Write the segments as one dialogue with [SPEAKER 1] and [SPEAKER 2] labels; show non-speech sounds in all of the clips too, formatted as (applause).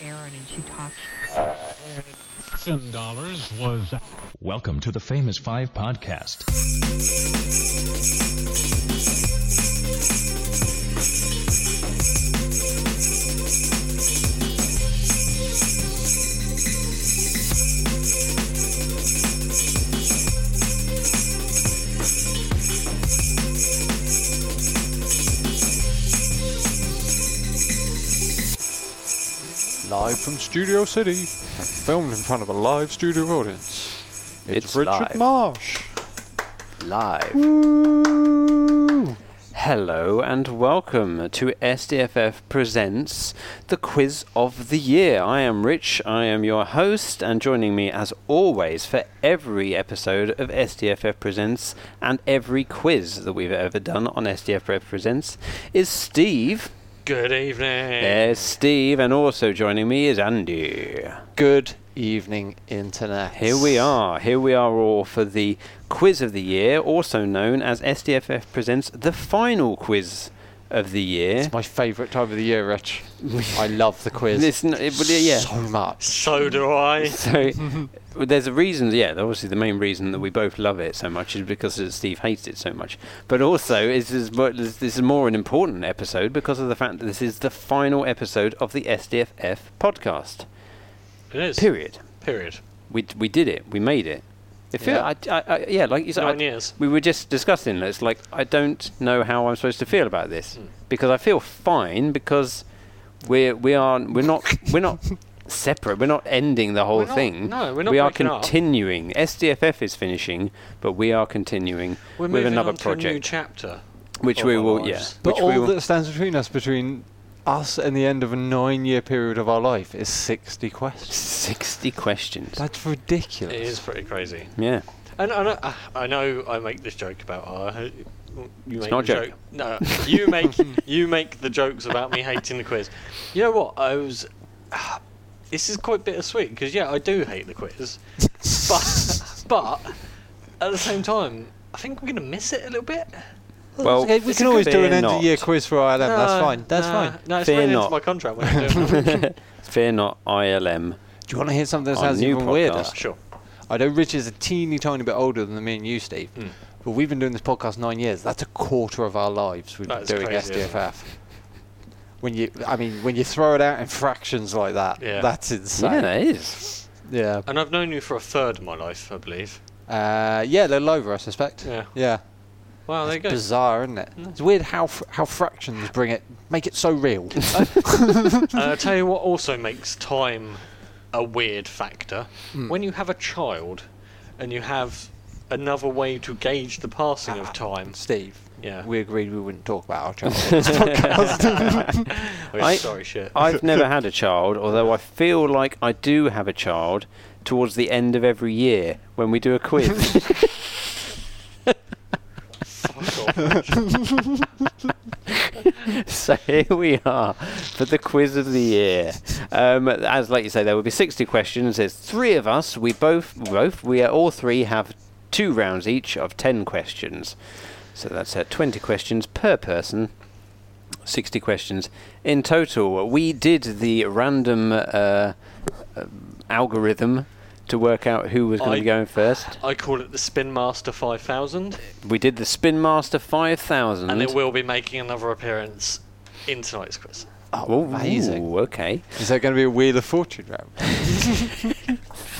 [SPEAKER 1] Karen and she talks.
[SPEAKER 2] Ten dollars was
[SPEAKER 3] Welcome to the Famous Five podcast.
[SPEAKER 4] Live from Studio City, and filmed in front of a live studio audience. It's,
[SPEAKER 5] It's
[SPEAKER 4] Richard
[SPEAKER 5] live.
[SPEAKER 4] Marsh.
[SPEAKER 5] live. Hello and welcome to SDFF Presents the Quiz of the Year. I am Rich, I am your host, and joining me as always for every episode of SDFF Presents and every quiz that we've ever done on SDFF Presents is Steve.
[SPEAKER 2] good evening.
[SPEAKER 5] There's Steve, and also joining me is Andy.
[SPEAKER 6] Good evening, internet.
[SPEAKER 5] Here we are. Here we are all for the quiz of the year, also known as SDFF presents the final quiz of the year.
[SPEAKER 6] It's my favourite time of the year, (laughs) Rich. I love the quiz.
[SPEAKER 5] It's n- it- well, yeah.
[SPEAKER 6] so much.
[SPEAKER 2] So do I.
[SPEAKER 5] (laughs) So well, there's a reason. Yeah, obviously the main reason that we both love it so much is because that Steve hates it so much. But also, it's, is mo- this this is more an important episode because of the fact that this is the final episode of the SDFF podcast.
[SPEAKER 2] It is.
[SPEAKER 5] Period.
[SPEAKER 2] Period.
[SPEAKER 5] We d- we did it. We made it. It feel,
[SPEAKER 6] Yeah.
[SPEAKER 5] I, I, I, yeah, like you said, I-
[SPEAKER 2] Nine years.
[SPEAKER 5] we were just discussing. It's like I don't know how I'm supposed to feel about this
[SPEAKER 2] Hmm.
[SPEAKER 5] because I feel fine because we're we are we're not
[SPEAKER 2] (laughs)
[SPEAKER 5] we're not separate. We're not ending the whole
[SPEAKER 2] We're not-
[SPEAKER 5] thing.
[SPEAKER 2] no, we're not
[SPEAKER 5] We are
[SPEAKER 2] breaking up.
[SPEAKER 5] continuing. SDFF is finishing, but we are continuing
[SPEAKER 2] We're
[SPEAKER 5] with
[SPEAKER 2] moving
[SPEAKER 5] another
[SPEAKER 2] on to a new
[SPEAKER 5] project,
[SPEAKER 2] chapter.
[SPEAKER 5] which
[SPEAKER 2] of
[SPEAKER 5] we
[SPEAKER 2] our
[SPEAKER 5] will. Yeah,
[SPEAKER 2] lives.
[SPEAKER 6] But
[SPEAKER 5] which
[SPEAKER 6] all
[SPEAKER 5] we will.
[SPEAKER 6] that stands between us, between us and the end of a nine-year period of our life, is 60 questions.
[SPEAKER 5] Sixty questions.
[SPEAKER 6] That's
[SPEAKER 2] It
[SPEAKER 6] ridiculous.
[SPEAKER 2] is pretty crazy.
[SPEAKER 5] Yeah,
[SPEAKER 2] And, and I, I know I make this joke about. Uh, you make
[SPEAKER 5] not a
[SPEAKER 2] the
[SPEAKER 5] joke.
[SPEAKER 2] No, you
[SPEAKER 5] (laughs)
[SPEAKER 2] make you make the jokes about me hating the quiz. You know what? I was. (sighs) this is quite bittersweet because yeah, I do hate the quiz,
[SPEAKER 5] (laughs)
[SPEAKER 2] but but at the same time, I think I'm gonna miss it a little bit.
[SPEAKER 5] Well,
[SPEAKER 6] Okay, we
[SPEAKER 5] (laughs)
[SPEAKER 6] can always do
[SPEAKER 5] fear
[SPEAKER 6] an end-of-year
[SPEAKER 5] not.
[SPEAKER 6] quiz for ILM. that's
[SPEAKER 2] No,
[SPEAKER 6] fine. That's
[SPEAKER 2] no,
[SPEAKER 6] fine.
[SPEAKER 2] No, Uh, it's
[SPEAKER 5] Fear
[SPEAKER 2] written into
[SPEAKER 5] not.
[SPEAKER 2] my contract. When I'm
[SPEAKER 5] (laughs)
[SPEAKER 2] doing it.
[SPEAKER 5] Fear not, ILM.
[SPEAKER 6] Do you want to hear something that
[SPEAKER 5] Our
[SPEAKER 6] sounds
[SPEAKER 5] new
[SPEAKER 6] even weirder?
[SPEAKER 5] podcast.
[SPEAKER 2] sure.
[SPEAKER 6] I know Rich is a teeny tiny bit older than me and you, Steve.
[SPEAKER 2] Hmm.
[SPEAKER 6] But we've been doing this podcast nine years. That's a quarter of our lives we've
[SPEAKER 2] That
[SPEAKER 6] been
[SPEAKER 2] is
[SPEAKER 6] doing
[SPEAKER 2] crazy, isn't
[SPEAKER 6] SDFF. When you, I mean, when you throw it out in fractions like that,
[SPEAKER 2] Yeah.
[SPEAKER 6] that's
[SPEAKER 5] Yeah,
[SPEAKER 6] insane.
[SPEAKER 5] that is.
[SPEAKER 6] Yeah,
[SPEAKER 2] And I've known you for a third of my life, I believe.
[SPEAKER 6] uh, yeah, a little over, I suspect.
[SPEAKER 2] Yeah. Hmm.
[SPEAKER 6] yeah.
[SPEAKER 2] Wow, there you go.
[SPEAKER 6] Bizarre, isn't it? It's weird how fr- how fractions bring it, make it so
[SPEAKER 2] (laughs)
[SPEAKER 6] real.
[SPEAKER 2] Oh. And I'll Uh, tell you what also makes time a weird factor.
[SPEAKER 5] Hmm.
[SPEAKER 2] When you have a child and you have another way to gauge the passing
[SPEAKER 5] Ah,
[SPEAKER 2] of time.
[SPEAKER 6] Steve,
[SPEAKER 2] Yeah.
[SPEAKER 6] we agreed we wouldn't talk about (laughs) our childhood.
[SPEAKER 2] We're
[SPEAKER 5] I-
[SPEAKER 2] oh, sorry, shit.
[SPEAKER 5] I've never had a child, although I feel like I do have a child towards the end of every year when we do a
[SPEAKER 2] (laughs)
[SPEAKER 5] quiz.
[SPEAKER 2] (laughs) Fuck
[SPEAKER 5] (laughs)
[SPEAKER 2] off.
[SPEAKER 5] so here we are for the quiz of the year. Um, as like you say, there will be 60 questions. There's three of us. We both, both, we are all three have two rounds each of 10 questions. So that's uh, 20 questions per person. 60 questions in total. We did the random uh, uh, algorithm to work out who was going to
[SPEAKER 2] I-
[SPEAKER 5] be going first.
[SPEAKER 2] I call it the Spin Master 5000,
[SPEAKER 5] We did the Spin Master 5000.
[SPEAKER 2] and it will be making another appearance in tonight's quiz.
[SPEAKER 5] Oh,
[SPEAKER 6] amazing.
[SPEAKER 5] ooh, okay.
[SPEAKER 6] Is there going to be a Wheel of Fortune round?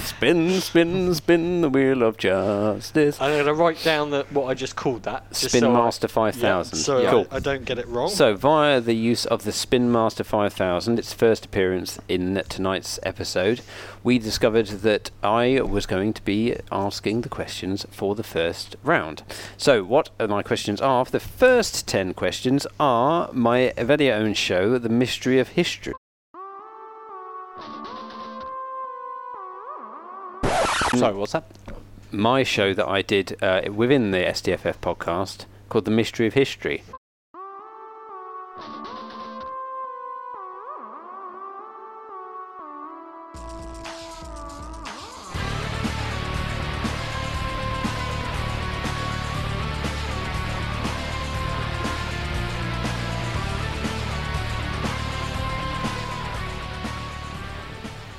[SPEAKER 5] Spin, spin, spin the wheel of justice.
[SPEAKER 2] I'm going to write down the, what I just called that. just
[SPEAKER 5] Spin
[SPEAKER 2] so I-
[SPEAKER 5] Master
[SPEAKER 2] yeah,
[SPEAKER 5] 5000.
[SPEAKER 2] so I-
[SPEAKER 5] cool.
[SPEAKER 2] I, don't get it wrong.
[SPEAKER 5] So, via the use of the Spin Master 5000, its first appearance in tonight's episode, we discovered that I was going to be asking the questions for the first round. So, what are my questions are for the first 10 questions are my very own show, The Mystery of History.
[SPEAKER 6] (laughs) Sorry, what's that?
[SPEAKER 5] my show that I did uh, within the SDFF podcast called The Mystery of History.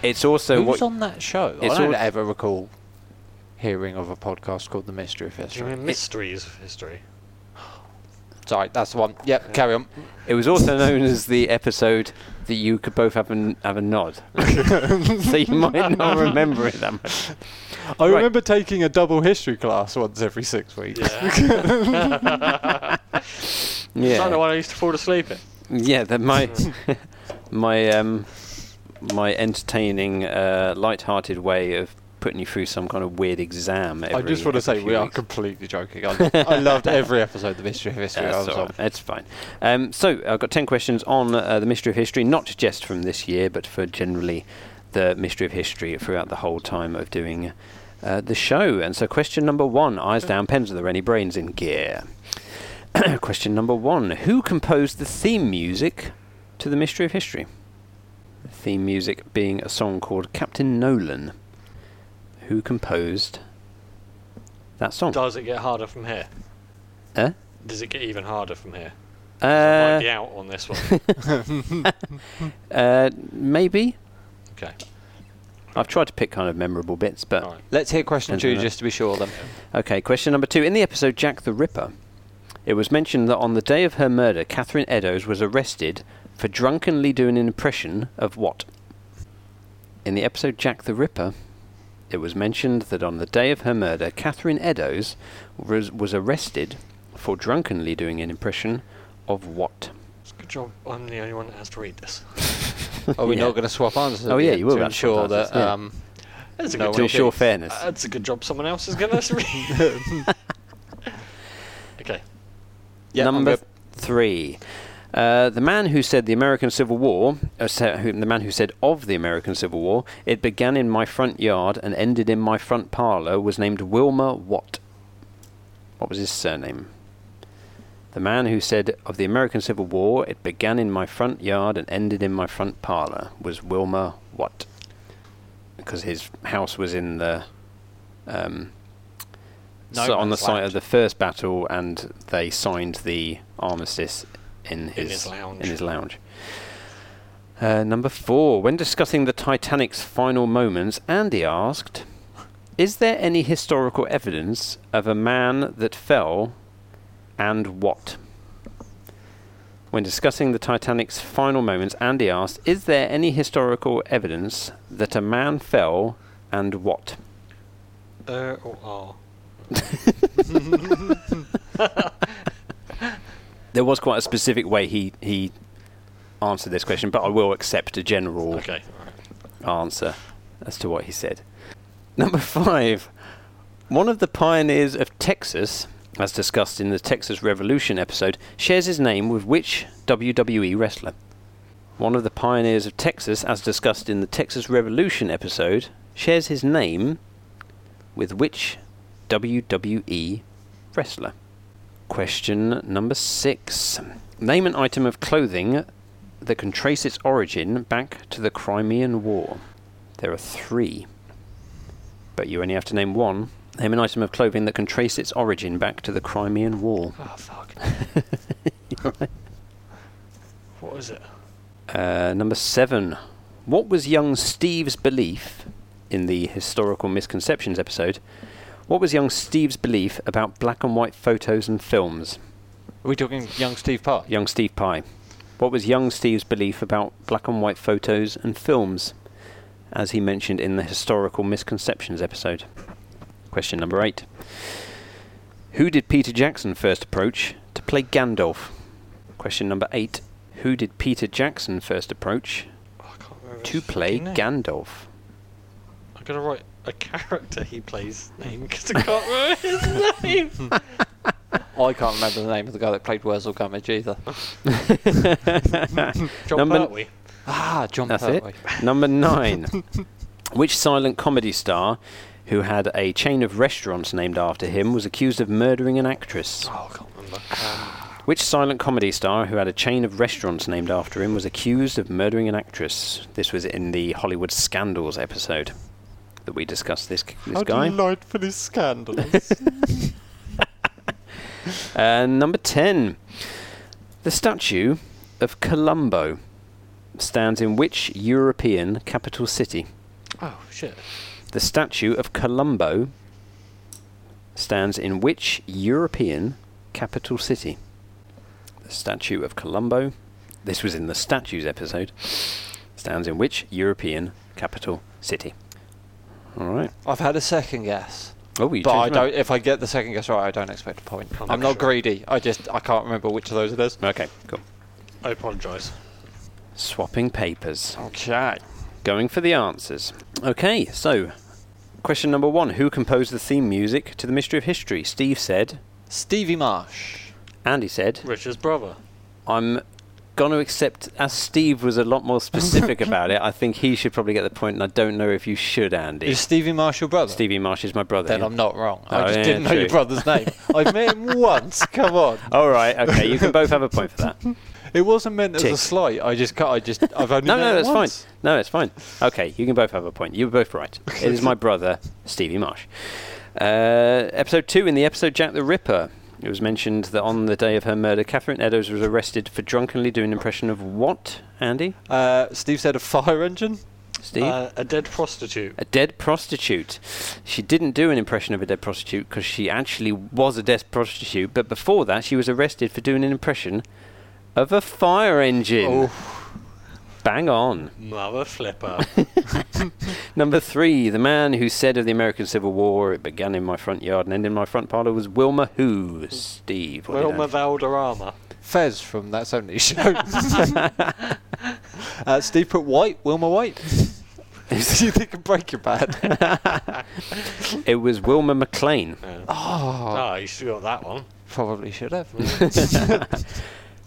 [SPEAKER 5] It's also
[SPEAKER 6] Who's
[SPEAKER 5] what
[SPEAKER 6] on that show?
[SPEAKER 5] it's
[SPEAKER 6] I don't
[SPEAKER 5] all-
[SPEAKER 6] ever recall hearing of a podcast called The Mystery of
[SPEAKER 2] Do you
[SPEAKER 6] History.
[SPEAKER 2] mean mysteries of history?
[SPEAKER 6] Sorry, that's the one. Yep, carry on.
[SPEAKER 5] It was also known as the episode that you could both have a, have a nod. (laughs) so you might not remember it that much.
[SPEAKER 6] I
[SPEAKER 5] Right.
[SPEAKER 6] remember taking a double history class once every six weeks.
[SPEAKER 5] (laughs)
[SPEAKER 2] Yeah. (laughs) Is that the
[SPEAKER 5] Yeah,
[SPEAKER 2] one I used to fall asleep in?
[SPEAKER 5] yeah that my, (laughs) my, um, my entertaining, uh, light-hearted way of putting you through some kind of weird exam. Every,
[SPEAKER 6] I just want to say
[SPEAKER 5] every few
[SPEAKER 6] we are
[SPEAKER 5] weeks.
[SPEAKER 6] completely (laughs) joking. I, I loved every episode of The Mystery of History I
[SPEAKER 5] That's
[SPEAKER 6] was
[SPEAKER 5] all
[SPEAKER 6] on.
[SPEAKER 5] right. It's fine. Um, so I've got ten questions on uh, the mystery of history, not just from this year, but for generally the mystery of history throughout the whole time of doing uh, the show. And so, question number one: Eyes down, pens are there any brains in gear? (clears throat) question number one: Who composed the theme music to the mystery of history? The theme music being a song called Captain Nolan. Who composed that song?
[SPEAKER 2] Does it get harder from here?
[SPEAKER 5] Eh?
[SPEAKER 2] Does it get even harder from here? I
[SPEAKER 5] Uh,
[SPEAKER 2] might be out on
[SPEAKER 5] (laughs)
[SPEAKER 2] this one.
[SPEAKER 5] uh, maybe.
[SPEAKER 2] Okay.
[SPEAKER 5] I've tried to pick kind of memorable bits, but
[SPEAKER 2] All right.
[SPEAKER 6] Let's hear question
[SPEAKER 5] Depends
[SPEAKER 6] two
[SPEAKER 5] on it.
[SPEAKER 6] just to be sure then.
[SPEAKER 5] okay. Question number two: In the episode Jack the Ripper, it was mentioned that on the day of her murder, Catherine Eddowes was arrested for drunkenly doing an impression of what? In the episode Jack the Ripper, it was mentioned that on the day of her murder, Catherine Eddowes was, was arrested for drunkenly doing an impression of what?
[SPEAKER 2] It's a good job I'm the only one that has to read this.
[SPEAKER 6] Are we
[SPEAKER 5] Yeah.
[SPEAKER 6] not going to swap answers? at
[SPEAKER 5] Oh,
[SPEAKER 6] the
[SPEAKER 5] yeah,
[SPEAKER 6] end
[SPEAKER 5] you will
[SPEAKER 6] To
[SPEAKER 5] have to swap
[SPEAKER 6] ensure that
[SPEAKER 5] answers, yeah.
[SPEAKER 6] um,
[SPEAKER 2] That's a
[SPEAKER 6] No one
[SPEAKER 5] to
[SPEAKER 2] good job.
[SPEAKER 5] ensure
[SPEAKER 6] did.
[SPEAKER 5] fairness.
[SPEAKER 2] Uh, That's a good job someone else is going to read.
[SPEAKER 5] (laughs)
[SPEAKER 2] okay.
[SPEAKER 6] yeah, I'm
[SPEAKER 5] Number
[SPEAKER 6] good.
[SPEAKER 5] three. Uh, the man who said the American Civil War, uh, sa- who, the man who said of the American Civil War, it began in my front yard and ended in my front parlour, was named Wilmer Watt. What was his surname? The man who said of the American Civil War, it began in my front yard and ended in my front parlour, was Wilmer Watt. Because his house was in the. Um,
[SPEAKER 6] No
[SPEAKER 5] so on the
[SPEAKER 6] man's
[SPEAKER 5] site
[SPEAKER 6] land.
[SPEAKER 5] of the first battle, and they signed the armistice in his,
[SPEAKER 2] In his lounge.
[SPEAKER 5] in his lounge. Uh, number four. When discussing the Titanic's final moments, Andy asked, "Is there any historical evidence of a man that fell, and what?" When discussing the Titanic's final moments, Andy asked, "Is there any historical evidence that a man fell, and what?"
[SPEAKER 2] Uh, or R.
[SPEAKER 5] there was quite a specific way he he answered this question, but I will accept a general
[SPEAKER 2] Okay. all right.
[SPEAKER 5] answer as to what he said. Number five, one of the pioneers of Texas, as discussed in the Texas Revolution episode, shares his name with which WWE wrestler? One of the pioneers of Texas, as discussed in the Texas Revolution episode, shares his name with which WWE wrestler? Question number six. Name an item of clothing that can trace its origin back to the Crimean War. There are three, but you only have to name one. Name an item of clothing that can trace its origin back to the Crimean War.
[SPEAKER 2] Oh,
[SPEAKER 5] (laughs)
[SPEAKER 2] fuck. what is it?
[SPEAKER 5] Uh, number seven. What was young Steve's belief in the historical misconceptions episode? What was young Steve's belief about black and white photos and films?
[SPEAKER 6] Are we talking young Steve Park?
[SPEAKER 5] Young Steve Pye. What was young Steve's belief about black and white photos and films, as he mentioned in the historical misconceptions episode? Question number eight. Who did Peter Jackson first approach to play Gandalf? Question number eight. Who did Peter Jackson first approach
[SPEAKER 2] Oh, I can't remember.
[SPEAKER 5] to
[SPEAKER 2] his
[SPEAKER 5] play
[SPEAKER 2] fucking name.
[SPEAKER 5] Gandalf? (laughs)
[SPEAKER 2] I'm going to write a character he plays name because I can't
[SPEAKER 5] (laughs)
[SPEAKER 2] remember his name.
[SPEAKER 6] I can't remember the name of the guy that played Wurzel Gummidge either.
[SPEAKER 2] John
[SPEAKER 5] Number-
[SPEAKER 2] Pertwee.
[SPEAKER 6] Ah, John
[SPEAKER 5] That's
[SPEAKER 6] Pertwee.
[SPEAKER 5] it. (laughs)
[SPEAKER 6] (laughs)
[SPEAKER 5] Number nine. Which silent comedy star, who had a chain of restaurants named after him, was accused of murdering an actress?
[SPEAKER 2] Oh, I can't remember.
[SPEAKER 5] Which silent comedy star, who had a chain of restaurants named after him, was accused of murdering an actress? This was in the Hollywood Scandals episode that we discussed. This this
[SPEAKER 6] How
[SPEAKER 5] guy.
[SPEAKER 6] delightfully scandalous.
[SPEAKER 5] (laughs) Uh, number 10. The statue of Colombo stands in which European capital city?
[SPEAKER 2] Oh shit.
[SPEAKER 5] The statue of Columbo stands in which European capital city? The statue of Columbo, this was in the statues episode, stands in which European capital city? All right.
[SPEAKER 6] I've had a second guess.
[SPEAKER 5] Oh, you
[SPEAKER 6] But I
[SPEAKER 5] changed your
[SPEAKER 6] don't. If I get the second guess right, I don't expect a point. I'm,
[SPEAKER 2] not
[SPEAKER 6] not
[SPEAKER 2] sure.
[SPEAKER 6] greedy. I just I can't remember which of those it is.
[SPEAKER 5] mind. Okay, cool.
[SPEAKER 2] I apologise.
[SPEAKER 5] Swapping papers.
[SPEAKER 6] Okay.
[SPEAKER 5] Going for the answers. Okay, so question number one Who composed the theme music to The Mystery of History? Steve said,
[SPEAKER 6] Stevie Marsh.
[SPEAKER 5] Andy said,
[SPEAKER 2] Richard's brother.
[SPEAKER 5] I'm going to accept, as Steve was a lot
[SPEAKER 6] (laughs)
[SPEAKER 5] more specific about it, I think he should probably get the point, and I don't know if you should, Andy.
[SPEAKER 6] Is Stevie Marsh your brother?
[SPEAKER 5] Stevie Marsh is my brother.
[SPEAKER 6] Then
[SPEAKER 5] yeah.
[SPEAKER 6] I'm not wrong.
[SPEAKER 5] Oh,
[SPEAKER 6] I just
[SPEAKER 5] yeah,
[SPEAKER 6] didn't know
[SPEAKER 5] true. Oh.
[SPEAKER 6] your brother's
[SPEAKER 5] (laughs)
[SPEAKER 6] name. I've met him once. Come on.
[SPEAKER 5] All right, okay, you can both have a point for
[SPEAKER 6] (laughs)
[SPEAKER 5] that. no,
[SPEAKER 6] It wasn't meant as
[SPEAKER 5] Tick.
[SPEAKER 6] a slight. I just can't. I just I've only met
[SPEAKER 5] no,
[SPEAKER 6] him
[SPEAKER 5] that's fine.
[SPEAKER 6] once.
[SPEAKER 5] No, it's fine. Okay, you can both have a point. You were both right. It is my brother, Stevie Marsh. Uh, episode two, in the episode Jack the Ripper, it was mentioned that on the day of her murder, Catherine Eddowes was arrested for drunkenly doing an impression of what, Andy?
[SPEAKER 6] Uh, Steve said a fire engine.
[SPEAKER 5] Steve?
[SPEAKER 2] Uh, a dead prostitute.
[SPEAKER 5] A dead prostitute. She didn't do an impression of a dead prostitute because she actually was a dead prostitute, but before that, she was arrested for doing an impression of a fire engine. Bang on.
[SPEAKER 2] Mother flipper. (laughs)
[SPEAKER 5] Number three, the man who said of the American Civil War, it began in my front yard and ended in my front parlour, was Wilma Who? Steve. what do you
[SPEAKER 2] Wilma
[SPEAKER 5] know?
[SPEAKER 2] Valderrama.
[SPEAKER 6] Fez from That's Only Show.
[SPEAKER 5] (laughs)
[SPEAKER 6] uh, Steve put White, Wilma
[SPEAKER 5] (laughs)
[SPEAKER 6] White. (laughs) you think of Breaking Bad?
[SPEAKER 5] It was Wilma McLean. Ah.
[SPEAKER 2] Oh, you should have got that one.
[SPEAKER 6] Probably should have.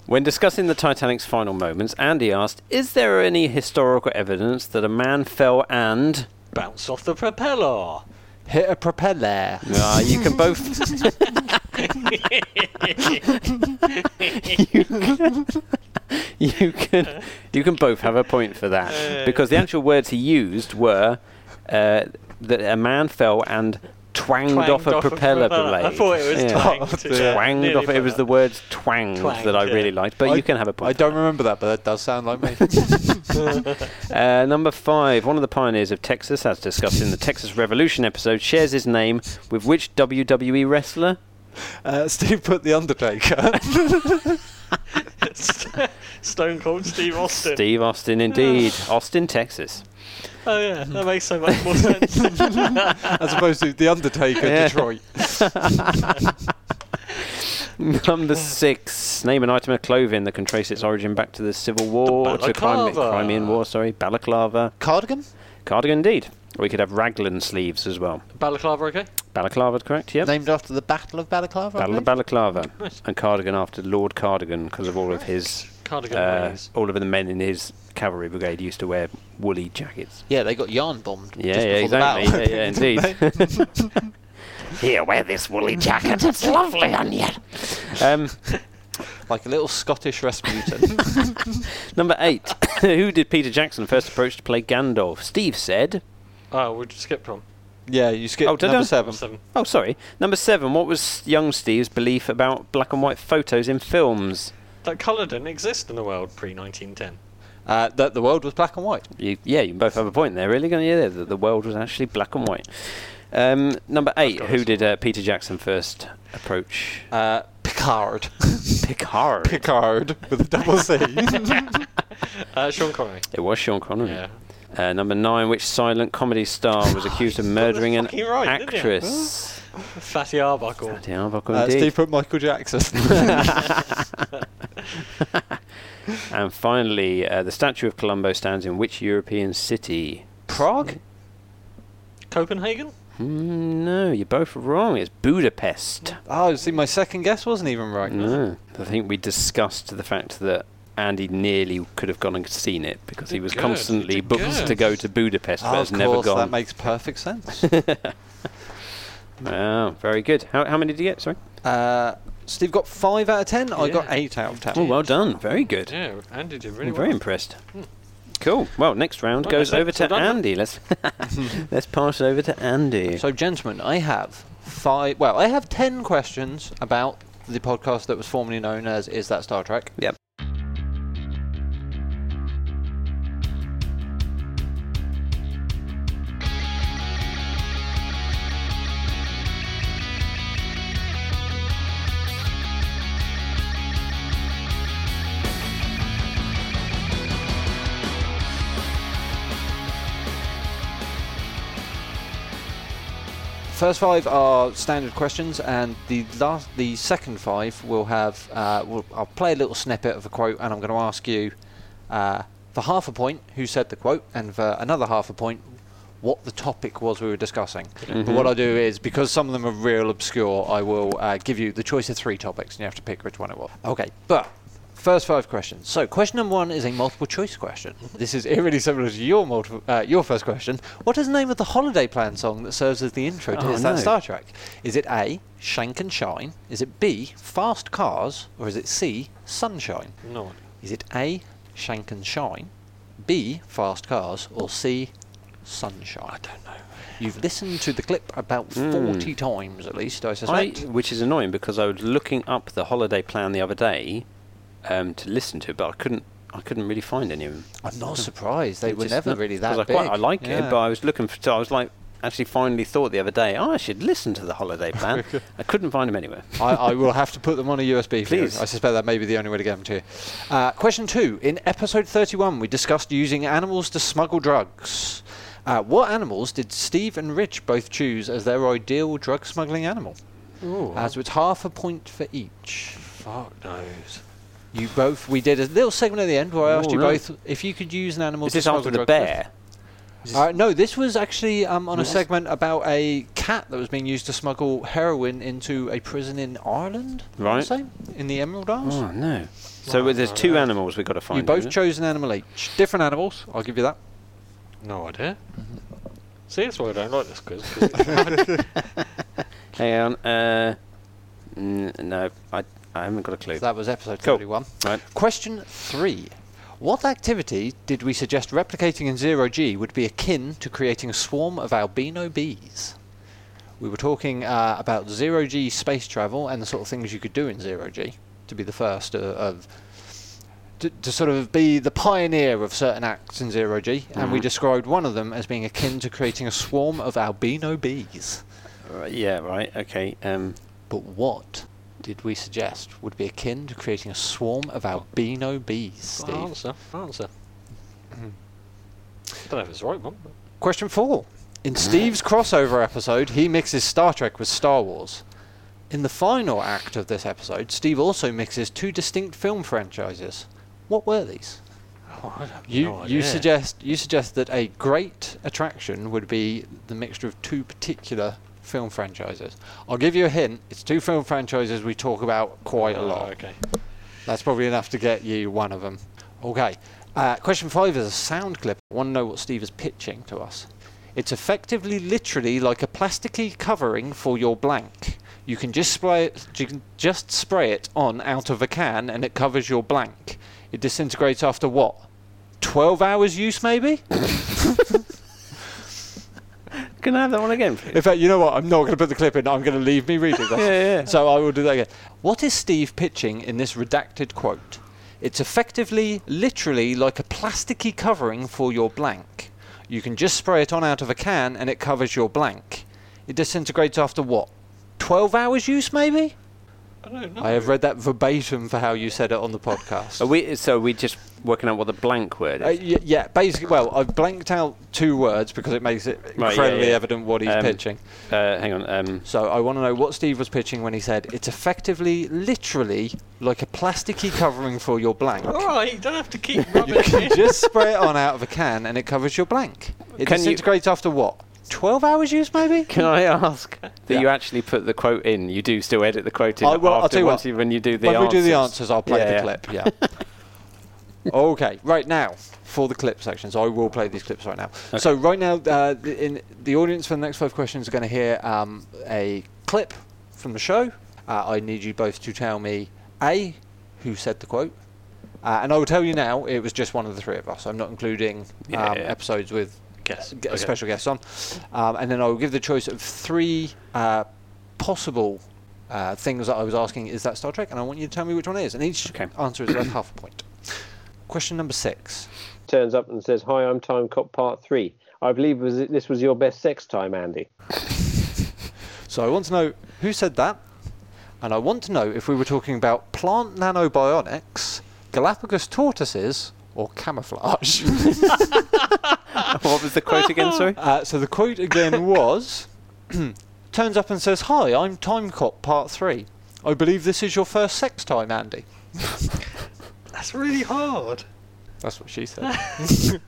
[SPEAKER 5] When discussing the Titanic's final moments, Andy asked, Is there any historical evidence that a man fell and.
[SPEAKER 2] Bounce off the (laughs) propeller.
[SPEAKER 6] Hit a propeller.
[SPEAKER 5] Ah, you can
[SPEAKER 6] (laughs)
[SPEAKER 5] both. you, can, (laughs) you can you can both have a point for that because the actual words he used were uh, that a man fell and twanged,
[SPEAKER 2] Twanged
[SPEAKER 5] off a propeller blade.
[SPEAKER 2] I thought it was
[SPEAKER 5] Yeah.
[SPEAKER 2] twanged. yeah.
[SPEAKER 5] Twanged
[SPEAKER 2] Nearly
[SPEAKER 5] off. It
[SPEAKER 2] put
[SPEAKER 5] was
[SPEAKER 2] that.
[SPEAKER 5] the words twanged,
[SPEAKER 2] Twanged,
[SPEAKER 5] that I
[SPEAKER 2] yeah.
[SPEAKER 5] really liked. But
[SPEAKER 6] I-
[SPEAKER 5] you can have a point.
[SPEAKER 6] I don't remember that, but that does sound like
[SPEAKER 5] (laughs)
[SPEAKER 6] me.
[SPEAKER 5] Uh, number five, one of the pioneers of Texas, as discussed in the Texas Revolution episode, shares his name with which WWE wrestler?
[SPEAKER 6] uh, Steve put The Undertaker. (laughs)
[SPEAKER 2] Stone Cold Steve Austin.
[SPEAKER 5] Steve Austin,
[SPEAKER 2] (sighs)
[SPEAKER 5] indeed. Austin, Texas.
[SPEAKER 2] Oh yeah, that makes so much more sense. (laughs)
[SPEAKER 6] As opposed to The Undertaker,
[SPEAKER 5] Yeah.
[SPEAKER 6] Detroit.
[SPEAKER 5] (laughs) Number six, name an item of clothing that can trace its origin back to the Civil War,
[SPEAKER 2] The
[SPEAKER 5] to Crime-
[SPEAKER 2] balaclava.
[SPEAKER 5] Crimean War, sorry, balaclava,
[SPEAKER 6] Cardigan?
[SPEAKER 5] cardigan, indeed. We could have raglan sleeves as well.
[SPEAKER 2] Balaclava, okay?
[SPEAKER 5] Balaclava, correct? Yep.
[SPEAKER 6] Named after the Battle of Balaclava? I
[SPEAKER 5] Battle
[SPEAKER 6] believe?
[SPEAKER 5] of Balaclava,
[SPEAKER 2] (laughs) Nice.
[SPEAKER 5] and cardigan after Lord Cardigan because of all of his,
[SPEAKER 2] Cardigan
[SPEAKER 5] uh,
[SPEAKER 2] please.
[SPEAKER 5] all of the men in his cavalry brigade used to wear woolly jackets.
[SPEAKER 6] yeah, they got yarn bombed.
[SPEAKER 5] Yeah,
[SPEAKER 6] just
[SPEAKER 5] yeah,
[SPEAKER 6] before the battle.
[SPEAKER 5] exactly.
[SPEAKER 6] (laughs)
[SPEAKER 5] Yeah, yeah, indeed.
[SPEAKER 1] Here, wear this woolly jacket. It's lovely on you.
[SPEAKER 5] Um,
[SPEAKER 6] like a little Scottish Rasputin.
[SPEAKER 5] number eight, (laughs) who did Peter Jackson first approach to play Gandalf? Steve said.
[SPEAKER 2] Oh, we just skipped one.
[SPEAKER 6] (laughs) yeah, you skipped
[SPEAKER 5] Oh, did I?
[SPEAKER 6] number seven.
[SPEAKER 2] Seven.
[SPEAKER 5] Oh, sorry. Number seven. What was young Steve's belief about black and white photos in films?
[SPEAKER 2] That colour didn't exist in the world pre 1910.
[SPEAKER 6] Uh, that the world was black and white.
[SPEAKER 5] You, yeah, you both have a point there. Really, going to hear that the world was actually black and white. Um, number eight. Who did uh, Peter Jackson first approach?
[SPEAKER 6] Uh, Picard.
[SPEAKER 5] Picard.
[SPEAKER 6] (laughs) Picard with a double (laughs) C.
[SPEAKER 2] Uh, Sean Connery.
[SPEAKER 5] it was Sean Connery.
[SPEAKER 2] Yeah.
[SPEAKER 5] Uh, number nine. Which silent comedy star
[SPEAKER 2] (laughs)
[SPEAKER 5] was accused of murdering an
[SPEAKER 2] fucking right, didn't you?
[SPEAKER 5] actress?
[SPEAKER 2] Fatty Arbuckle.
[SPEAKER 5] Bloody hell, Buckle,
[SPEAKER 6] uh,
[SPEAKER 5] indeed.
[SPEAKER 6] Steve put Michael Jackson.
[SPEAKER 5] (laughs) And finally, uh, the statue of Columbo stands in which European city?
[SPEAKER 6] Prague?
[SPEAKER 2] Copenhagen?
[SPEAKER 5] Mm, no, you're both wrong. It's Budapest.
[SPEAKER 6] Oh, see, my second guess wasn't even right.
[SPEAKER 5] No, I think we discussed the fact that Andy nearly could have gone and seen it because he was
[SPEAKER 2] Good,
[SPEAKER 5] constantly
[SPEAKER 2] good.
[SPEAKER 5] booked to go to Budapest,
[SPEAKER 6] Oh,
[SPEAKER 5] but
[SPEAKER 6] of
[SPEAKER 5] has never
[SPEAKER 6] course, that
[SPEAKER 5] gone.
[SPEAKER 6] makes perfect
[SPEAKER 5] (laughs)
[SPEAKER 6] sense.
[SPEAKER 5] oh, very good. How, how many did you get? Sorry.
[SPEAKER 6] uh, Steve got 5 out of 10. I got
[SPEAKER 2] Yeah.
[SPEAKER 6] 8 out of 10.
[SPEAKER 5] Oh, well done. Very good.
[SPEAKER 2] Yeah, Andy did really
[SPEAKER 5] I'm very
[SPEAKER 2] well. Hmm.
[SPEAKER 5] impressed. Cool. Well, next round
[SPEAKER 2] Well,
[SPEAKER 5] goes
[SPEAKER 2] that's it.
[SPEAKER 5] over
[SPEAKER 2] We're
[SPEAKER 5] to
[SPEAKER 2] done then.
[SPEAKER 5] Andy. Let's (laughs) let's pass it over to Andy.
[SPEAKER 6] So, gentlemen, I have 5. Well, I have 10 questions about the podcast that was formerly known as Is That Star Trek?
[SPEAKER 5] Yep.
[SPEAKER 6] first five are standard questions, and the last, the second five will have. Uh, will, I'll play a little snippet of a quote, and I'm going to ask you, uh, for half a point, who said the quote, and for another half a point, what the topic was we were discussing. But what I do is because some of them are real obscure, I will uh, give you the choice of three topics, and you have to pick which one it was. Okay, but First five questions. So, question number one is a multiple choice question. This is (laughs) eerily similar to your multiple, uh, your first question. What is the name of the holiday plan song that serves as the intro to
[SPEAKER 5] Oh,
[SPEAKER 6] Is
[SPEAKER 5] no.
[SPEAKER 6] That Star Trek? Is it A, Shank and Shine? Is it B, Fast Cars? Or is it C, Sunshine?
[SPEAKER 2] No.
[SPEAKER 6] Is it A, Shank and Shine? B, Fast Cars? Or C, Sunshine? I don't know. You've listened to the clip about
[SPEAKER 5] Hmm.
[SPEAKER 6] 40 times at least, I
[SPEAKER 5] I,
[SPEAKER 6] suspect.
[SPEAKER 5] which is annoying because I was looking up the holiday plan the other day um, to listen to, but I couldn't. I couldn't really find any of them.
[SPEAKER 6] I, am not surprised. They
[SPEAKER 5] It
[SPEAKER 6] were
[SPEAKER 5] just-
[SPEAKER 6] never really that
[SPEAKER 5] because
[SPEAKER 6] big.
[SPEAKER 5] I quite I like
[SPEAKER 6] Yeah.
[SPEAKER 5] it, but I was looking for. So I was like, actually, finally thought the other day, oh, I should listen to the holiday plan. I couldn't find them anywhere.
[SPEAKER 6] I, I will have to put them on a USB. for you.
[SPEAKER 5] Please.
[SPEAKER 6] I suspect that may be the only way to get them to you. Uh, question two. In episode 31, we discussed using animals to smuggle drugs. Uh, what animals did Steve and Rich both choose as their ideal drug smuggling animal?
[SPEAKER 2] Ooh,
[SPEAKER 6] Uh, so it's half a point for each.
[SPEAKER 2] Ah, fuck knows.
[SPEAKER 6] You both, we did a little segment at the end where I asked
[SPEAKER 5] Oh,
[SPEAKER 6] you
[SPEAKER 5] right.
[SPEAKER 6] both if you could use an animal
[SPEAKER 5] Is
[SPEAKER 6] to
[SPEAKER 5] this
[SPEAKER 6] smuggle
[SPEAKER 5] after the
[SPEAKER 6] drugs with.
[SPEAKER 5] bear?
[SPEAKER 6] Uh, no, this was actually um, on a segment about a cat that was being used to smuggle heroin into a prison in Ireland. I wanna
[SPEAKER 5] Right.
[SPEAKER 6] say, In the Emerald Isles.
[SPEAKER 5] Oh no! So there's two animals we've got to find.
[SPEAKER 6] You both
[SPEAKER 5] isn't it?
[SPEAKER 6] chose an animal each. Different animals, I'll give you that.
[SPEAKER 2] No idea. See, that's why I don't like this (laughs) quiz. 'cause it's
[SPEAKER 5] Hang on. Uh, n- no, I, I haven't got a clue.
[SPEAKER 6] So that was episode
[SPEAKER 5] Cool.
[SPEAKER 6] 31.
[SPEAKER 5] Right.
[SPEAKER 6] Question three. What activity did we suggest replicating in zero G would be akin to creating a swarm of albino bees? We were talking uh, about zero G space travel and the sort of things you could do in zero G to be the first uh, of. To, to sort of be the pioneer of certain acts in zero G, and we described one of them as being akin to creating a swarm of albino bees.
[SPEAKER 5] Right, yeah. Right. Okay. Um,
[SPEAKER 6] But what did we suggest would be akin to creating a swarm of albino bees, Steve?
[SPEAKER 2] answer. Answer. Mm-hmm. don't know if it's the right one. But
[SPEAKER 6] Question four. In Steve's crossover episode, he mixes Star Trek with Star Wars. In the final act of this episode, Steve also mixes two distinct film franchises. What were these?
[SPEAKER 2] oh, I have
[SPEAKER 6] You
[SPEAKER 2] no
[SPEAKER 6] you
[SPEAKER 2] idea.
[SPEAKER 6] suggest you suggest that a great attraction would be the mixture of two particular film franchises. I'll give you a hint. It's two film franchises we talk about quite a
[SPEAKER 2] Oh,
[SPEAKER 6] lot.
[SPEAKER 2] Okay.
[SPEAKER 6] That's probably enough to get you one of them. Okay. Uh, question five is a sound clip. I want to know what Steve is pitching to us. It's effectively, literally, like a plasticky covering for your blank. You can just spray it, you can just spray it on out of a can, and it covers your blank. It disintegrates after what? Twelve hours use, maybe.
[SPEAKER 5] can I have that one again, please?
[SPEAKER 6] In fact, you know what? I'm not going to put the clip in. I'm going to leave me reading
[SPEAKER 2] (laughs)
[SPEAKER 6] this.
[SPEAKER 5] Yeah, yeah.
[SPEAKER 6] So I will do that again. What is Steve pitching in this redacted quote? It's effectively, literally, like a plasticky covering for your blank. You can just spray it on out of a can and it covers your blank. It disintegrates after what? 12 hours use, maybe?
[SPEAKER 2] I don't know.
[SPEAKER 6] I have read that verbatim for how you said it on the podcast.
[SPEAKER 5] (laughs) Are we? So are we just working out what the blank word is?
[SPEAKER 6] Uh, y- yeah, basically, well, I've blanked out two words because it makes it
[SPEAKER 5] yeah,
[SPEAKER 6] incredibly
[SPEAKER 5] yeah.
[SPEAKER 6] evident what he's
[SPEAKER 5] Um,
[SPEAKER 6] pitching.
[SPEAKER 5] Uh, hang on. Um,
[SPEAKER 6] So I want to know what Steve was pitching when he said it's effectively, literally, like a plasticky covering for your blank.
[SPEAKER 2] All right, you don't have to (laughs) keep rubbing it in.
[SPEAKER 6] Just spray it on out of a can and it covers your blank. It
[SPEAKER 5] Can you-
[SPEAKER 6] disintegrates after what? Twelve hours use maybe?
[SPEAKER 5] can I
[SPEAKER 6] (laughs)
[SPEAKER 5] ask that
[SPEAKER 6] Yeah.
[SPEAKER 5] you actually put the quote in? You do still edit the quote in
[SPEAKER 6] I will- I'll
[SPEAKER 5] after
[SPEAKER 6] tell you
[SPEAKER 5] once
[SPEAKER 6] what,
[SPEAKER 5] you, when you do the
[SPEAKER 6] when
[SPEAKER 5] answers.
[SPEAKER 6] we do the answers, I'll play
[SPEAKER 5] Yeah,
[SPEAKER 6] the
[SPEAKER 5] yeah.
[SPEAKER 6] clip.
[SPEAKER 5] (laughs)
[SPEAKER 6] Yeah. okay. Right now, for the clip sections, I will play these clips right now. So right now, uh, the, in the audience for the next five questions are going to hear um, a clip from the show. Uh, I need you both to tell me a who said the quote. Uh, and I will tell you now, it was just one of the three of us. I'm not including um,
[SPEAKER 5] Yeah, yeah.
[SPEAKER 6] episodes with
[SPEAKER 2] Guess.
[SPEAKER 6] g-
[SPEAKER 2] Okay.
[SPEAKER 6] special guests on. Um, and then I will give the choice of three uh, possible uh, things that I was asking is that Star Trek? And I want you to tell me which one it is. And each
[SPEAKER 5] Okay.
[SPEAKER 6] answer is worth half a point. Question number six.
[SPEAKER 7] turns up and says, "Hi, I'm Time Cop Part Three. I believe was this was your best sex time, Andy."
[SPEAKER 6] So I want to know who said that. And I want to know if we were talking about plant nanobionics, Galapagos tortoises, or camouflage. (laughs)
[SPEAKER 5] what was the quote again? Sorry. (laughs)
[SPEAKER 6] Uh, so the quote again was (clears throat) turns up and says, "Hi, I'm Time Cop Part Three. I believe this is your first sex time, Andy."
[SPEAKER 2] That's really hard.
[SPEAKER 6] That's what she said.
[SPEAKER 5] (laughs)
[SPEAKER 6] (laughs) uh,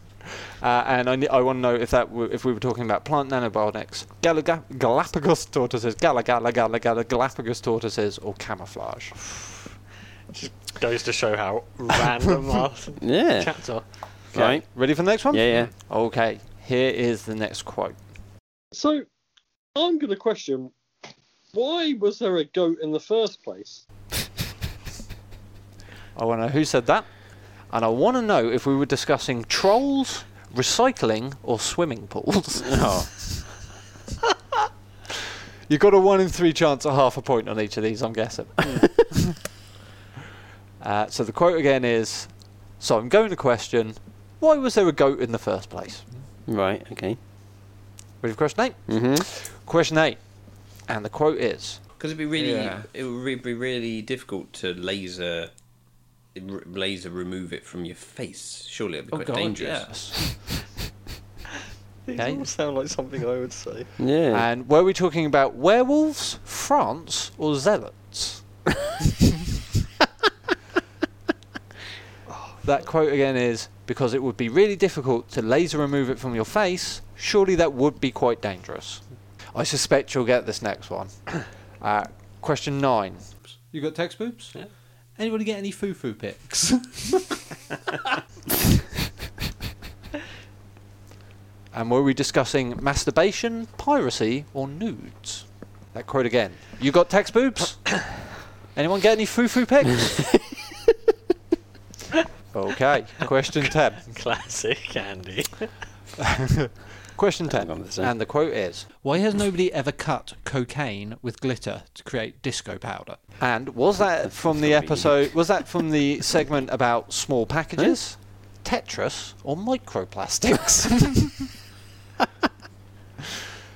[SPEAKER 6] and I, ne- I want to know if that w- if we were talking about plant nanobiotics, Galaga- Galapagos tortoises, Gala Gala Gala Gala Galapagos tortoises, or camouflage.
[SPEAKER 2] Just goes to show (laughs) how random our (laughs)
[SPEAKER 5] Yeah.
[SPEAKER 2] chats are.
[SPEAKER 5] Right.
[SPEAKER 6] Ready for the next one?
[SPEAKER 5] Yeah, yeah.
[SPEAKER 6] Okay. Here is the next quote.
[SPEAKER 8] So, I'm going to question why was there a goat in the first place?
[SPEAKER 6] I want to know who said that, and I want to know if we were discussing trolls, recycling, or swimming pools. (laughs)
[SPEAKER 5] Oh.
[SPEAKER 6] You got a one in three chance of half a point on each of these, I'm guessing. (laughs) uh, so the quote again is So I'm going to question why was there a goat in the first place?
[SPEAKER 5] Right. Okay.
[SPEAKER 6] Ready for question eight?
[SPEAKER 5] Mm-hmm.
[SPEAKER 6] Question eight. And the quote is
[SPEAKER 9] Because it'd be really,
[SPEAKER 6] Yeah.
[SPEAKER 9] it would re- be really difficult to laser, r- laser remove it from your face. Surely it'd be quite dangerous.
[SPEAKER 6] yes. (laughs)
[SPEAKER 2] These
[SPEAKER 6] Yeah.
[SPEAKER 2] all sound like something I would say.
[SPEAKER 5] Yeah.
[SPEAKER 6] And were we talking about werewolves, France, or zealots? (laughs) that quote again is because it would be really difficult to laser remove it from your face. Surely that would be quite dangerous. I suspect you'll get this next one. (coughs) Uh, question nine.
[SPEAKER 4] You got text boobs? Yeah. Anybody get any foo foo pics? (laughs)
[SPEAKER 6] And were we discussing masturbation, piracy, or nudes? That quote again. You got text boobs? Anyone get any foo foo pics? okay. Question 10.
[SPEAKER 2] Classic Andy.
[SPEAKER 6] Question 10.
[SPEAKER 5] on the same.
[SPEAKER 6] And the quote is
[SPEAKER 10] Why has nobody ever cut cocaine with glitter to create disco powder?
[SPEAKER 6] And was that from the episode? Was that from the segment about small packages, Tetris, or microplastics?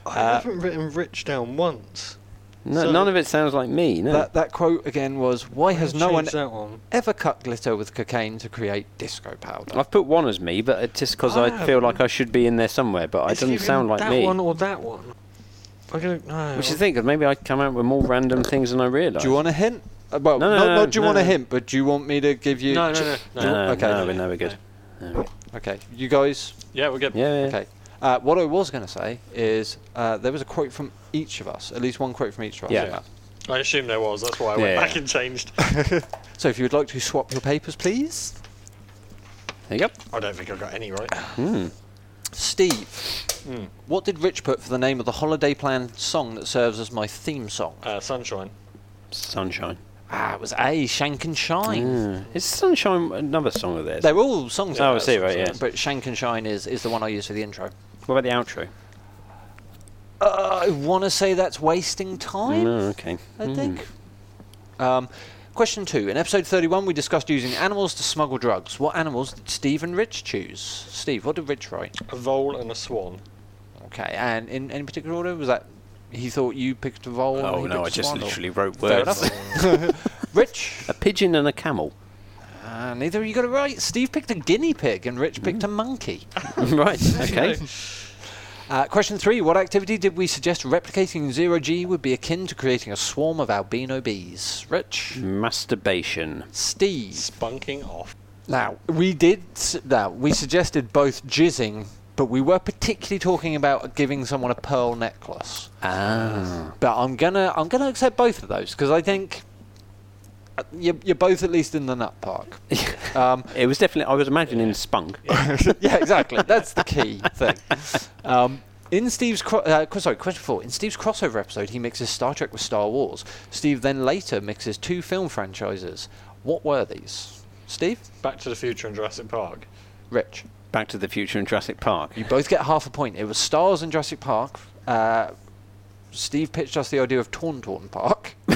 [SPEAKER 2] I haven't written Rich down once.
[SPEAKER 5] No,
[SPEAKER 2] so-
[SPEAKER 5] none of it sounds like me. No.
[SPEAKER 6] that, that quote again was Why has no one
[SPEAKER 2] Change that one.
[SPEAKER 6] ever cut glitter with cocaine to create disco powder?
[SPEAKER 5] I've put one as me, but it's just because I
[SPEAKER 2] Ah.
[SPEAKER 5] feel
[SPEAKER 6] Um,
[SPEAKER 5] like I should be in there somewhere, but it
[SPEAKER 2] It's
[SPEAKER 5] doesn't
[SPEAKER 2] either
[SPEAKER 5] sound like
[SPEAKER 2] that
[SPEAKER 5] me.
[SPEAKER 2] one or that one. I don't know.
[SPEAKER 5] Which is the thing, 'cause maybe I come out with more random things than I realise.
[SPEAKER 6] Do you want a hint? Uh, Well,
[SPEAKER 5] No, no,
[SPEAKER 6] not,
[SPEAKER 5] no,
[SPEAKER 6] not do you
[SPEAKER 5] no,
[SPEAKER 6] want a
[SPEAKER 5] no.
[SPEAKER 6] hint, but do you want me to give you?
[SPEAKER 2] No, no, no,
[SPEAKER 6] do
[SPEAKER 2] no.
[SPEAKER 6] you-
[SPEAKER 5] No,
[SPEAKER 6] okay,
[SPEAKER 5] no, no, we're good. No.
[SPEAKER 6] okay. You guys,
[SPEAKER 2] Yeah, we're good.
[SPEAKER 5] Yeah, yeah.
[SPEAKER 6] okay. Uh, what I was going to say is uh, there was a quote from each of us, at least one quote from each of us.
[SPEAKER 5] Yeah.
[SPEAKER 2] I assume there was. That's why I went
[SPEAKER 5] Yeah.
[SPEAKER 2] back
[SPEAKER 5] (laughs)
[SPEAKER 2] and changed.
[SPEAKER 6] So if you would like to swap your papers, please.
[SPEAKER 5] There you go.
[SPEAKER 2] I don't think I got any right.
[SPEAKER 6] Steve, what did Rich put for the name of the holiday plan song that serves as my theme song?
[SPEAKER 2] Uh, sunshine.
[SPEAKER 5] Sunshine.
[SPEAKER 6] Ah, it was A, Shank and Shine.
[SPEAKER 5] Mm. Is Sunshine another song of theirs?
[SPEAKER 6] They're all songs.
[SPEAKER 5] Oh,
[SPEAKER 6] like
[SPEAKER 5] I
[SPEAKER 6] that,
[SPEAKER 5] see, right, yeah.
[SPEAKER 6] But Shank and Shine is, is the one I use for the intro.
[SPEAKER 5] What about the outro?
[SPEAKER 6] Uh, I want to say that's wasting time.
[SPEAKER 5] No, Mm. Hmm. okay.
[SPEAKER 6] I think. Um, question two. In episode 31, we discussed using animals to smuggle drugs. What animals did Steve and Rich choose? Steve, what did Rich write?
[SPEAKER 2] A vole and a swan.
[SPEAKER 6] Okay, and in any particular order? Was that he thought you picked a vole? and
[SPEAKER 5] Oh
[SPEAKER 6] he picked
[SPEAKER 5] no, I
[SPEAKER 6] a
[SPEAKER 5] just
[SPEAKER 6] swan, or-
[SPEAKER 5] literally wrote
[SPEAKER 6] Fair
[SPEAKER 5] words.
[SPEAKER 6] enough. (laughs) Rich,
[SPEAKER 5] A pigeon and
[SPEAKER 6] (laughs)
[SPEAKER 5] a camel.
[SPEAKER 6] uh, neither of you got it right. Steve picked a guinea pig and Rich
[SPEAKER 5] Hmm.
[SPEAKER 6] picked a monkey.
[SPEAKER 5] right. Okay.
[SPEAKER 6] Uh, question three What activity did we suggest replicating in zero G would be akin to creating a swarm of albino bees? Rich,
[SPEAKER 5] Masturbation.
[SPEAKER 6] Steve.
[SPEAKER 2] Spunking off.
[SPEAKER 6] Now we did. s- Now we suggested both jizzing, but we were particularly talking about giving someone a pearl necklace.
[SPEAKER 5] Ah.
[SPEAKER 6] But I'm gonna I'm gonna accept both of those because I think uh, you're, you're both at least in the nut park. um,
[SPEAKER 5] Ah. It was definitely. I was imagining spunk. (laughs)
[SPEAKER 6] yeah, exactly. That's the key thing. Um, in Steve's cro- uh, qu- sorry, question four. In Steve's crossover episode, he mixes Star Trek with Star Wars. Steve then later mixes two film franchises. What were these? Steve,
[SPEAKER 2] Back to the Future and Jurassic (laughs) Park.
[SPEAKER 6] Rich.
[SPEAKER 5] Back to the Future and Jurassic Park.
[SPEAKER 6] You both get half a point. It was Stars and Jurassic Park. Uh, Steve pitched us the idea of Tauntaun Park. (laughs)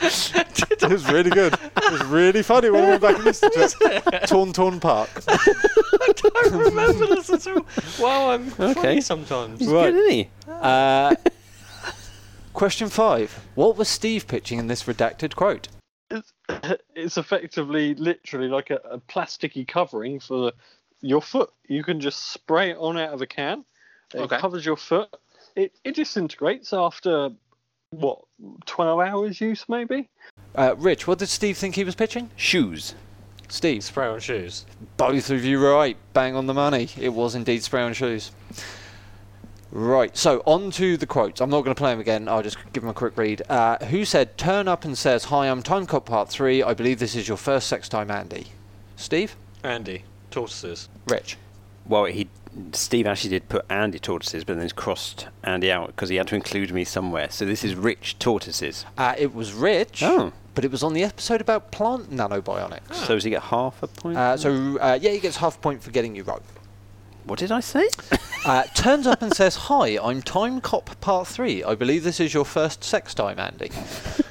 [SPEAKER 4] it was really good. It was really funny when we went back and listened to it. Torn Torn Park.
[SPEAKER 2] I don't remember this at all. Wow, I'm
[SPEAKER 5] Okay.
[SPEAKER 2] funny sometimes.
[SPEAKER 5] He's good, isn't he?
[SPEAKER 6] Uh, Question five. What was Steve pitching in this redacted quote?
[SPEAKER 8] It's, it's effectively, literally, like a, a plasticky covering for your foot. You can just spray it on out of a can, It
[SPEAKER 11] Okay.
[SPEAKER 8] covers your foot. It, it disintegrates after, what, 12 hours use maybe?
[SPEAKER 6] Uh, Rich, what did Steve think he was pitching?
[SPEAKER 5] Shoes.
[SPEAKER 6] Steve.
[SPEAKER 2] Spray on shoes.
[SPEAKER 6] Both of you were right. Bang on the money. It was indeed spray on shoes. Right, so on to the quotes. I'm not going to play them again. I'll just give them a quick read. Uh, who said, turn up and says, Hi, I'm Time Cop Part 3. I believe this is your first sex time, Andy. Steve?
[SPEAKER 2] Andy, tortoises.
[SPEAKER 6] Rich.
[SPEAKER 5] Well, he Steve actually did put Andy tortoises, but then he's crossed Andy out because he had to include me somewhere. So this is Rich tortoises.
[SPEAKER 6] Uh, it was Rich,
[SPEAKER 5] Oh.
[SPEAKER 6] but it was on the episode about plant nanobionics.
[SPEAKER 5] So does he get half a point?
[SPEAKER 6] Uh, so, uh, yeah, he gets half a point for getting you right.
[SPEAKER 5] what did
[SPEAKER 6] (coughs)
[SPEAKER 5] I say?
[SPEAKER 6] Uh, turns up and says, Hi, I'm Time Cop Part 3. I believe this is your first sex time, Andy.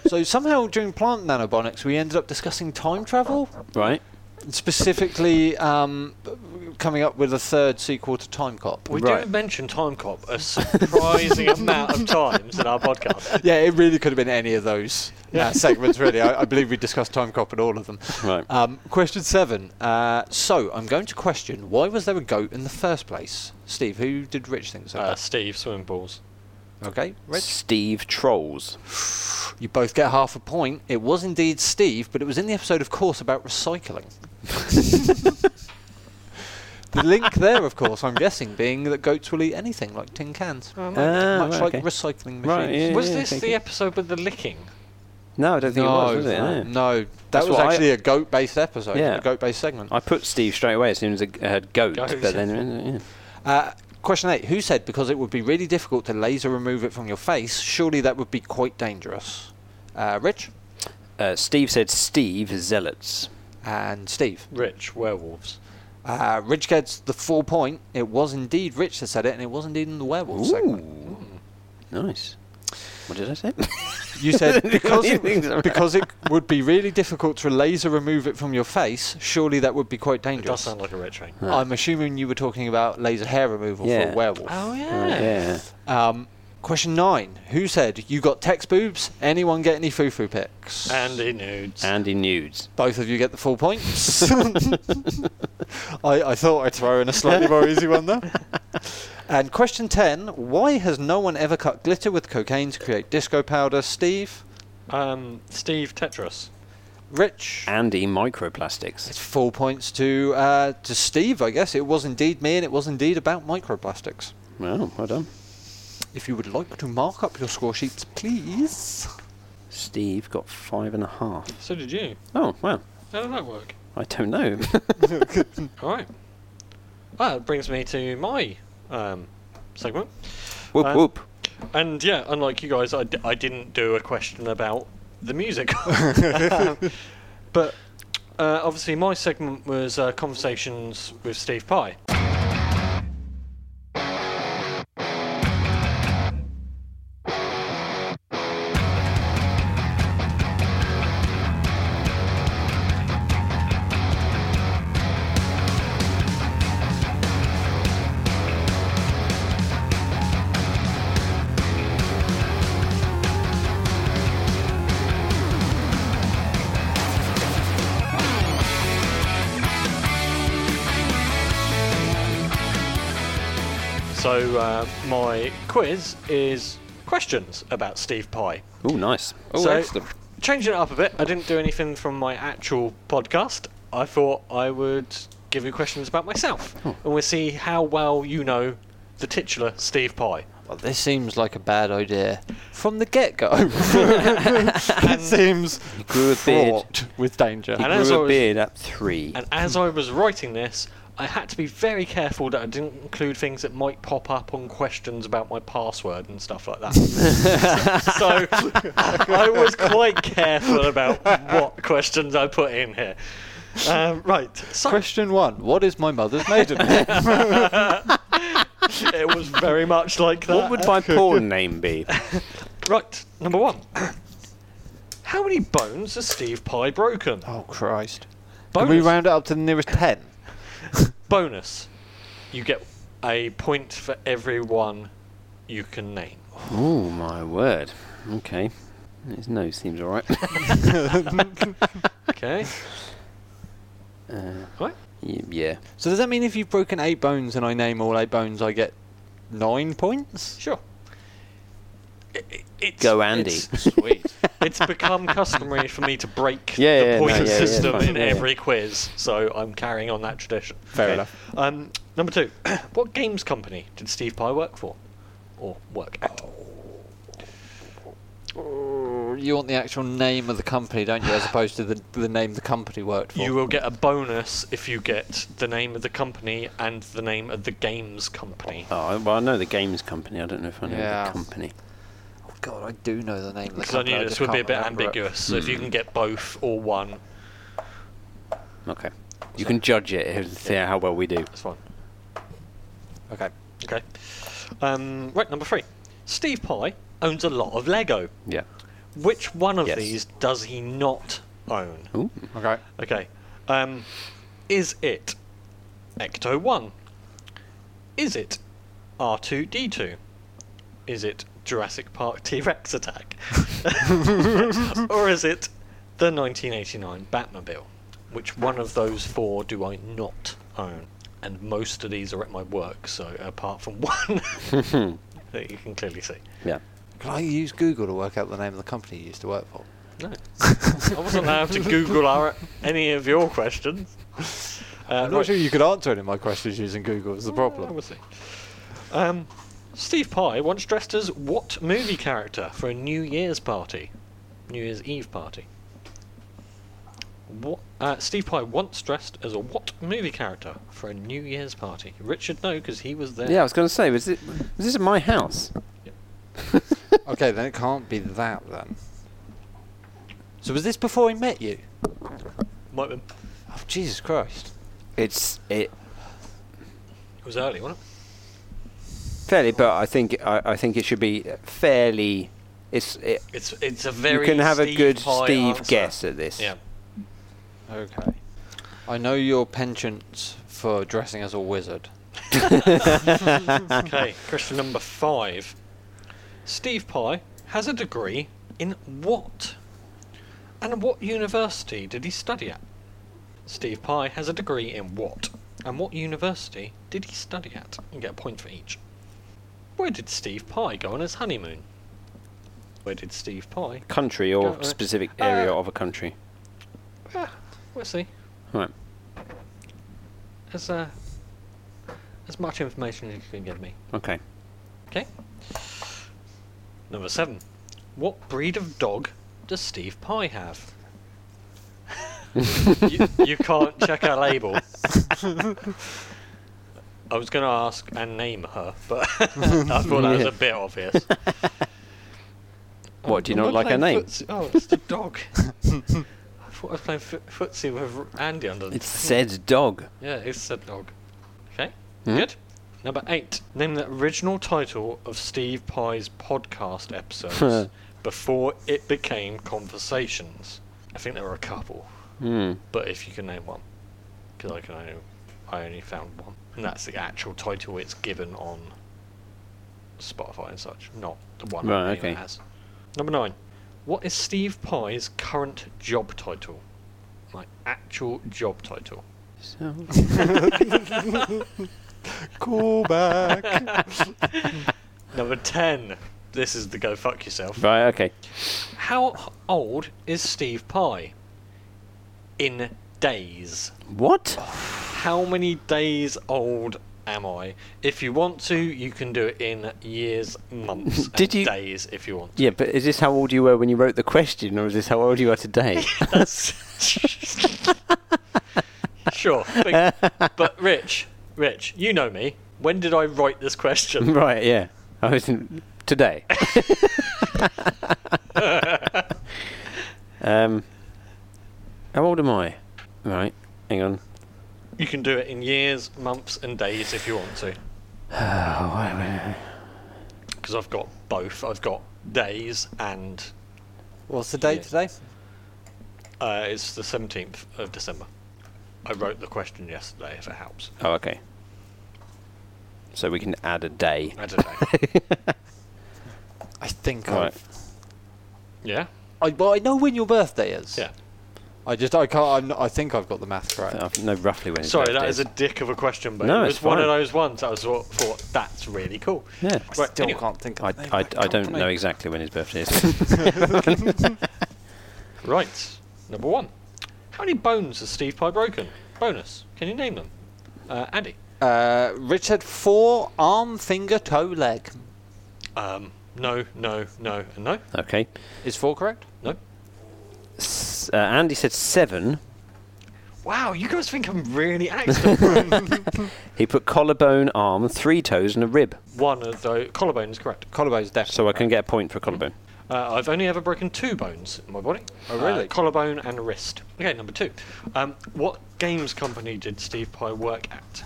[SPEAKER 6] so somehow during plant nanobonics, we ended up discussing time travel,
[SPEAKER 5] right.
[SPEAKER 6] specifically um, coming up with a third sequel to Time Cop.
[SPEAKER 2] We
[SPEAKER 5] Right.
[SPEAKER 2] don't mention Time Cop
[SPEAKER 5] (laughs)
[SPEAKER 2] a surprising amount of times in our podcast.
[SPEAKER 6] yeah, it really could have been any of those uh, segments, really.
[SPEAKER 2] (laughs)
[SPEAKER 6] I, I believe we discussed Time Cop in all of them.
[SPEAKER 5] Right.
[SPEAKER 6] Um, question seven. Uh, so I'm going to question why was there a goat in the first place? Steve, who did Rich think so?
[SPEAKER 2] Uh, Steve, swimming balls.
[SPEAKER 6] okay, Rich.
[SPEAKER 5] Steve trolls.
[SPEAKER 6] You both get half a point. It was indeed Steve, but it was in the episode, of course, about
[SPEAKER 5] (laughs)
[SPEAKER 6] recycling. the link there, of course, I'm guessing, being that goats will eat anything, like tin cans.
[SPEAKER 5] Ah,
[SPEAKER 6] Much
[SPEAKER 5] right,
[SPEAKER 6] like
[SPEAKER 5] okay.
[SPEAKER 6] recycling machines.
[SPEAKER 5] Right, yeah,
[SPEAKER 2] Was
[SPEAKER 5] yeah,
[SPEAKER 2] this
[SPEAKER 5] thank
[SPEAKER 2] the
[SPEAKER 5] you.
[SPEAKER 2] episode with the licking?
[SPEAKER 5] No, I don't think it was. was it?
[SPEAKER 6] no,
[SPEAKER 5] No.
[SPEAKER 6] no, that
[SPEAKER 5] That's
[SPEAKER 6] was
[SPEAKER 5] what I-
[SPEAKER 6] actually a goat-based episode,
[SPEAKER 5] Yeah.
[SPEAKER 6] a goat-based segment.
[SPEAKER 5] I put Steve straight away as soon as I I heard goat,
[SPEAKER 2] Goat,
[SPEAKER 5] but then yeah.
[SPEAKER 6] Uh, question eight: Who said because it would be really difficult to laser remove it from your face? Surely that would be quite dangerous. Uh, Rich
[SPEAKER 5] Uh, Steve said Steve zealots.
[SPEAKER 6] and Steve.
[SPEAKER 2] Rich, werewolves.
[SPEAKER 6] Uh, Rich gets the full point. It was indeed Rich that said it, and it was indeed in the werewolf segment.
[SPEAKER 5] Nice. What did I
[SPEAKER 2] (laughs)
[SPEAKER 5] say?
[SPEAKER 6] You said
[SPEAKER 5] What
[SPEAKER 6] because
[SPEAKER 5] do you think's
[SPEAKER 6] it,
[SPEAKER 5] around?
[SPEAKER 6] because it would be really difficult to laser remove it from your face. Surely that would be quite
[SPEAKER 2] It does
[SPEAKER 6] dangerous.
[SPEAKER 2] sound like a red train.
[SPEAKER 6] I'm assuming you were talking about laser hair removal for
[SPEAKER 5] Yeah.
[SPEAKER 6] a werewolf.
[SPEAKER 2] Oh
[SPEAKER 5] Oh,
[SPEAKER 2] yeah.
[SPEAKER 5] yeah.
[SPEAKER 6] Um, question nine: Who said you got text boobs? Anyone get any foo foo pics?
[SPEAKER 2] Andy nudes.
[SPEAKER 5] Andy nudes.
[SPEAKER 6] Both of you get the full points. (laughs) I, I thought I'd throw in a slightly more easy one there. And question 10 Why has no one ever cut glitter with cocaine to create disco powder? Steve?
[SPEAKER 2] Um, Steve Tetris.
[SPEAKER 6] Rich?
[SPEAKER 5] Andy microplastics.
[SPEAKER 6] It's full points to, uh, to Steve, I guess. It was indeed me, and it was indeed about microplastics.
[SPEAKER 5] Well, well done.
[SPEAKER 6] If you would like to mark up your score sheets, please.
[SPEAKER 5] Steve got five and a half.
[SPEAKER 2] So did you.
[SPEAKER 5] Oh, wow.
[SPEAKER 2] How did that work?
[SPEAKER 5] I don't
[SPEAKER 2] (laughs)
[SPEAKER 5] know.
[SPEAKER 2] All right. Well, that brings me to my um, segment.
[SPEAKER 5] whoop,
[SPEAKER 6] Uh,
[SPEAKER 2] Um,
[SPEAKER 5] whoop.
[SPEAKER 2] And yeah, unlike you guys, I, d- I didn't do a question about the music. (laughs) Um, but uh, obviously, my segment was uh, conversations with Steve Pye. So uh, my quiz is questions about Steve Pye.
[SPEAKER 5] Oh, nice.
[SPEAKER 2] Oh, so, Changing it up a bit, I didn't do anything from my actual podcast. I thought I would give you questions about myself, and we'll see how well you know the titular Steve Pye.
[SPEAKER 6] Well, this seems like a bad idea. From the get
[SPEAKER 5] (laughs)
[SPEAKER 6] go, (laughs) it seems
[SPEAKER 5] grew a beard.
[SPEAKER 6] fraught with danger.
[SPEAKER 5] He
[SPEAKER 2] And as I
[SPEAKER 5] grew a
[SPEAKER 2] was-
[SPEAKER 5] beard at three.
[SPEAKER 2] And as I was writing this, I had to be very careful that I didn't include things that might pop up on questions about my password and
[SPEAKER 5] (laughs)
[SPEAKER 2] stuff like that. so I was quite careful about what questions I put in here. Um, right, so
[SPEAKER 6] Question one: What is my mother's maiden name? (laughs)
[SPEAKER 2] it was very much like that.
[SPEAKER 5] what would
[SPEAKER 2] (laughs)
[SPEAKER 5] my porn name be?
[SPEAKER 2] Right, number one. (clears throat) How many bones has Steve Pye broken?
[SPEAKER 6] oh Christ! Can we
[SPEAKER 2] Bonus.
[SPEAKER 6] round it up to the nearest ten?
[SPEAKER 2] Bonus. You get a point for everyone you can name.
[SPEAKER 5] Oh, my word. Okay. His nose seems (laughs) alright.
[SPEAKER 2] Okay.
[SPEAKER 5] yeah. Uh,
[SPEAKER 6] So does that mean if you've broken eight bones and I name all eight bones, I get nine points.
[SPEAKER 2] Sure. I- I- it's-
[SPEAKER 5] Go Andy.
[SPEAKER 2] It's, it's become customary for me to break
[SPEAKER 5] Yeah,
[SPEAKER 2] the
[SPEAKER 5] yeah, no,
[SPEAKER 2] point
[SPEAKER 5] yeah, yeah, it's
[SPEAKER 2] system
[SPEAKER 5] fine,
[SPEAKER 2] in
[SPEAKER 5] yeah, yeah.
[SPEAKER 2] every quiz, so I'm carrying on that tradition.
[SPEAKER 5] Fair enough.
[SPEAKER 2] Um, number two, (clears throat) what games company did Steve Pye work for, or work at?
[SPEAKER 6] You want the actual name of the company, don't you, as opposed to the the name the company worked for?
[SPEAKER 2] You will get a bonus if you get the name of the company and the name of the games company.
[SPEAKER 5] (laughs) Oh, I- well, I know the games company. I don't know if I know
[SPEAKER 6] Yeah.
[SPEAKER 5] the company.
[SPEAKER 6] oh God, I do know the name of the
[SPEAKER 2] Because I
[SPEAKER 6] company.
[SPEAKER 2] knew this
[SPEAKER 6] just
[SPEAKER 2] would be a
[SPEAKER 6] can't
[SPEAKER 2] bit
[SPEAKER 6] remember it.
[SPEAKER 2] ambiguous, so if you can get both or one,
[SPEAKER 5] Okay. You can judge it and see how well we do.
[SPEAKER 2] that's fine.
[SPEAKER 6] Okay.
[SPEAKER 2] Okay. Um, right, number three. Steve Pye owns a lot of Lego.
[SPEAKER 5] Yeah.
[SPEAKER 2] Which one of
[SPEAKER 5] Yes.
[SPEAKER 2] these does he not own?
[SPEAKER 5] Ooh.
[SPEAKER 6] Okay.
[SPEAKER 2] Okay. Um, is it Ecto 1? Is it R2 D2? Is it Jurassic Park T
[SPEAKER 6] (laughs)
[SPEAKER 2] Rex Attack? or is it the 1989 Batmobile? Which one of those four do I not own? And most of these are at my work, so apart from one
[SPEAKER 6] (laughs)
[SPEAKER 2] that you can clearly see.
[SPEAKER 5] Yeah.
[SPEAKER 6] Can I use Google to work out the name of the company you used to work for?
[SPEAKER 2] No. I wasn't allowed to Google our, any of your questions. Uh,
[SPEAKER 6] (laughs) I'm not
[SPEAKER 2] right.
[SPEAKER 6] sure you could answer any of my questions using Google. Is the
[SPEAKER 2] Yeah,
[SPEAKER 6] problem?
[SPEAKER 2] we'll see. Um, Steve Pye once dressed as what movie character for a New Year's party? New Year's Eve party. What, uh, Steve Pye once dressed as a what movie character for a New Year's party? Richard, no, because he was there.
[SPEAKER 5] Yeah, I was going to say, was it? Was this at my house?
[SPEAKER 6] okay, then it can't be that then. So was this before he met you?
[SPEAKER 2] Might have been.
[SPEAKER 6] Oh Jesus Christ!
[SPEAKER 5] It's it
[SPEAKER 2] It was early, wasn't it?
[SPEAKER 5] fairly, but I think I, I think it should be fairly. It's it,
[SPEAKER 2] It's, it's a very
[SPEAKER 5] you can have a
[SPEAKER 2] Steve
[SPEAKER 5] good
[SPEAKER 2] Pye
[SPEAKER 5] Steve
[SPEAKER 2] answer.
[SPEAKER 5] guess at this.
[SPEAKER 2] Yeah.
[SPEAKER 6] Okay. I know your penchant for dressing as a wizard.
[SPEAKER 2] Okay, question number five. Steve Pye has a degree in what? And what university did he study at? Steve Pye has a degree in what? And what university did he study at? You get a point for each. Where did Steve Pye go on his honeymoon? Where did Steve Pye?
[SPEAKER 5] Country or
[SPEAKER 2] Don't worry.
[SPEAKER 5] specific
[SPEAKER 2] Uh,
[SPEAKER 5] area of a country.
[SPEAKER 2] Ah, we'll see.
[SPEAKER 5] Right.
[SPEAKER 2] As, uh, as much information as you can give me.
[SPEAKER 5] Okay.
[SPEAKER 2] Okay. Number seven. What breed of dog does Steve Pye have? (laughs) you, you can't check her label. I was going to ask and name her, but (laughs) I thought that was a
[SPEAKER 5] (laughs)
[SPEAKER 2] bit obvious.
[SPEAKER 5] What do you
[SPEAKER 2] um,
[SPEAKER 5] not
[SPEAKER 2] I'm
[SPEAKER 5] like her
[SPEAKER 2] playing
[SPEAKER 5] name?
[SPEAKER 2] footsie- Oh, it's
[SPEAKER 5] (laughs)
[SPEAKER 2] the dog. I thought I was playing foot footsie with Andy under.
[SPEAKER 5] It said dog.
[SPEAKER 2] Yeah, it's a dog. Okay,
[SPEAKER 5] Hmm?
[SPEAKER 2] good. Number eight. Name the original title of Steve Pye's podcast
[SPEAKER 5] (laughs)
[SPEAKER 2] episodes before it became Conversations. I think there were a couple,
[SPEAKER 5] Hmm.
[SPEAKER 2] but if you can name one, because I can only, I only found one, and that's the actual title it's given on Spotify and such, not the one
[SPEAKER 5] Right,
[SPEAKER 2] that it
[SPEAKER 5] okay.
[SPEAKER 2] has. Number nine. What is Steve Pye's current job title? Like actual job title.
[SPEAKER 5] So
[SPEAKER 6] Call back.
[SPEAKER 2] Number 10. This is the go fuck yourself.
[SPEAKER 5] (laughs) right. Okay.
[SPEAKER 2] How h- old is Steve Pye? In days.
[SPEAKER 5] What?
[SPEAKER 2] How many days old am I? If you want to, you can do it in years,
[SPEAKER 5] (laughs)
[SPEAKER 2] months,
[SPEAKER 5] Did
[SPEAKER 2] and
[SPEAKER 5] you-
[SPEAKER 2] days if you want.
[SPEAKER 5] Yeah, but is this how old you were when you wrote the question, or is this how old you are
[SPEAKER 2] (laughs)
[SPEAKER 5] today? (laughs)
[SPEAKER 2] That's. sure. But, but, Rich, Rich, you know me. When did I write
[SPEAKER 5] (laughs)
[SPEAKER 2] this question?
[SPEAKER 5] right. Yeah. I was in,
[SPEAKER 2] (laughs)
[SPEAKER 5] today. um. How old am I? Right. Hang on.
[SPEAKER 2] You can do it in years, months, and days if you want to.
[SPEAKER 5] Oh, wait, wait, wait.
[SPEAKER 2] because I've got both. I've got days and
[SPEAKER 6] What's the date today?
[SPEAKER 2] uh, it's the 17th of December. I wrote the question yesterday, if it helps.
[SPEAKER 5] Oh, okay. So we can add a day.
[SPEAKER 2] I
[SPEAKER 5] (laughs)
[SPEAKER 2] don't know.
[SPEAKER 6] I think
[SPEAKER 5] Right.
[SPEAKER 6] I've.
[SPEAKER 2] yeah?
[SPEAKER 6] I, well, I know when your birthday is.
[SPEAKER 2] Yeah.
[SPEAKER 6] I just I can't. I'm not, I think I've got the math correct.
[SPEAKER 5] I know Uh, roughly when.
[SPEAKER 2] Sorry, that is a dick of a question, but
[SPEAKER 5] No,
[SPEAKER 2] it was
[SPEAKER 5] it's
[SPEAKER 2] one of
[SPEAKER 5] fine.
[SPEAKER 2] those ones I was sort of thought that's really cool.
[SPEAKER 5] Yeah.
[SPEAKER 2] Right,
[SPEAKER 6] Still
[SPEAKER 2] anyway.
[SPEAKER 6] can't think. Of
[SPEAKER 5] I,
[SPEAKER 6] the name
[SPEAKER 5] I,
[SPEAKER 6] of that
[SPEAKER 5] I don't
[SPEAKER 6] company.
[SPEAKER 5] know exactly when his birthday is. (laughs)
[SPEAKER 2] Right. Number one. How many bones has Steve Pye broken? Bonus. Can you name them? Uh, Andy.
[SPEAKER 6] Uh, Rich had four arm, finger, toe, leg.
[SPEAKER 2] Um, no, no, no, and no.
[SPEAKER 5] okay.
[SPEAKER 6] Is four correct?
[SPEAKER 2] No.
[SPEAKER 5] S- uh, Andy said seven.
[SPEAKER 2] Wow, you guys think I'm (laughs) really active.
[SPEAKER 5] He put collarbone, arm, three toes, and a rib.
[SPEAKER 2] one of those. Collarbone is correct.
[SPEAKER 6] Collarbone's definitely.
[SPEAKER 5] So I can get a point for collarbone.
[SPEAKER 2] Uh, I've only ever broken two bones in my body.
[SPEAKER 6] Oh, really?
[SPEAKER 2] Uh, collarbone and wrist. Okay, number two. Um, what games company did Steve Pye work at?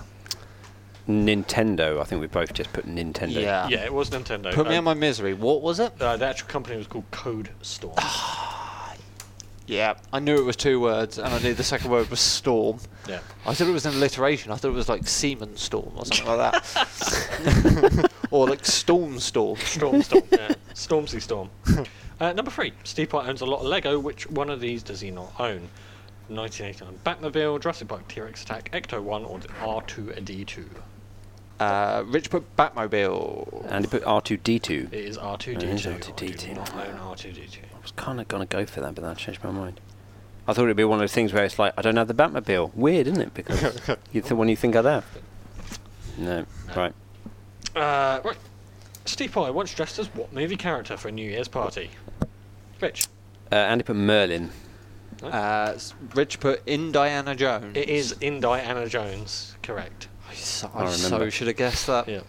[SPEAKER 5] Nintendo. I think we both just put Nintendo.
[SPEAKER 6] Yeah.
[SPEAKER 2] Yeah, it was Nintendo.
[SPEAKER 6] Put me
[SPEAKER 2] Um,
[SPEAKER 6] out my misery. What was it?
[SPEAKER 2] uh, the actual company was called Code Storm.
[SPEAKER 6] Ah. Yeah. I knew it was two words, and I knew the second word was storm. (laughs)
[SPEAKER 2] yeah.
[SPEAKER 6] I thought it was an alliteration. I thought it was like semen storm or something like that, or like storm storm.
[SPEAKER 2] Storm Storm. yeah. Stormzy Storm. Uh, number three. Steve Pye owns a lot of Lego. Which one of these does he not own? 1989 Batmobile, Jurassic Park T-Rex Attack, Ecto 1, or the R2-D2?
[SPEAKER 6] Uh, Rich put Batmobile.
[SPEAKER 5] And he put R2D2.
[SPEAKER 2] It is R2-D2.
[SPEAKER 5] It is
[SPEAKER 2] I do
[SPEAKER 5] R2D2.
[SPEAKER 2] not own R2-D2.
[SPEAKER 5] I was kind of going to go for that, but then I changed my mind. I thought it'd be one of those things where it's like, I don't have the Batmobile. Weird, isn't it? Because you the one you think I'd have. No. Right.
[SPEAKER 2] Uh, right. Steve Pye once dressed as what movie character for a New Year's party? Rich.
[SPEAKER 5] Uh, Andy put Merlin.
[SPEAKER 6] Uh, s- Rich put Indiana Jones.
[SPEAKER 2] It is in Diana Jones, correct.
[SPEAKER 6] I so,
[SPEAKER 5] I
[SPEAKER 6] I so
[SPEAKER 5] remember.
[SPEAKER 6] should have guessed that.
[SPEAKER 2] Yeah.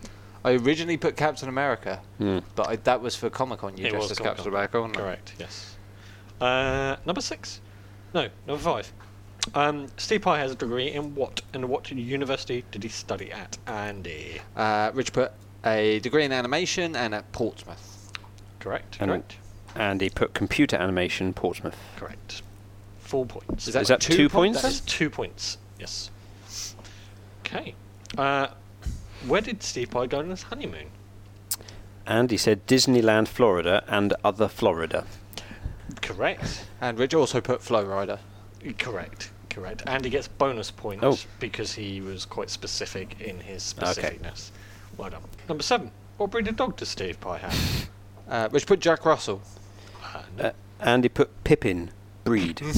[SPEAKER 6] I originally put Captain America, but I, that was for Comic Con. You
[SPEAKER 2] It
[SPEAKER 6] dressed
[SPEAKER 2] was
[SPEAKER 6] as
[SPEAKER 2] Comic-Con.
[SPEAKER 6] Captain America, wasn't it?
[SPEAKER 2] Correct, yes. Uh, number six? No, number five. Um, Steve Pye has a degree in what and what university did he study at? Andy.
[SPEAKER 6] Uh, Rich put a degree in animation and at Portsmouth.
[SPEAKER 2] Correct,
[SPEAKER 5] And-
[SPEAKER 2] correct,
[SPEAKER 5] Andy put computer animation Portsmouth.
[SPEAKER 2] correct. Four points.
[SPEAKER 5] Is that two points?
[SPEAKER 2] That is two points, yes. Okay. Uh, where did Steve Pye go on his honeymoon?
[SPEAKER 5] Andy said Disneyland, Florida, and other Florida.
[SPEAKER 2] Correct.
[SPEAKER 6] And Rich also put Flow Rider.
[SPEAKER 2] Correct. Correct. And he gets bonus points
[SPEAKER 5] Oh.
[SPEAKER 2] because he was quite specific in his
[SPEAKER 5] Okay.
[SPEAKER 2] specificness. Well done. Number seven. What breed of dog does Steve
[SPEAKER 5] (laughs)
[SPEAKER 2] Pye have?
[SPEAKER 6] Uh, Rich put Jack Russell.
[SPEAKER 2] Uh, no.
[SPEAKER 5] Uh, Andy put Pippin, breed.
[SPEAKER 2] (laughs)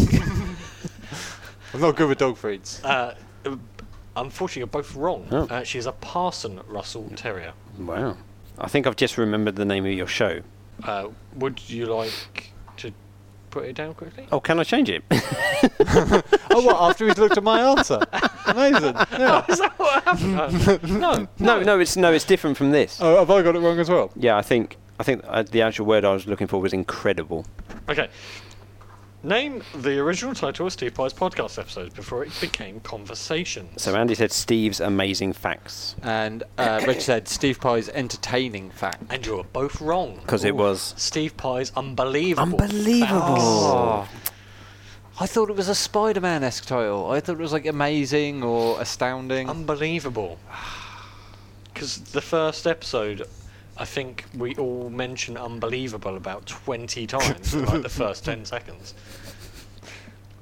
[SPEAKER 6] I'm not good with dog breeds.
[SPEAKER 2] Uh, uh, unfortunately, you're both wrong.
[SPEAKER 5] Oh.
[SPEAKER 2] Uh, she is a Parson Russell Terrier.
[SPEAKER 5] wow. I think I've just remembered the name of your show.
[SPEAKER 2] Uh, would you like to put it down quickly?
[SPEAKER 5] Oh, can I change
[SPEAKER 2] (laughs)
[SPEAKER 5] it?
[SPEAKER 6] oh, what? After he's looked at my (laughs) answer. Amazing. Yeah.
[SPEAKER 2] Is that what happened? Uh, no.
[SPEAKER 5] no, no, it's no, it's different from this.
[SPEAKER 6] Oh, have I got it wrong as well?
[SPEAKER 5] Yeah, I think I think uh, the actual word I was looking for was incredible.
[SPEAKER 2] Okay. Name the original title of Steve Pye's podcast episode before it became Conversations.
[SPEAKER 5] So Andy said Steve's amazing facts
[SPEAKER 6] And uh, Rich said Steve Pye's entertaining fact.
[SPEAKER 2] and you are both wrong.
[SPEAKER 5] because it was
[SPEAKER 2] Steve Pye's unbelievable.
[SPEAKER 5] unbelievable.
[SPEAKER 6] Oh. I thought it was a Spider-Man esque title. I thought it was like amazing or astounding.
[SPEAKER 2] Unbelievable. Because the first episode, I think we all mention unbelievable about 20 times in like the
[SPEAKER 5] (laughs)
[SPEAKER 2] first 10 seconds.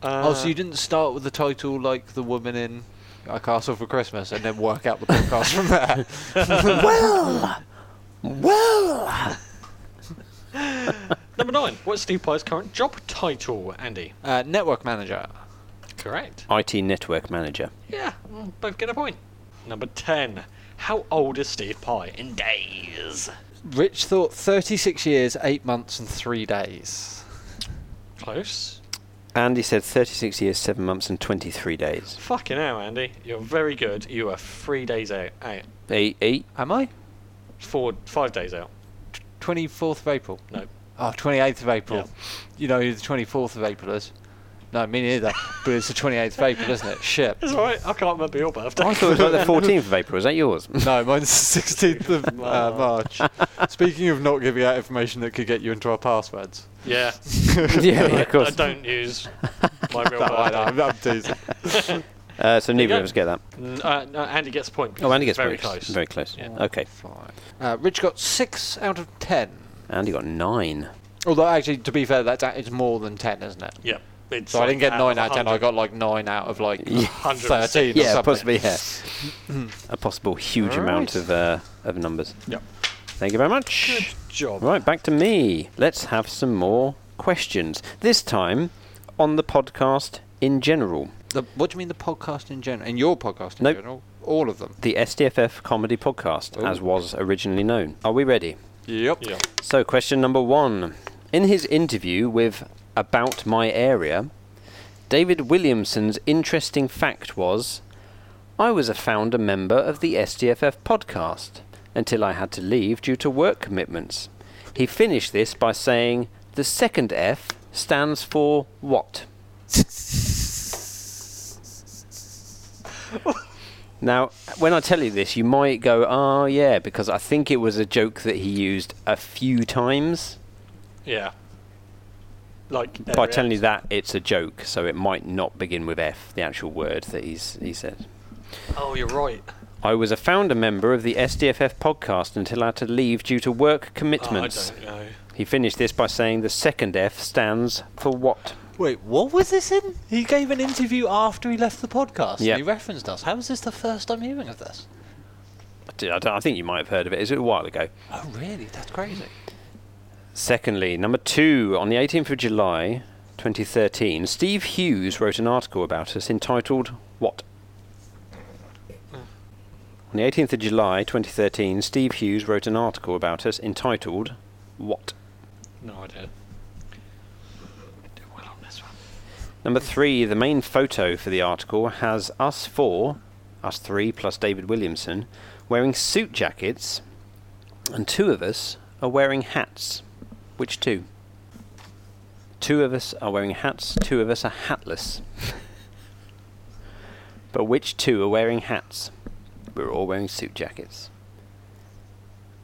[SPEAKER 2] Uh,
[SPEAKER 6] oh, so you didn't start with the title like the woman in A Castle for Christmas and then work out the podcast from (laughs) there.
[SPEAKER 5] Well,
[SPEAKER 2] Number nine. What's Steve Pye's current job title, Andy?
[SPEAKER 6] Uh, network manager.
[SPEAKER 2] Correct.
[SPEAKER 5] IT network manager.
[SPEAKER 2] Yeah, mm, both get a point. Number 10. How old is Steve Pye in days?
[SPEAKER 6] Rich thought 36 years, 8 months, and 3 days.
[SPEAKER 2] Close.
[SPEAKER 5] Andy said 36 years, 7 months, and 23 days.
[SPEAKER 2] Fucking hell, Andy. You're very good. You are three days out. out.
[SPEAKER 5] Eight, eight.
[SPEAKER 6] Am I?
[SPEAKER 2] Four, five days out.
[SPEAKER 6] 24th of April.
[SPEAKER 2] No.
[SPEAKER 6] Oh, 28th of April.
[SPEAKER 2] Yeah.
[SPEAKER 6] You know who the 24th of April is? No, me
[SPEAKER 2] (laughs)
[SPEAKER 6] neither. but it's the 28th of April, isn't it? Shit.
[SPEAKER 2] It's alright. I can't remember your birthday.
[SPEAKER 5] I thought it was
[SPEAKER 2] (laughs)
[SPEAKER 5] like the 14th of April. Is that yours? (laughs)
[SPEAKER 6] No, mine's the 16th of uh, March. Speaking of not giving out information that could get you into our
[SPEAKER 2] (laughs)
[SPEAKER 6] passwords.
[SPEAKER 5] (laughs)
[SPEAKER 2] Yeah.
[SPEAKER 5] yeah,
[SPEAKER 2] I,
[SPEAKER 5] of course.
[SPEAKER 2] I don't use my real
[SPEAKER 6] No, Oh, I
[SPEAKER 2] birthday.
[SPEAKER 6] know, I'm, I'm teasing.
[SPEAKER 5] Uh, so neither
[SPEAKER 2] go.
[SPEAKER 5] of us get that.
[SPEAKER 2] N- uh, no, Andy gets a point. because
[SPEAKER 5] Oh, Andy
[SPEAKER 2] it's
[SPEAKER 5] gets
[SPEAKER 2] very
[SPEAKER 5] points.
[SPEAKER 2] close.
[SPEAKER 5] Very close.
[SPEAKER 2] Yeah.
[SPEAKER 5] Okay.
[SPEAKER 6] Uh, Rich got 6 out of 10.
[SPEAKER 5] Andy got nine.
[SPEAKER 6] Although, actually, to be fair, that's, a- it's more than 10, isn't it?
[SPEAKER 2] Yeah. It's
[SPEAKER 6] So I didn't
[SPEAKER 2] like
[SPEAKER 6] get nine
[SPEAKER 2] of
[SPEAKER 6] out of ten. I
[SPEAKER 2] 100.
[SPEAKER 6] got like nine out of like
[SPEAKER 5] Yeah.
[SPEAKER 2] 100%.
[SPEAKER 6] thirteen. or
[SPEAKER 5] Yeah,
[SPEAKER 6] something.
[SPEAKER 5] possibly. Yeah, (clears throat) a possible huge amount of uh, of numbers.
[SPEAKER 2] Yep.
[SPEAKER 5] Thank you very much.
[SPEAKER 2] Good job.
[SPEAKER 5] Right, back to me. Let's have some more questions. This time on the podcast in general,
[SPEAKER 6] The, what do you mean the podcast in general? In your podcast in
[SPEAKER 5] Nope.
[SPEAKER 6] general, all of them.
[SPEAKER 5] the SDFF comedy podcast, as was originally known. Are we ready?
[SPEAKER 6] Yep.
[SPEAKER 2] Yeah.
[SPEAKER 5] So, question number one. In his interview with About My Area, David Williamson's interesting fact was I was a founder member of the SDFF podcast until I had to leave due to work commitments. He finished this by saying, The second F stands for what? Now, when I tell you this, you might go, "Oh, yeah," because I think it was a joke that he used a few times.
[SPEAKER 2] Yeah. Like
[SPEAKER 5] By
[SPEAKER 2] area.
[SPEAKER 5] telling you that, it's a joke, so it might not begin with F, the actual word that he's he said.
[SPEAKER 2] Oh, you're right.
[SPEAKER 5] I was a founder member of the SDFF podcast until I had to leave due to work
[SPEAKER 2] Oh,
[SPEAKER 5] commitments.
[SPEAKER 2] I don't know.
[SPEAKER 5] he finished this by saying, "The second F stands for what?"
[SPEAKER 10] Wait, what was this in? He gave an interview after he left the podcast. and
[SPEAKER 5] Yeah.
[SPEAKER 10] He referenced us. How is this the first I'm hearing of this?
[SPEAKER 5] I d- I don't- I think you might have heard of it. Is it a while ago?
[SPEAKER 10] Oh, really? That's crazy.
[SPEAKER 5] Secondly, number two, on the 18th of July 2013, Steve Hughes wrote an article about us entitled What? On the 18th of July 2013, Steve Hughes wrote an article about us entitled What?
[SPEAKER 2] No idea. Did well on this one.
[SPEAKER 5] Number three, the main photo for the article has us four, us three plus David Williamson, wearing suit jackets, and two of us are wearing hats. Which two? Two of us are wearing hats, two of us are hatless. (laughs) but which two are wearing hats? We're all wearing suit jackets.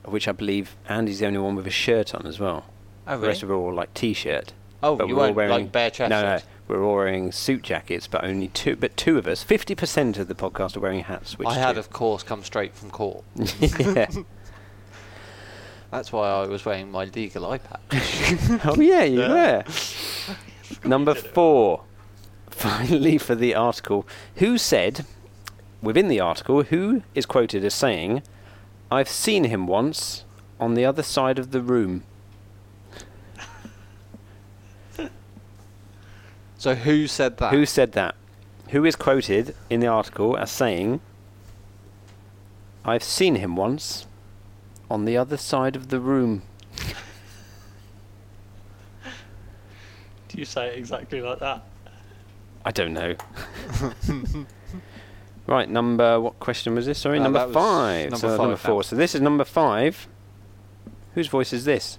[SPEAKER 5] Of which I believe Andy's the only one with a shirt on as well.
[SPEAKER 6] Oh,
[SPEAKER 5] The rest of
[SPEAKER 6] really?
[SPEAKER 5] us are all like t shirt.
[SPEAKER 6] Oh,
[SPEAKER 5] But
[SPEAKER 6] you
[SPEAKER 5] we're all
[SPEAKER 6] weren't like bare chest.
[SPEAKER 5] No, no, we're all wearing suit jackets, but only two. But two of us, fifty percent of the podcast are wearing hats. Which
[SPEAKER 6] I had,
[SPEAKER 5] two?
[SPEAKER 6] of course, come straight from court.
[SPEAKER 5] (laughs) yeah.
[SPEAKER 6] That's why I was wearing my legal iPad.
[SPEAKER 5] Oh yeah,
[SPEAKER 6] (laughs)
[SPEAKER 5] you were. Number four. Finally, for the article, who said within the article who is quoted as saying, "I've seen him once on the other side of the room."
[SPEAKER 6] so who said that?
[SPEAKER 5] Who said that? Who is quoted in the article as saying, I've seen him once on the other side of the room?
[SPEAKER 2] Do you say it exactly like that?
[SPEAKER 5] I don't know. (laughs) right, number. What question was this? Sorry,
[SPEAKER 6] Uh,
[SPEAKER 5] number
[SPEAKER 6] that was
[SPEAKER 5] five.
[SPEAKER 6] number
[SPEAKER 5] so
[SPEAKER 6] five,
[SPEAKER 5] number
[SPEAKER 6] that
[SPEAKER 5] four.
[SPEAKER 6] was.
[SPEAKER 5] So this is number five. Whose voice is this?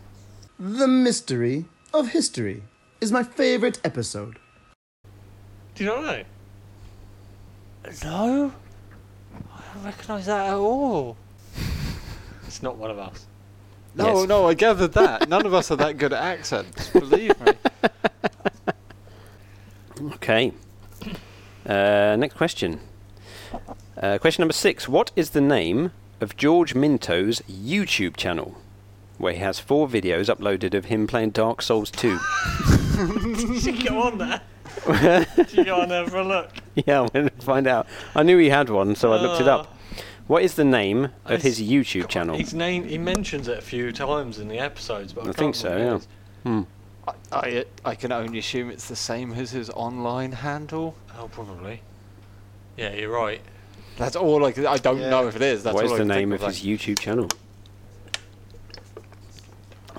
[SPEAKER 11] The Mystery of History is my favourite episode.
[SPEAKER 2] Do you not know?
[SPEAKER 10] No? I don't recognise that at all.
[SPEAKER 2] It's not one of us.
[SPEAKER 6] No,
[SPEAKER 5] Yes.
[SPEAKER 6] no, I gathered that. None of us are that good at accents. Believe
[SPEAKER 5] (laughs)
[SPEAKER 6] me.
[SPEAKER 5] Okay. Uh, next question. Uh, question number six. What is the name of George Minto's YouTube channel, where he has four videos uploaded of him playing Dark Souls
[SPEAKER 6] (laughs)
[SPEAKER 5] 2?
[SPEAKER 2] Did (laughs) you go on there? Did you go on there for a look?
[SPEAKER 5] yeah, I'm going to find out. I knew he had one, so I looked it up.
[SPEAKER 6] Uh,
[SPEAKER 5] What is the name of
[SPEAKER 2] It's-
[SPEAKER 5] his YouTube channel?
[SPEAKER 2] His name, he mentions it a few times in the episodes, but I,
[SPEAKER 5] I
[SPEAKER 2] can't
[SPEAKER 5] think so,
[SPEAKER 2] remember
[SPEAKER 5] yeah.
[SPEAKER 2] it.
[SPEAKER 6] I, I, I can only assume it's the same as his online handle.
[SPEAKER 2] Oh, probably. Yeah, you're right.
[SPEAKER 6] That's all I can. I don't know if it is. That's
[SPEAKER 5] What is
[SPEAKER 6] all I
[SPEAKER 5] the
[SPEAKER 6] can think
[SPEAKER 5] name of
[SPEAKER 6] like.
[SPEAKER 5] his YouTube channel?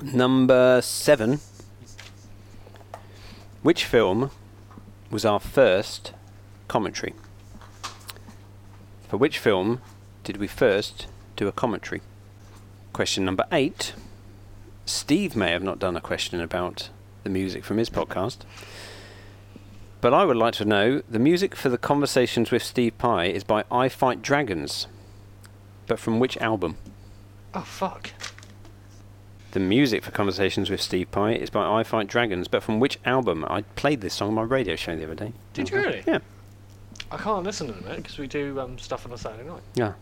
[SPEAKER 5] Number seven. Which film was our first commentary? For which film did we first do a commentary? Question number eight. Steve may have not done a question about the music from his podcast. But I would like to know the music for the Conversations with Steve Pye is by I Fight Dragons. But from which album?
[SPEAKER 2] Oh, fuck.
[SPEAKER 5] The music for Conversations with Steve Pye is by I Fight Dragons, but from which album? I played this song on my radio show the other day.
[SPEAKER 2] Did you really?
[SPEAKER 5] Yeah.
[SPEAKER 2] I can't listen to them because we do um, stuff on a Saturday night.
[SPEAKER 5] Yeah.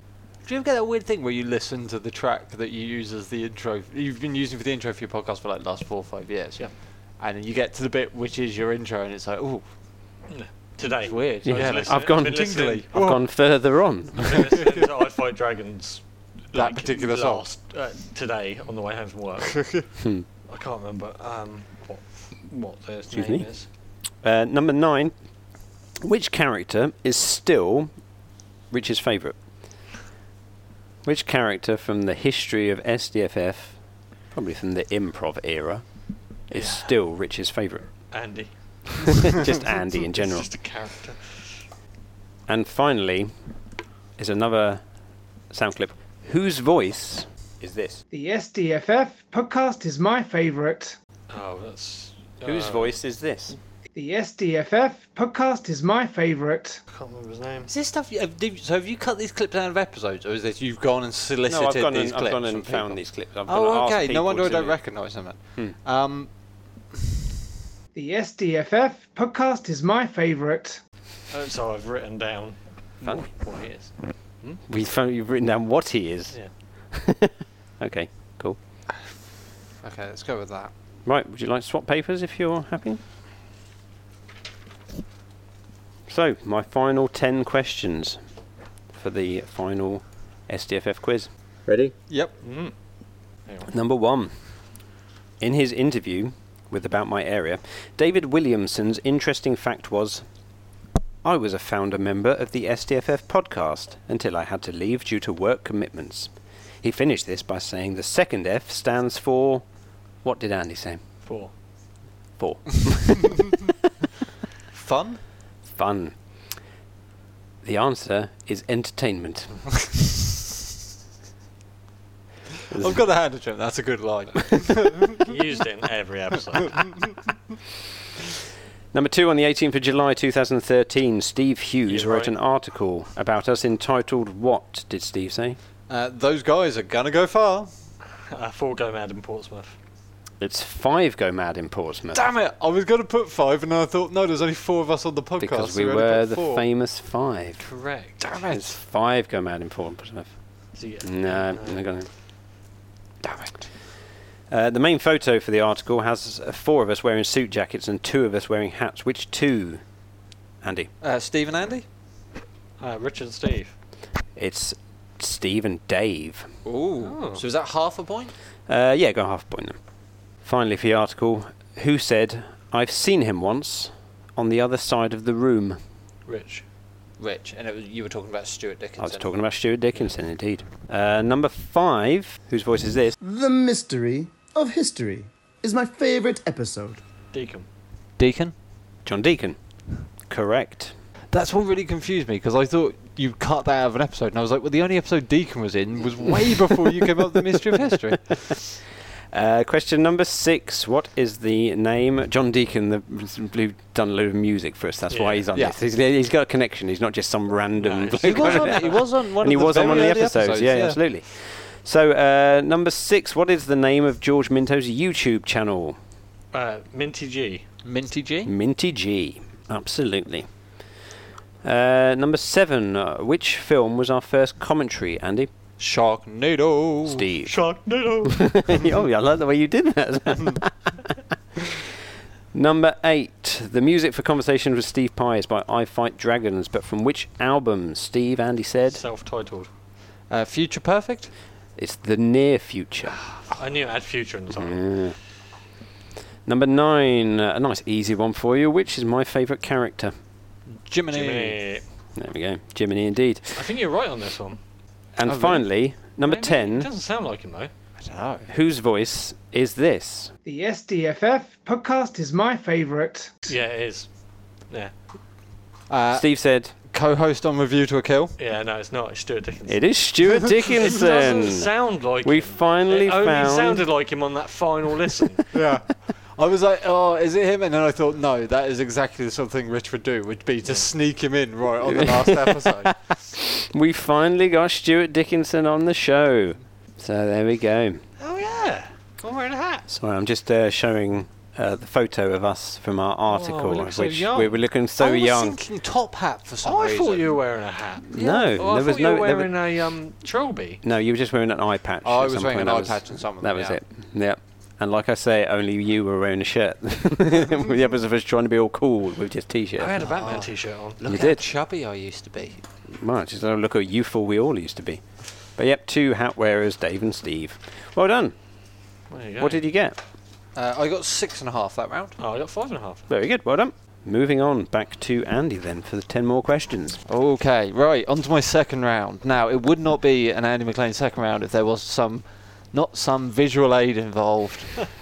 [SPEAKER 6] Do you ever get that weird thing where you listen to the track that you use as the intro? You've been using for the intro for your podcast for like the last four or five years.
[SPEAKER 2] Yeah.
[SPEAKER 6] and then you get to the bit which is your intro, and it's like, oh,
[SPEAKER 2] Today.
[SPEAKER 6] It's weird.
[SPEAKER 2] I was
[SPEAKER 6] Yeah.
[SPEAKER 2] listening-
[SPEAKER 5] I've gone,
[SPEAKER 2] been
[SPEAKER 5] I've
[SPEAKER 2] listening-
[SPEAKER 5] gone further on.
[SPEAKER 2] I've been listening to I Fight Dragons.
[SPEAKER 6] That particular song. Hmm.
[SPEAKER 2] last, Uh, today on the way home
[SPEAKER 6] (laughs)
[SPEAKER 2] from work. I can't remember um, what what the
[SPEAKER 5] Excuse
[SPEAKER 2] name
[SPEAKER 5] me?
[SPEAKER 2] is.
[SPEAKER 5] Uh, number nine. Which character is still Rich's favourite? Which character from the history of SDFF, probably from the improv era, is still Rich's favourite?
[SPEAKER 2] Andy.
[SPEAKER 5] Just Andy in general.
[SPEAKER 2] Just a character.
[SPEAKER 5] And finally, is another sound clip. Whose voice is this?
[SPEAKER 12] The SDFF podcast is my favourite.
[SPEAKER 2] Oh, that's.
[SPEAKER 5] Whose
[SPEAKER 2] uh,
[SPEAKER 5] voice is this?
[SPEAKER 12] The SDFF podcast is my favourite.
[SPEAKER 2] I can't remember his name.
[SPEAKER 6] Is this stuff? You, have, did- so have you cut these clips out of episodes, or is this you've gone and solicited
[SPEAKER 5] I've gone
[SPEAKER 6] these
[SPEAKER 5] and- I've
[SPEAKER 6] clips?
[SPEAKER 5] gone and
[SPEAKER 6] from
[SPEAKER 5] found
[SPEAKER 6] people?
[SPEAKER 5] these clips. I've gone and
[SPEAKER 6] oh,
[SPEAKER 5] asked
[SPEAKER 6] okay. No
[SPEAKER 5] people
[SPEAKER 6] wonder I
[SPEAKER 5] to uh, Hmm.
[SPEAKER 6] don't
[SPEAKER 5] me.
[SPEAKER 6] recognise them. Then. Um,
[SPEAKER 12] The SDFF podcast is my favourite.
[SPEAKER 2] Oh, so I've written down
[SPEAKER 5] Fun.
[SPEAKER 2] what, what he is.
[SPEAKER 5] We found you've written down what he is. (laughs) okay, cool.
[SPEAKER 6] okay, let's go with that.
[SPEAKER 5] Right, would you like to swap papers if you're happy? So, my final 10 questions for the final SDFF quiz.
[SPEAKER 7] Ready?
[SPEAKER 6] Yep.
[SPEAKER 2] Mm.
[SPEAKER 5] Number one. In his interview with About My Area, David Williamson's interesting fact was I was a founder member of the SDFF podcast until I had to leave due to work commitments. He finished this by saying the second F stands for. What did Andy say?
[SPEAKER 2] Four.
[SPEAKER 5] Four.
[SPEAKER 6] Fun.
[SPEAKER 5] Fun. The answer is entertainment.
[SPEAKER 6] I've got a hand to him. That's a good line.
[SPEAKER 2] Used it in every episode.
[SPEAKER 5] Number two, on the 18th of July 2013, Steve Hughes
[SPEAKER 2] Yeah,
[SPEAKER 5] wrote
[SPEAKER 2] right.
[SPEAKER 5] an article about us entitled What Did Steve Say?
[SPEAKER 6] (laughs) Uh, those guys are gonna go far.
[SPEAKER 2] Uh, four go mad in Portsmouth.
[SPEAKER 5] It's Five Go Mad in Portsmouth.
[SPEAKER 6] Damn it! I was gonna put five, and then I thought, no, there's only four of us on the podcast.
[SPEAKER 5] Because
[SPEAKER 6] so
[SPEAKER 5] we
[SPEAKER 6] only
[SPEAKER 5] were
[SPEAKER 6] put
[SPEAKER 5] the
[SPEAKER 6] four.
[SPEAKER 5] famous five.
[SPEAKER 2] Correct.
[SPEAKER 6] Damn
[SPEAKER 5] It's
[SPEAKER 6] it!
[SPEAKER 5] Five Go Mad in Portsmouth.
[SPEAKER 2] So yeah.
[SPEAKER 5] No,
[SPEAKER 6] Uh,
[SPEAKER 5] I'm not gonna. Damn it. Uh, the main photo for the article has uh, four of us wearing suit jackets and two of us wearing hats. Which two, Andy?
[SPEAKER 6] Uh, Steve and Andy.
[SPEAKER 2] Uh, Richard and Steve.
[SPEAKER 5] It's Steve and Dave.
[SPEAKER 6] Ooh. Oh. So is that half a point?
[SPEAKER 5] Uh, yeah, go half a point then. Finally, for the article, who said, I've seen him once on the other side of the room?
[SPEAKER 2] Rich.
[SPEAKER 6] Rich, and it was, you were talking about Stuart Dickinson.
[SPEAKER 5] I was talking about Stuart Dickinson, indeed. Uh, number five, whose voice is this?
[SPEAKER 11] The mystery of history is my favorite episode.
[SPEAKER 2] Deacon.
[SPEAKER 6] Deacon.
[SPEAKER 5] John Deacon. Correct.
[SPEAKER 6] That's what really confused me because I thought you cut that out of an episode, and I was like, well, the only episode Deacon was in was
[SPEAKER 5] (laughs)
[SPEAKER 6] way before you came up with the mystery of history.
[SPEAKER 5] Uh, question number six. What is the name? John Deacon, the, who've done a load of music for us. That's why
[SPEAKER 2] Yeah.
[SPEAKER 5] he's on
[SPEAKER 6] Yeah.
[SPEAKER 5] this. He's, he's got a connection. He's not just some random.
[SPEAKER 2] No,
[SPEAKER 5] bloke
[SPEAKER 6] He was
[SPEAKER 5] on (laughs)
[SPEAKER 6] on,
[SPEAKER 5] it.
[SPEAKER 6] it. He was on one
[SPEAKER 5] and he
[SPEAKER 6] of the
[SPEAKER 5] was on
[SPEAKER 6] very
[SPEAKER 5] one of the
[SPEAKER 6] early
[SPEAKER 5] episodes. yeah, absolutely. So uh, number six. What is the name of George Minto's YouTube channel?
[SPEAKER 2] Uh, Minty G.
[SPEAKER 6] Minty G.
[SPEAKER 5] Minty G. Absolutely. Uh, number seven. Uh, which film was our first commentary, Andy?
[SPEAKER 6] Sharknado.
[SPEAKER 5] Steve. (laughs)
[SPEAKER 2] Sharknado.
[SPEAKER 5] oh, I like the way you did that. (laughs) Number eight. The music for Conversations with Steve Pye is by I Fight Dragons, but from which album? Steve, Andy said,
[SPEAKER 2] Self-titled.
[SPEAKER 6] Uh, Future Perfect.
[SPEAKER 5] it's The Near Future.
[SPEAKER 2] I knew it had future in the title.
[SPEAKER 5] Number nine. uh, A nice easy one for you. Which is my favourite character?
[SPEAKER 6] Jiminy.
[SPEAKER 2] Jiminy.
[SPEAKER 5] There we go. Jiminy, indeed.
[SPEAKER 2] I think you're right on this one.
[SPEAKER 5] And
[SPEAKER 6] Oh, really?
[SPEAKER 5] finally, number
[SPEAKER 2] Maybe- It
[SPEAKER 5] 10.
[SPEAKER 2] doesn't sound like him though.
[SPEAKER 6] I don't know.
[SPEAKER 5] Whose voice is this?
[SPEAKER 12] The SDFF podcast is my favourite.
[SPEAKER 2] Yeah, it is. Yeah.
[SPEAKER 6] Uh,
[SPEAKER 5] Steve said,
[SPEAKER 6] co-host on Review to a Kill.
[SPEAKER 2] Yeah, no, it's not. It's Stuart Dickinson.
[SPEAKER 5] it
[SPEAKER 6] (laughs)
[SPEAKER 5] is Stuart
[SPEAKER 2] It doesn't
[SPEAKER 5] Dickinson.
[SPEAKER 2] sound like
[SPEAKER 5] We
[SPEAKER 2] him.
[SPEAKER 5] finally
[SPEAKER 2] it only
[SPEAKER 5] found-
[SPEAKER 2] sounded like him on that final listen.
[SPEAKER 6] Yeah. I was like, oh, is it him? And then I thought, no, that is exactly the sort of thing Rich would do, would be to sneak him in right (laughs) on the last episode.
[SPEAKER 5] We finally got Stuart Dickinson on the show. So there we go.
[SPEAKER 2] (laughs) oh yeah. I'm wearing a hat.
[SPEAKER 5] Sorry, I'm just uh, showing uh, the photo of us from our
[SPEAKER 6] Oh,
[SPEAKER 5] article,
[SPEAKER 2] we look so
[SPEAKER 5] which
[SPEAKER 2] young.
[SPEAKER 5] we were looking so
[SPEAKER 6] I was
[SPEAKER 5] young.
[SPEAKER 6] thinking top hat for some
[SPEAKER 2] Oh, I
[SPEAKER 6] reason.
[SPEAKER 2] thought you were wearing a hat.
[SPEAKER 5] No,
[SPEAKER 2] Oh, I
[SPEAKER 5] there was
[SPEAKER 2] thought you
[SPEAKER 5] no.
[SPEAKER 2] were
[SPEAKER 5] there were-
[SPEAKER 2] wearing a um trilby.
[SPEAKER 5] no, you were just wearing an eye patch.
[SPEAKER 6] Oh, I
[SPEAKER 5] at
[SPEAKER 6] was
[SPEAKER 5] some
[SPEAKER 6] wearing
[SPEAKER 5] point.
[SPEAKER 6] an
[SPEAKER 5] That
[SPEAKER 6] eye
[SPEAKER 5] was-
[SPEAKER 6] patch and some of
[SPEAKER 5] That
[SPEAKER 6] them,
[SPEAKER 5] was
[SPEAKER 6] yeah.
[SPEAKER 5] it. Yeah. And like I say, only you were wearing a shirt. (laughs) the others of us trying to be all cool with just
[SPEAKER 6] Oh,
[SPEAKER 5] t-shirts.
[SPEAKER 2] I had a Batman t-shirt on.
[SPEAKER 5] You
[SPEAKER 6] Look at how
[SPEAKER 5] did.
[SPEAKER 6] chubby I used to be.
[SPEAKER 5] Much. Just have a look how youthful we all used to be. But yep, two hat wearers, Dave and Steve. Well done. What did you get?
[SPEAKER 6] Uh, I got six and a half that round.
[SPEAKER 2] Oh, I got five and a half.
[SPEAKER 5] Very good. Well done. Moving on back to Andy then for the ten more questions.
[SPEAKER 6] Okay, right, on to my second round. Now, it would not be an Andy McLean second round if there was some, not some visual aid involved.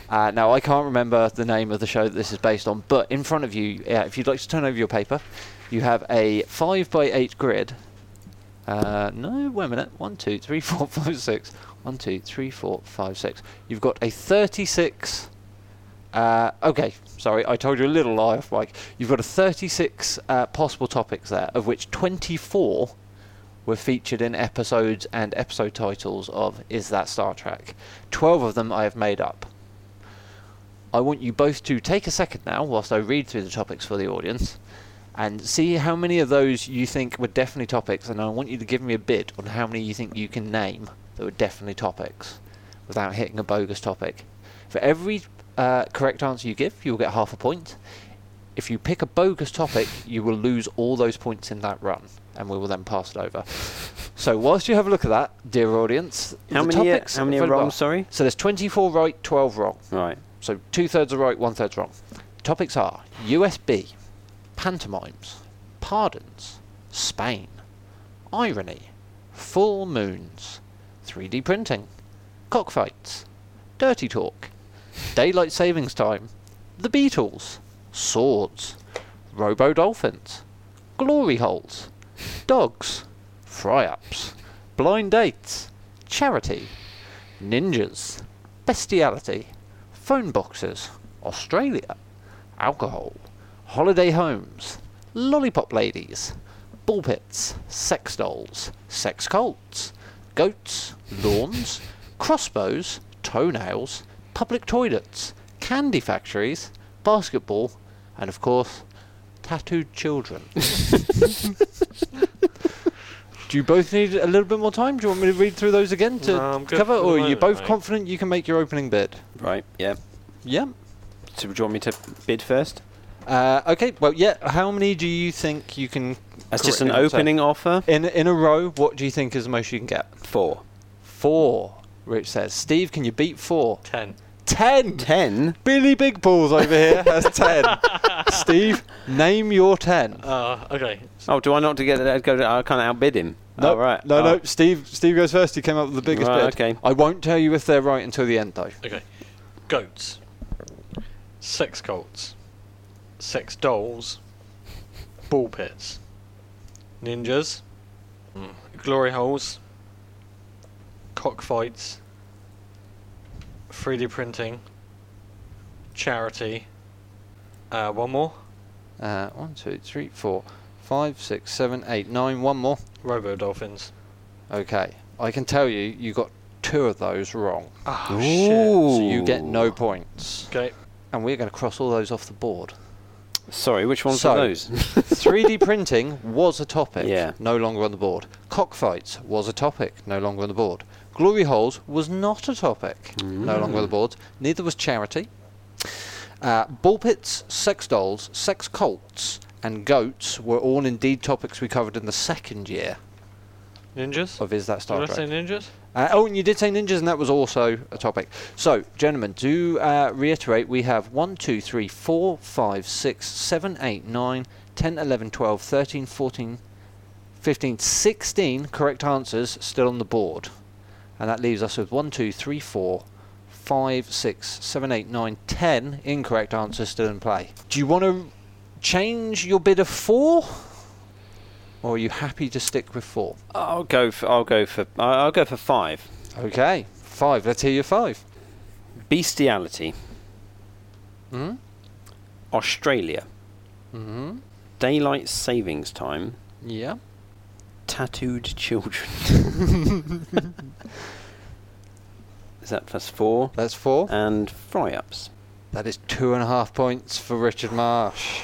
[SPEAKER 6] uh, now, I can't remember the name of the show that this is based on, but in front of you, uh, if you'd like to turn over your paper, you have a 5 by 8 grid. Uh, no, wait a minute. One, two, three, four, (laughs) five, six. One, two, three, four, five, six. You've got a 36 uh, okay, sorry, I told you a little lie off mic. You've got a 36 uh, possible topics there, of which 24 were featured in episodes and episode titles of Is That Star Trek? 12 of them I have made up. I want you both to take a second now, whilst I read through the topics for the audience, and see how many of those you think were definitely topics, and I want you to give me a bid on how many you think you can name that were definitely topics without hitting a bogus topic. For every uh, correct answer you give, you'll get half a point. If you pick a bogus topic, you will lose all those points in that run, and we will then pass it over. So, whilst you have a look at that, dear audience,
[SPEAKER 5] How
[SPEAKER 6] the
[SPEAKER 5] many, uh,
[SPEAKER 6] topics
[SPEAKER 5] how many are
[SPEAKER 6] available-
[SPEAKER 5] wrong, sorry?
[SPEAKER 6] So, there's 24 right, 12 wrong.
[SPEAKER 5] Right.
[SPEAKER 6] So, two thirds are right, one third's wrong. Topics are USB, pantomimes, pardons, Spain, irony, full moons, 3D printing, cockfights, dirty talk, daylight savings time, the Beatles, swords, robo dolphins, glory holes, dogs, fry ups, blind dates, charity, ninjas, bestiality, phone boxes, Australia, alcohol, holiday homes, lollipop ladies, ball pits, sex dolls, sex colts, goats, lawns, crossbows, toenails, public toilets, candy factories, basketball, and of course, tattooed children. Do you both need a little bit more time? Do you want me to read through those again to
[SPEAKER 5] No, I'm good
[SPEAKER 6] cover,
[SPEAKER 5] for the
[SPEAKER 6] or are you
[SPEAKER 5] moment,
[SPEAKER 6] both
[SPEAKER 5] mate.
[SPEAKER 6] confident you can make your opening bid?
[SPEAKER 5] Right. Yeah.
[SPEAKER 6] Yeah.
[SPEAKER 5] So do you want me to bid first?
[SPEAKER 6] Uh, okay. Well, yeah. How many do you think you can?
[SPEAKER 5] That's just an
[SPEAKER 6] correctly answer?
[SPEAKER 5] opening offer.
[SPEAKER 6] In in a row, what do you think is the most you can get?
[SPEAKER 5] Four.
[SPEAKER 6] Four. Rich says, Steve, can you beat four?
[SPEAKER 2] Ten.
[SPEAKER 6] Ten.
[SPEAKER 5] Ten.
[SPEAKER 6] Billy Big Balls over here has
[SPEAKER 5] (laughs)
[SPEAKER 6] ten. Steve, name your ten.
[SPEAKER 2] Uh, okay.
[SPEAKER 5] Oh, do I not to get that? Go. I can't outbid him.
[SPEAKER 6] No,
[SPEAKER 5] oh, right.
[SPEAKER 6] No,
[SPEAKER 5] Oh.
[SPEAKER 6] no. Steve, Steve goes first. He came up with the biggest
[SPEAKER 5] Right,
[SPEAKER 6] bid.
[SPEAKER 5] okay.
[SPEAKER 6] I won't tell you if they're right until the end, though.
[SPEAKER 2] Okay. Goats. Sex cults. Sex dolls. Ball pits. Ninjas. Mm. Glory holes. Cockfights. 3D printing. Charity. Uh, one more.
[SPEAKER 6] Uh, one, two, three, four, five, six, seven, eight, nine. One more.
[SPEAKER 2] Robo dolphins.
[SPEAKER 6] Okay. I can tell you, you got two of those wrong. Oh,
[SPEAKER 2] Ah,
[SPEAKER 6] So you get no points.
[SPEAKER 2] Okay.
[SPEAKER 6] And we're going to cross all those off the board. (laughs)
[SPEAKER 5] Oh, Sorry, which ones
[SPEAKER 6] so,
[SPEAKER 5] are those? (laughs)
[SPEAKER 6] 3D printing was a topic,
[SPEAKER 5] Yeah.
[SPEAKER 6] no longer on the board. Cockfights was a topic, no longer on the board. Glory holes was not a topic, no longer on the board. Neither was charity. Uh, ball pits, sex dolls, sex cults, and goats were all indeed topics we covered in the second year
[SPEAKER 2] Ninjas.
[SPEAKER 6] of Is That Star
[SPEAKER 2] Did I
[SPEAKER 6] Trek.
[SPEAKER 2] say ninjas?
[SPEAKER 6] Uh, oh, and you did say ninjas, and that was also a topic. So, gentlemen, to uh, reiterate, we have 1, 2, 3, 4, 5, 6, 7, 8, 9, 10, 11, 12, 13, 14, 15, 16 correct answers still on the board. And that leaves us with 1, 2, 3, 4, 5, 6, 7, 8, 9, 10 incorrect answers still in play. Do you want to change your bid of 4? Or are you happy to stick with 4?
[SPEAKER 5] I'll go. For, I'll go for. I- I'll go for five.
[SPEAKER 6] Okay, five. Let's hear your five.
[SPEAKER 5] Bestiality.
[SPEAKER 6] Hmm?
[SPEAKER 5] Australia.
[SPEAKER 6] Mm-hmm.
[SPEAKER 5] Daylight savings time.
[SPEAKER 6] Yeah.
[SPEAKER 5] Tattooed children. Is that plus four?
[SPEAKER 6] That's four.
[SPEAKER 5] And fry ups.
[SPEAKER 6] That is two and a half points for Richard Marsh.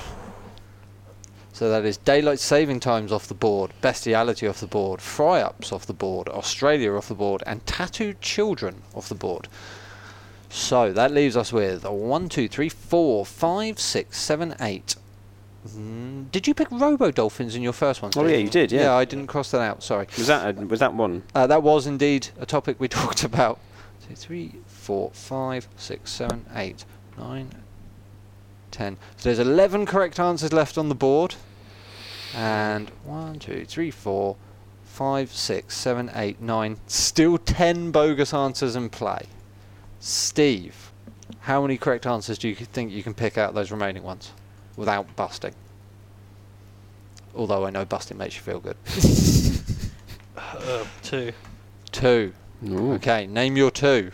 [SPEAKER 6] So that is daylight saving times off the board, bestiality off the board, fry ups off the board, Australia off the board, and tattooed children off the board. So that leaves us with a one, two, three, four, five, six, seven, eight. Mm, Did you pick Robo Dolphins in your first one?
[SPEAKER 5] Oh,
[SPEAKER 6] Steve?
[SPEAKER 5] yeah, you did, yeah.
[SPEAKER 6] I didn't cross that out. Sorry.
[SPEAKER 5] Was that a, was that one?
[SPEAKER 6] Uh, that was indeed a topic we (laughs) talked about. Two, three, four, five, six, seven, eight, nine, ten. So there's 11 correct answers left on the board. And one, two, three, four, five, six, seven, eight, nine. Still 10 bogus answers in play. Steve, how many correct answers do you think you can pick out of those remaining ones without busting? Although I know busting makes you feel good.
[SPEAKER 2] Uh, two.
[SPEAKER 6] Two. Okay, name your two.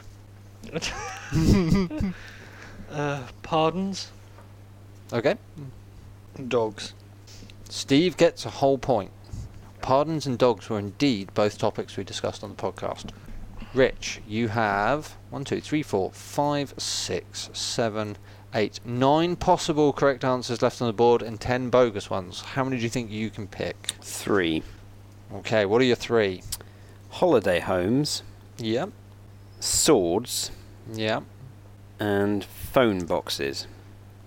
[SPEAKER 2] uh, pardons.
[SPEAKER 6] Okay.
[SPEAKER 2] Dogs.
[SPEAKER 6] Steve gets a whole point. Pardons and dogs were indeed both topics we discussed on the podcast. Rich, you have one, two, three, four, five, six, seven, eight, nine possible correct answers left on the board and ten bogus ones. How many do you think you can pick?
[SPEAKER 5] Three.
[SPEAKER 6] Okay, what are your three?
[SPEAKER 5] Holiday homes,
[SPEAKER 6] Yep.
[SPEAKER 5] swords,
[SPEAKER 6] Yep.
[SPEAKER 5] and phone boxes.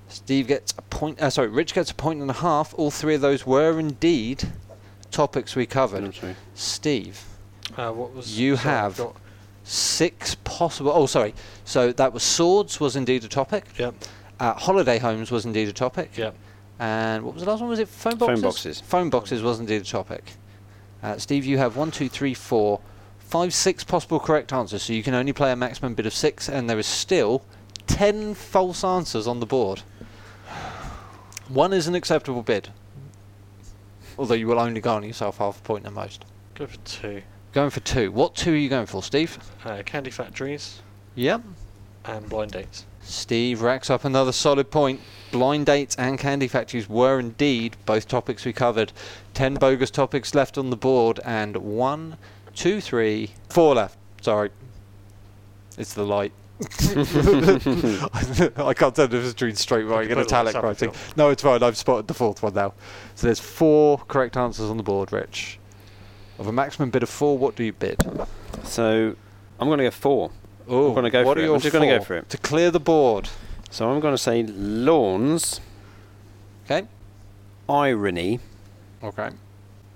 [SPEAKER 6] Steve gets a point. Uh, sorry, Rich gets a point and a half. All three of those were indeed topics we covered. Steve,
[SPEAKER 2] Uh, what was
[SPEAKER 6] you
[SPEAKER 2] sorry, I've
[SPEAKER 6] have
[SPEAKER 2] got-
[SPEAKER 6] six possible. Oh, sorry. So that was swords was indeed a topic.
[SPEAKER 2] Yep.
[SPEAKER 6] Uh, holiday homes was indeed a topic.
[SPEAKER 2] Yep.
[SPEAKER 6] And what was the last one? Was it phone boxes?
[SPEAKER 5] Phone boxes.
[SPEAKER 6] Phone boxes was indeed a topic. Uh, Steve, you have one, two, three, four, five, six possible correct answers. So you can only play a maximum bid of six, and there is still ten false answers on the board. One is an acceptable bid, although you will only garner yourself half a point at most.
[SPEAKER 2] Go for two.
[SPEAKER 6] Going for two. What two are you going for, Steve?
[SPEAKER 2] Uh, candy factories
[SPEAKER 6] Yep.
[SPEAKER 2] and blind dates.
[SPEAKER 6] Steve racks up another solid point. Blind dates and candy factories were indeed both topics we covered. Ten bogus topics left on the board, and one, two, three, four left. Sorry. It's the (laughs) light. I can't tell the difference between straight writing
[SPEAKER 2] can
[SPEAKER 6] and
[SPEAKER 2] put it on
[SPEAKER 6] italic
[SPEAKER 2] the
[SPEAKER 6] writing.
[SPEAKER 2] sub if
[SPEAKER 6] No, it's fine. I've spotted the fourth one now. So there's four correct answers on the board, Rich. Of a maximum bid of four, what do you bid?
[SPEAKER 5] So I'm going to go four.
[SPEAKER 6] Oh,
[SPEAKER 5] I'm going to go
[SPEAKER 6] what
[SPEAKER 5] for
[SPEAKER 6] are
[SPEAKER 5] it.
[SPEAKER 6] your
[SPEAKER 5] I'm just going to go
[SPEAKER 6] four?
[SPEAKER 5] for it.
[SPEAKER 6] To clear the board.
[SPEAKER 5] So I'm going to say lawns,
[SPEAKER 6] Okay.
[SPEAKER 5] irony,
[SPEAKER 6] Okay.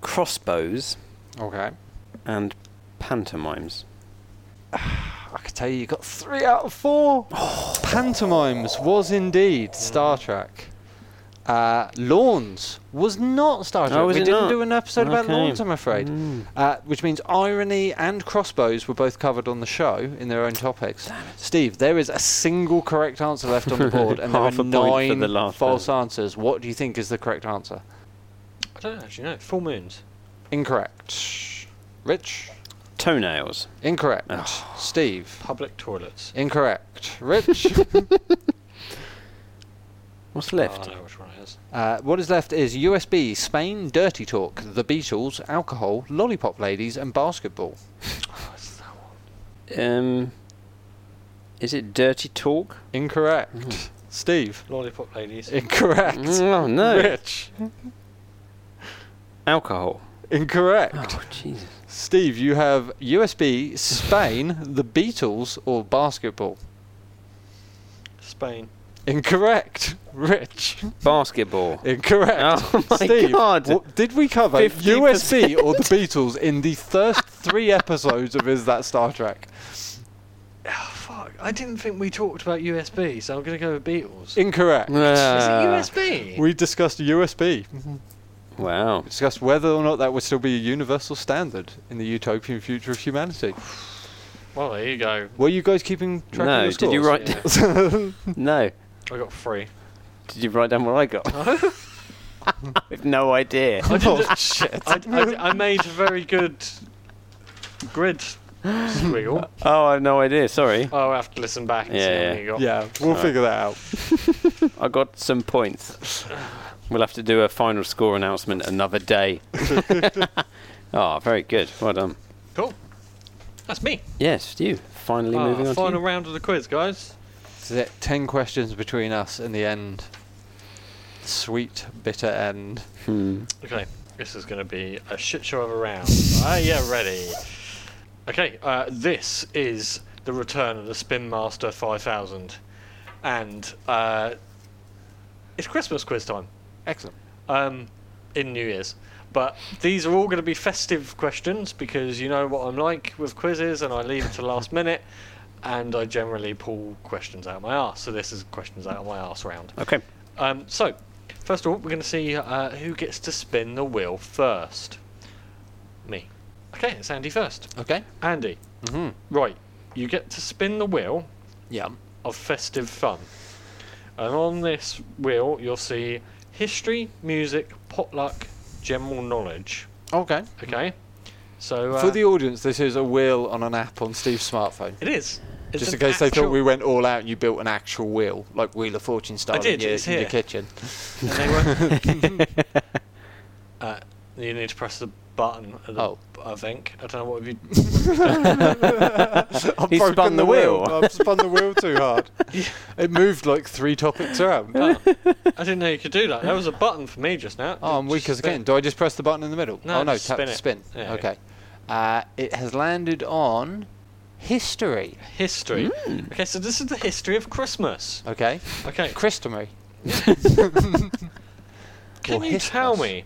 [SPEAKER 5] crossbows,
[SPEAKER 6] Okay.
[SPEAKER 5] and pantomimes.
[SPEAKER 6] I could tell you, you got three out of four.
[SPEAKER 5] Oh.
[SPEAKER 6] Pantomimes was indeed Star Trek. Uh, lawns was not Star Trek.
[SPEAKER 5] Oh, was
[SPEAKER 6] we
[SPEAKER 5] it
[SPEAKER 6] didn't
[SPEAKER 5] not?
[SPEAKER 6] do an episode about
[SPEAKER 5] Okay. Mm.
[SPEAKER 6] lawns, I'm afraid. Uh, which means irony and crossbows were both covered on the show in their own topics. Steve, there is a single correct answer left
[SPEAKER 5] (laughs)
[SPEAKER 6] on the board, and there are
[SPEAKER 5] Half a point for
[SPEAKER 6] nine
[SPEAKER 5] the last
[SPEAKER 6] false answers. What do you think is the correct answer?
[SPEAKER 2] I don't actually know. Full moons.
[SPEAKER 6] Incorrect. Rich?
[SPEAKER 5] Toenails.
[SPEAKER 6] Incorrect.
[SPEAKER 5] Oh.
[SPEAKER 6] Steve?
[SPEAKER 2] Public toilets.
[SPEAKER 6] Incorrect.
[SPEAKER 5] (laughs)
[SPEAKER 6] Rich?
[SPEAKER 5] What's
[SPEAKER 2] Oh,
[SPEAKER 5] left?
[SPEAKER 2] I know which one it is.
[SPEAKER 6] Uh, what is left is USB, Spain, Dirty Talk, The Beatles, Alcohol, Lollipop Ladies, and Basketball.
[SPEAKER 2] Oh, it's that one.
[SPEAKER 5] Um, is it dirty talk?
[SPEAKER 6] Incorrect. Steve.
[SPEAKER 2] Lollipop ladies.
[SPEAKER 6] Hmm.
[SPEAKER 2] (laughs)
[SPEAKER 6] Incorrect.
[SPEAKER 5] Oh no!
[SPEAKER 6] Rich.
[SPEAKER 5] Alcohol.
[SPEAKER 6] (laughs) Incorrect.
[SPEAKER 5] Oh Jesus!
[SPEAKER 6] Steve, you have USB, Spain, The Beatles, or Basketball.
[SPEAKER 2] Spain.
[SPEAKER 6] Incorrect. Rich.
[SPEAKER 5] Basketball.
[SPEAKER 6] Incorrect.
[SPEAKER 5] Oh my
[SPEAKER 6] Steve,
[SPEAKER 5] God.
[SPEAKER 6] what- did we cover
[SPEAKER 5] 50%.
[SPEAKER 6] USB or The Beatles in the first three episodes of Is That Star Trek?
[SPEAKER 2] Oh, fuck. I didn't think we talked about USB, so I'm going to go with Beatles.
[SPEAKER 6] Incorrect.
[SPEAKER 5] Ah,
[SPEAKER 2] is it USB?
[SPEAKER 6] We discussed USB.
[SPEAKER 5] Wow.
[SPEAKER 6] We discussed whether or not that would still be a universal standard in the utopian future of humanity.
[SPEAKER 2] well, there you go.
[SPEAKER 6] Were you guys keeping track
[SPEAKER 5] No.
[SPEAKER 6] of
[SPEAKER 5] Did
[SPEAKER 6] your
[SPEAKER 5] you write? no.
[SPEAKER 2] I got (laughs) three.
[SPEAKER 5] Did you write down what I got? I (laughs)
[SPEAKER 2] (laughs)
[SPEAKER 5] have no idea.
[SPEAKER 2] I, didn't- I, I, I made a very good grid (laughs) squiggle.
[SPEAKER 5] Oh, I have no idea. Sorry.
[SPEAKER 2] I'll have to listen back and see
[SPEAKER 5] Yeah,
[SPEAKER 2] how
[SPEAKER 5] yeah.
[SPEAKER 2] many you got.
[SPEAKER 6] Yeah, we'll
[SPEAKER 5] Alright.
[SPEAKER 6] figure that out.
[SPEAKER 5] I got some points. We'll have to do a final score announcement another
[SPEAKER 2] (laughs)
[SPEAKER 5] day. oh, very good. Well done.
[SPEAKER 2] Cool. That's me.
[SPEAKER 5] Yes, you. Finally
[SPEAKER 2] Ah,
[SPEAKER 5] moving on.
[SPEAKER 2] final
[SPEAKER 5] to
[SPEAKER 2] round of the quiz, guys.
[SPEAKER 6] Is it ten questions between us in the end? Sweet, bitter end.
[SPEAKER 5] you. Hmm.
[SPEAKER 2] Okay, this is going to be a shit show of a round. Are you ready? Okay, uh, this is the return of the Spin Master 5000, and uh, it's Christmas quiz time.
[SPEAKER 6] Excellent.
[SPEAKER 2] Um, in New Year's. But these are all going to be festive questions because you know what I'm like with quizzes, and I leave it to last minute, and I generally pull questions out of my arse. So this is questions out of my arse round.
[SPEAKER 5] Okay.
[SPEAKER 2] Um, so, first of all, we're going to see uh, who gets to spin the wheel first. Me. Okay, it's Andy first.
[SPEAKER 6] Okay.
[SPEAKER 2] Andy.
[SPEAKER 6] Mhm.
[SPEAKER 2] Right, you get to spin the wheel
[SPEAKER 6] Yeah.
[SPEAKER 2] of festive fun. And on this wheel, you'll see history, music, potluck, general knowledge.
[SPEAKER 6] Okay.
[SPEAKER 2] Okay? So. Uh,
[SPEAKER 6] For the audience, this is a wheel on an app on Steve's smartphone.
[SPEAKER 2] It is. It's
[SPEAKER 6] Just in
[SPEAKER 2] an
[SPEAKER 6] case they
[SPEAKER 2] actual-
[SPEAKER 6] thought we went all out and you built an actual wheel, like Wheel of Fortune style
[SPEAKER 2] I did,
[SPEAKER 6] in, your,
[SPEAKER 2] it's
[SPEAKER 6] in your
[SPEAKER 2] here.
[SPEAKER 6] (laughs) kitchen.
[SPEAKER 2] And they were. (laughs) uh, you need to press the button. At the,
[SPEAKER 6] Oh.
[SPEAKER 2] I think. I don't
[SPEAKER 6] (laughs)
[SPEAKER 2] know what have you.
[SPEAKER 6] I've
[SPEAKER 5] He
[SPEAKER 6] broken
[SPEAKER 5] spun the wheel.
[SPEAKER 6] I've spun the wheel too hard. (laughs) It moved like three topics around.
[SPEAKER 2] Oh, I didn't know you could do that. There was a button for me just now.
[SPEAKER 6] Oh, I'm weak as again. Do I just press the button in the middle?
[SPEAKER 2] No,
[SPEAKER 6] oh, no,
[SPEAKER 2] just
[SPEAKER 6] tap
[SPEAKER 2] spin it.
[SPEAKER 6] spin.
[SPEAKER 2] Yeah.
[SPEAKER 6] Okay. Uh, it has landed on history.
[SPEAKER 2] History.
[SPEAKER 6] Mm.
[SPEAKER 2] Okay, so this is the history of Christmas.
[SPEAKER 6] (laughs) Okay.
[SPEAKER 2] Okay.
[SPEAKER 6] Christomery.
[SPEAKER 2] Can
[SPEAKER 6] Or
[SPEAKER 2] you tell
[SPEAKER 6] Histmas.
[SPEAKER 2] me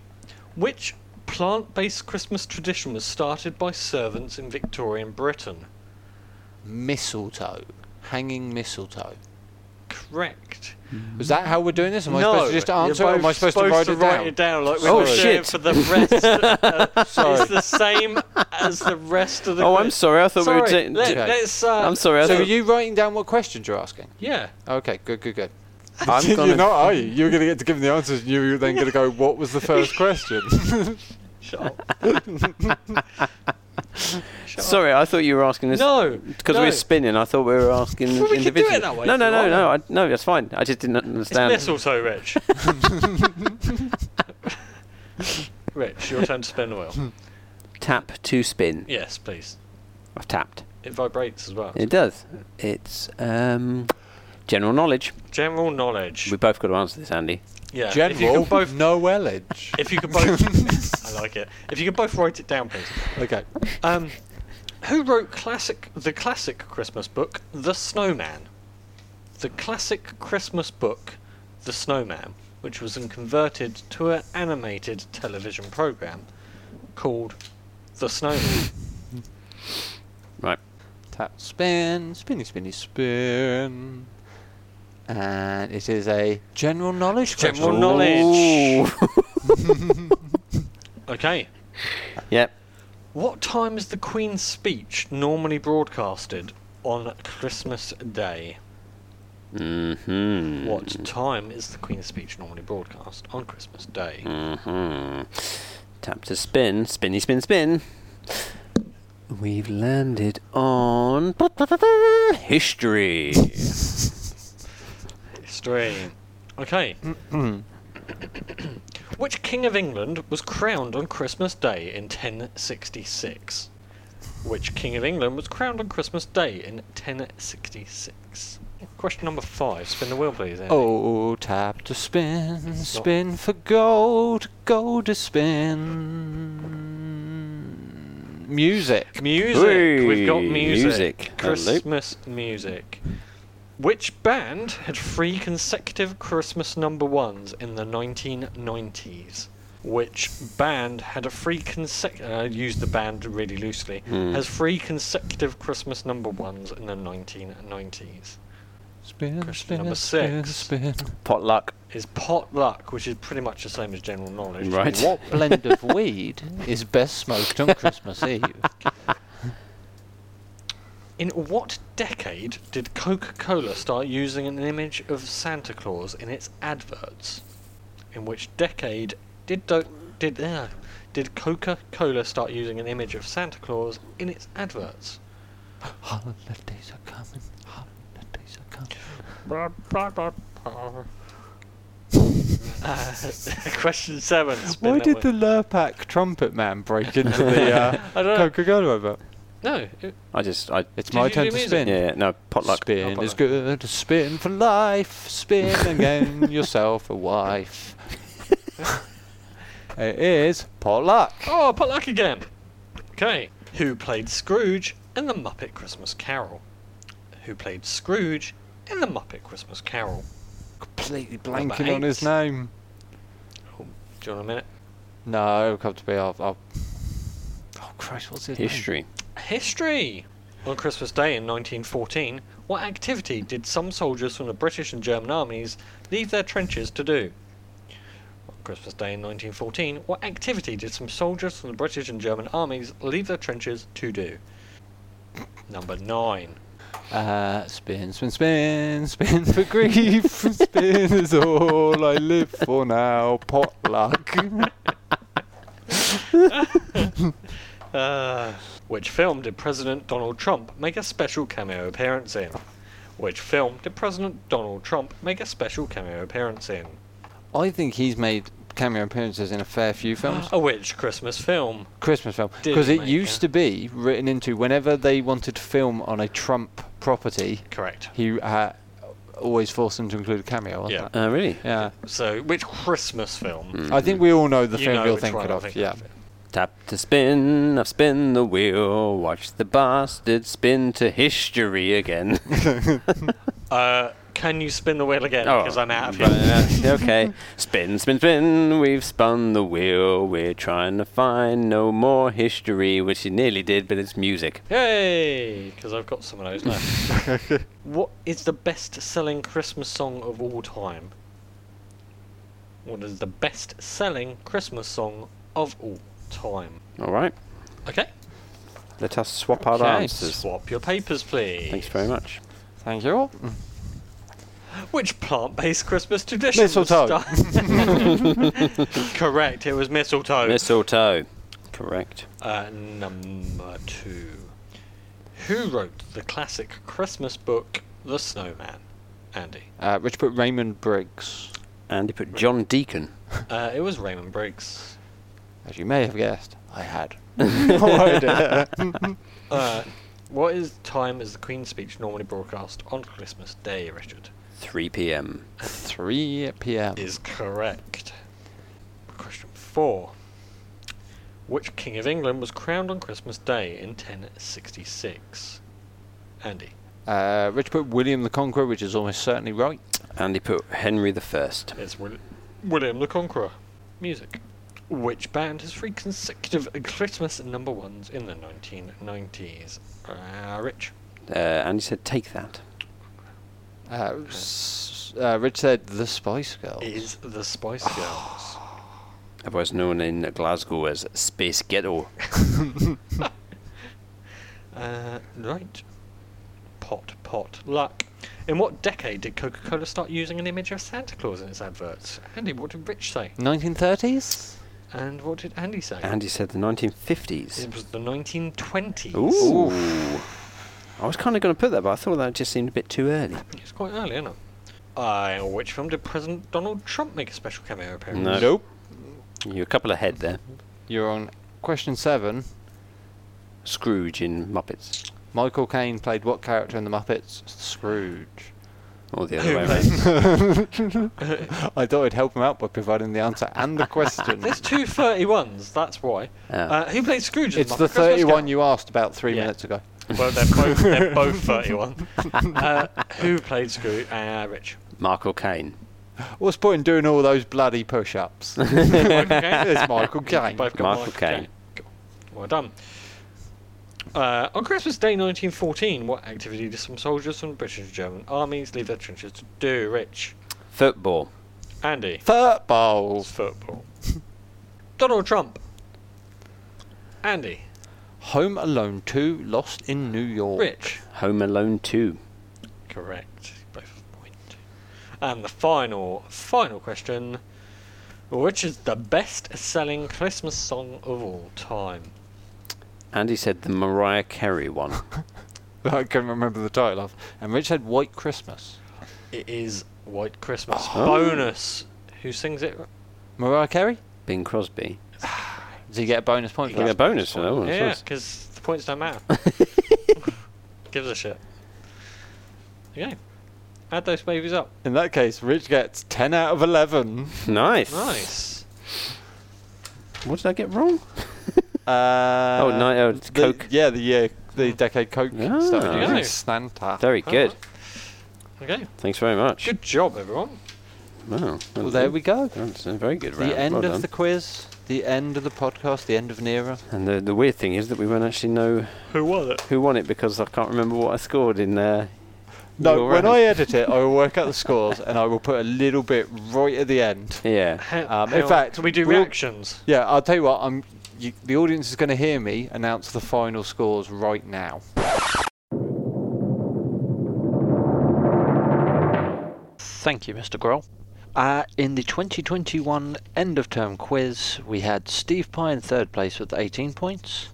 [SPEAKER 2] which plant based Christmas tradition was started by servants in Victorian Britain?
[SPEAKER 6] Mistletoe. Hanging mistletoe.
[SPEAKER 2] Correct.
[SPEAKER 6] Is that how we're doing this? Am I
[SPEAKER 2] no,
[SPEAKER 6] supposed to just answer? Or am I supposed, to write it down? Oh,
[SPEAKER 2] like we
[SPEAKER 6] Sorry.
[SPEAKER 2] were doing for the
[SPEAKER 6] (laughs)
[SPEAKER 2] rest. (laughs)
[SPEAKER 6] Sorry.
[SPEAKER 2] uh, it's the same as the rest of the.
[SPEAKER 5] Oh,
[SPEAKER 2] quiz.
[SPEAKER 5] I'm sorry. I thought we were
[SPEAKER 2] Sorry,
[SPEAKER 5] doing-
[SPEAKER 2] let-
[SPEAKER 5] Okay.
[SPEAKER 2] let's, uh,
[SPEAKER 5] I'm sorry. I
[SPEAKER 6] So,
[SPEAKER 5] thought-
[SPEAKER 6] are you writing down what questions you're asking?
[SPEAKER 2] Yeah.
[SPEAKER 6] Okay, good, good, good.
[SPEAKER 5] I'm
[SPEAKER 4] You're
[SPEAKER 5] gonna-
[SPEAKER 4] not, are you? You were going to get to give them the answers, and you were then going to go, "What was the first question?"
[SPEAKER 2] Shut up.
[SPEAKER 5] Sorry, I thought you were asking this.
[SPEAKER 2] No,
[SPEAKER 5] because
[SPEAKER 2] no.
[SPEAKER 5] we're spinning. I thought we were asking
[SPEAKER 2] Well, we can do it
[SPEAKER 5] individually.
[SPEAKER 2] that way
[SPEAKER 5] no,
[SPEAKER 2] if
[SPEAKER 5] no,
[SPEAKER 2] you
[SPEAKER 5] no,
[SPEAKER 2] want.
[SPEAKER 5] no, I, no. That's fine. I just didn't
[SPEAKER 2] It's
[SPEAKER 5] understand.
[SPEAKER 2] mistletoe,
[SPEAKER 5] (laughs)
[SPEAKER 2] Rich. Rich, your turn to spin the wheel.
[SPEAKER 5] Tap to spin.
[SPEAKER 2] Yes, please.
[SPEAKER 5] I've tapped.
[SPEAKER 2] It vibrates as well.
[SPEAKER 5] It does. It's um, general knowledge.
[SPEAKER 2] General knowledge.
[SPEAKER 5] We both got to answer this, Andy.
[SPEAKER 2] Yeah. If you
[SPEAKER 4] General
[SPEAKER 2] could both,
[SPEAKER 4] knowledge.
[SPEAKER 2] if you could
[SPEAKER 4] (laughs)
[SPEAKER 2] both, I like it. If you could both write it down, please.
[SPEAKER 4] Okay.
[SPEAKER 2] Um, who wrote classic the classic Christmas book, The Snowman? The classic Christmas book, The Snowman, which was then converted to an animated television program called The Snowman.
[SPEAKER 5] Right.
[SPEAKER 6] Tap, spin, spinny, spinny, spin. And it is a general knowledge
[SPEAKER 2] General
[SPEAKER 6] question.
[SPEAKER 2] knowledge. okay.
[SPEAKER 5] Yep.
[SPEAKER 2] What time is the Queen's speech normally broadcasted on Christmas Day?
[SPEAKER 5] Mm-hmm.
[SPEAKER 2] What time is the Queen's speech normally broadcast on Christmas Day?
[SPEAKER 5] Mm-hmm. Tap to spin. Spinny, spin, spin. We've landed on history.
[SPEAKER 2] History. Okay. Which King of England was crowned on Christmas Day in 1066? Which King of England was crowned on Christmas Day in 1066? Question number five. Spin the wheel, please. Andy.
[SPEAKER 6] Oh, tap to spin, spin for gold, gold to spin. Music.
[SPEAKER 2] Music. We've got
[SPEAKER 5] Hey,
[SPEAKER 2] music.
[SPEAKER 5] music. Hello.
[SPEAKER 2] Christmas music. Which band had three consecutive Christmas number ones in the 1990s? Which band had a three consecutive? I use the band really loosely.
[SPEAKER 5] Hmm.
[SPEAKER 2] Has three consecutive Christmas number ones in the 1990s?
[SPEAKER 6] Spin,
[SPEAKER 2] Question
[SPEAKER 6] spin,
[SPEAKER 2] number
[SPEAKER 6] spin,
[SPEAKER 2] six.
[SPEAKER 6] spin.
[SPEAKER 5] Potluck.
[SPEAKER 2] Is potluck, which is pretty much the same as general knowledge.
[SPEAKER 5] Right.
[SPEAKER 6] What blend of weed is best smoked on Christmas Eve?
[SPEAKER 2] In what decade did Coca Cola start using an image of Santa Claus in its adverts? In which decade did do- did uh, did Coca Cola start using an image of Santa Claus in its adverts?
[SPEAKER 6] Holidays are coming. Holidays are coming.
[SPEAKER 2] Uh, (laughs) question seven. spin
[SPEAKER 4] Why
[SPEAKER 2] that
[SPEAKER 4] did the
[SPEAKER 2] wheel.
[SPEAKER 4] Lurpak trumpet man break into the uh,
[SPEAKER 6] (laughs)
[SPEAKER 2] I don't know.
[SPEAKER 4] Coca-Cola advert?
[SPEAKER 2] no? it-
[SPEAKER 5] I just. I.
[SPEAKER 6] It's
[SPEAKER 2] Did
[SPEAKER 6] my
[SPEAKER 2] you
[SPEAKER 6] turn
[SPEAKER 2] do
[SPEAKER 6] to
[SPEAKER 2] music?
[SPEAKER 6] spin.
[SPEAKER 5] Yeah. No. Potluck.
[SPEAKER 6] Spin
[SPEAKER 2] Oh,
[SPEAKER 6] is
[SPEAKER 2] potluck.
[SPEAKER 6] good. Spin for life. Spin (laughs) again yourself a wife. (laughs) it is potluck.
[SPEAKER 2] Oh, potluck again. Okay. Who played Scrooge in the Muppet Christmas Carol? who played Scrooge in the Muppet Christmas Carol.
[SPEAKER 6] Completely
[SPEAKER 2] Number
[SPEAKER 6] blanking on
[SPEAKER 2] eight.
[SPEAKER 6] his name.
[SPEAKER 2] Do you want a minute?
[SPEAKER 6] No, come to be. I'll, I'll... Oh Christ, what's his name?
[SPEAKER 2] History! On Christmas Day in 1914, what activity did some soldiers from the British and German armies leave their trenches to do? On Christmas Day in 1914, what activity did some soldiers from the British and German armies leave their trenches to do? Number 9.
[SPEAKER 6] Uh, spin, spin, spin, spin for grief. (laughs) spin is all I live for now. Potluck.
[SPEAKER 2] Uh, which film did President Donald Trump make a special cameo appearance in? Which film did President Donald Trump make a special cameo appearance in?
[SPEAKER 6] I think he's made cameo appearances in a fair few films. (gasps)
[SPEAKER 2] A which Christmas film?
[SPEAKER 6] Christmas film.
[SPEAKER 2] Did
[SPEAKER 6] Because
[SPEAKER 2] he
[SPEAKER 6] it
[SPEAKER 2] make
[SPEAKER 6] used to be written into whenever they wanted to film on a Trump property.
[SPEAKER 2] Correct.
[SPEAKER 6] He uh, always forced them to include a cameo. wasn't
[SPEAKER 2] Yeah.
[SPEAKER 6] it?
[SPEAKER 5] Oh, really?
[SPEAKER 6] Yeah.
[SPEAKER 2] So, which Christmas film?
[SPEAKER 6] I think we all know Hmm. the
[SPEAKER 2] You
[SPEAKER 6] film
[SPEAKER 2] know
[SPEAKER 6] you're
[SPEAKER 2] which
[SPEAKER 6] thinking
[SPEAKER 2] one I'm
[SPEAKER 6] of.
[SPEAKER 2] thinking
[SPEAKER 6] yeah.
[SPEAKER 5] Tap to spin, I've spin the wheel. Watch the bastard spin to history again.
[SPEAKER 2] Uh, can you spin the wheel again?
[SPEAKER 5] Oh,
[SPEAKER 2] (laughs) Because I'm out of
[SPEAKER 5] but,
[SPEAKER 2] here.
[SPEAKER 5] uh, okay. Spin, spin, spin. We've spun the wheel. We're trying to find no more history, which you nearly did, but it's music.
[SPEAKER 2] Yay! Because I've got some of those
[SPEAKER 6] (laughs)
[SPEAKER 2] left. what is the best selling Christmas song of all time? What is the best selling Christmas song of all time?
[SPEAKER 5] All right.
[SPEAKER 2] Okay.
[SPEAKER 5] Let us swap our answers.
[SPEAKER 2] Swap your papers, please.
[SPEAKER 5] Thanks very much.
[SPEAKER 6] Thank you all.
[SPEAKER 2] Which plant based Christmas tradition?
[SPEAKER 5] Mistletoe.
[SPEAKER 2] start- (laughs) Correct, it was mistletoe.
[SPEAKER 5] Mistletoe. Correct.
[SPEAKER 2] Uh, number two. Who wrote the classic Christmas book, The Snowman? Andy.
[SPEAKER 6] Uh, Rich put Raymond Briggs,
[SPEAKER 5] And you put John Deacon.
[SPEAKER 2] Uh, it was Raymond Briggs.
[SPEAKER 6] as you may have guessed. I (laughs) had no idea.
[SPEAKER 2] Uh, what is time is the Queen's speech normally broadcast on Christmas Day, Richard?
[SPEAKER 5] 3 p.m.
[SPEAKER 6] 3 p.m.
[SPEAKER 2] Is correct. Question four. Which King of England was crowned on Christmas Day in 1066? Andy.
[SPEAKER 6] Uh, Rich put William the Conqueror, which is almost certainly right.
[SPEAKER 5] And you put Henry the First.
[SPEAKER 2] It's Will- William the Conqueror. Music. Which band has three consecutive Christmas number ones in the 1990s? Uh, Rich.
[SPEAKER 5] Uh, and you said take that.
[SPEAKER 6] Uh, s- uh, Rich said the Spice Girls.
[SPEAKER 2] Is the Spice Girls.
[SPEAKER 5] Otherwise known in Glasgow as Space Ghetto.
[SPEAKER 2] Uh, right. Pot, pot, luck. In what decade did Coca Cola start using an image of Santa Claus in its adverts? Andy, what did Rich say?
[SPEAKER 6] 1930s?
[SPEAKER 2] And what did Andy say?
[SPEAKER 5] And you said the 1950s.
[SPEAKER 2] It was the 1920s.
[SPEAKER 5] Ooh. I was kind of going to put that, but I thought that just seemed a bit too early.
[SPEAKER 2] It's quite early, isn't it? Uh, which film did President Donald Trump make a special cameo appearance?
[SPEAKER 5] No.
[SPEAKER 6] Nope.
[SPEAKER 5] You're a couple ahead there.
[SPEAKER 6] You're on question seven.
[SPEAKER 5] Scrooge in Muppets.
[SPEAKER 6] Michael Caine played what character in The Muppets? Scrooge.
[SPEAKER 2] (gasps)
[SPEAKER 5] Or the other
[SPEAKER 2] Who
[SPEAKER 5] way
[SPEAKER 2] plays-
[SPEAKER 5] around.
[SPEAKER 6] I thought I'd help him out by providing the answer and the
[SPEAKER 2] (laughs)
[SPEAKER 6] question.
[SPEAKER 2] There's two 31s, that's why.
[SPEAKER 5] Ah.
[SPEAKER 2] Uh, who played Scrooge in
[SPEAKER 6] it's
[SPEAKER 2] Muppet
[SPEAKER 6] the
[SPEAKER 2] Christmas
[SPEAKER 6] 31 you asked about three
[SPEAKER 2] Yeah.
[SPEAKER 6] minutes ago.
[SPEAKER 2] Carol? Well, they're both, they're both 31. (laughs) Uh, who played Scrooge? Uh, Rich.
[SPEAKER 5] Michael Caine.
[SPEAKER 6] What's the point in doing all those bloody push
[SPEAKER 2] (laughs)
[SPEAKER 6] ups?
[SPEAKER 2] Michael Caine?
[SPEAKER 6] There's Michael Caine.
[SPEAKER 2] Both got
[SPEAKER 5] Michael Caine.
[SPEAKER 2] Cool. Well done. Uh, on Christmas Day 1914, what activity did some soldiers from the British and German armies leave their trenches to do? Rich,
[SPEAKER 5] Football.
[SPEAKER 2] Andy,
[SPEAKER 6] Football.
[SPEAKER 2] it's football. Donald Trump, Andy,
[SPEAKER 6] Home Alone 2, Lost in New York.
[SPEAKER 2] Rich,
[SPEAKER 5] Home Alone 2.
[SPEAKER 2] correct. Both have a point. And the final, final question: Which is the best-selling Christmas song of all time?
[SPEAKER 5] Andy said the Mariah Carey (laughs) one.
[SPEAKER 6] that (laughs) I can remember the title of. And Rich had White Christmas.
[SPEAKER 2] It is White Christmas.
[SPEAKER 5] Oh.
[SPEAKER 2] Bonus. Who sings it?
[SPEAKER 6] Mariah Carey?
[SPEAKER 5] Bing Crosby.
[SPEAKER 6] Does he get a bonus point
[SPEAKER 5] You
[SPEAKER 6] for
[SPEAKER 5] get
[SPEAKER 6] that?
[SPEAKER 5] a bonus for that one.
[SPEAKER 2] Yeah,
[SPEAKER 5] that's
[SPEAKER 2] because the points
[SPEAKER 5] (laughs)
[SPEAKER 2] don't matter. Gives a shit. Okay. Add those babies up.
[SPEAKER 6] In that case, Rich gets 10 out of 11. (laughs)
[SPEAKER 5] Nice.
[SPEAKER 2] Nice.
[SPEAKER 5] What did I get wrong?
[SPEAKER 6] Uh,
[SPEAKER 5] oh, no, oh, it's
[SPEAKER 6] the-
[SPEAKER 5] Coke.
[SPEAKER 6] Yeah, the year, the Decade Coke stuff.
[SPEAKER 5] Ah.
[SPEAKER 6] using
[SPEAKER 5] There you go.
[SPEAKER 6] Santa.
[SPEAKER 5] Very good.
[SPEAKER 2] Okay.
[SPEAKER 5] Thanks very much.
[SPEAKER 2] Good job, everyone.
[SPEAKER 5] Wow.
[SPEAKER 6] Well, there we go.
[SPEAKER 5] That's a very good round.
[SPEAKER 6] The end
[SPEAKER 5] Well
[SPEAKER 6] of
[SPEAKER 5] done.
[SPEAKER 6] the quiz, the end of the podcast, the end of an era.
[SPEAKER 5] And the, the weird thing is that we won't actually know
[SPEAKER 2] who won it.
[SPEAKER 5] Who won it because I can't remember what I scored in uh,
[SPEAKER 6] No,
[SPEAKER 5] your
[SPEAKER 6] when
[SPEAKER 5] round.
[SPEAKER 6] I edit it, I will work out the (laughs) scores and I will put a little bit right at the end.
[SPEAKER 5] Yeah.
[SPEAKER 2] How-
[SPEAKER 6] Um,
[SPEAKER 2] how-
[SPEAKER 6] in fact,
[SPEAKER 2] can we do
[SPEAKER 6] we'll-
[SPEAKER 2] reactions?
[SPEAKER 6] Yeah, I'll tell you what. I'm. You, the audience is going to hear me announce the final scores right now.
[SPEAKER 10] Thank you, Mr. Grohl.
[SPEAKER 6] Uh, in the 2021 end of term quiz, we had Steve Pye in third place with 18 points,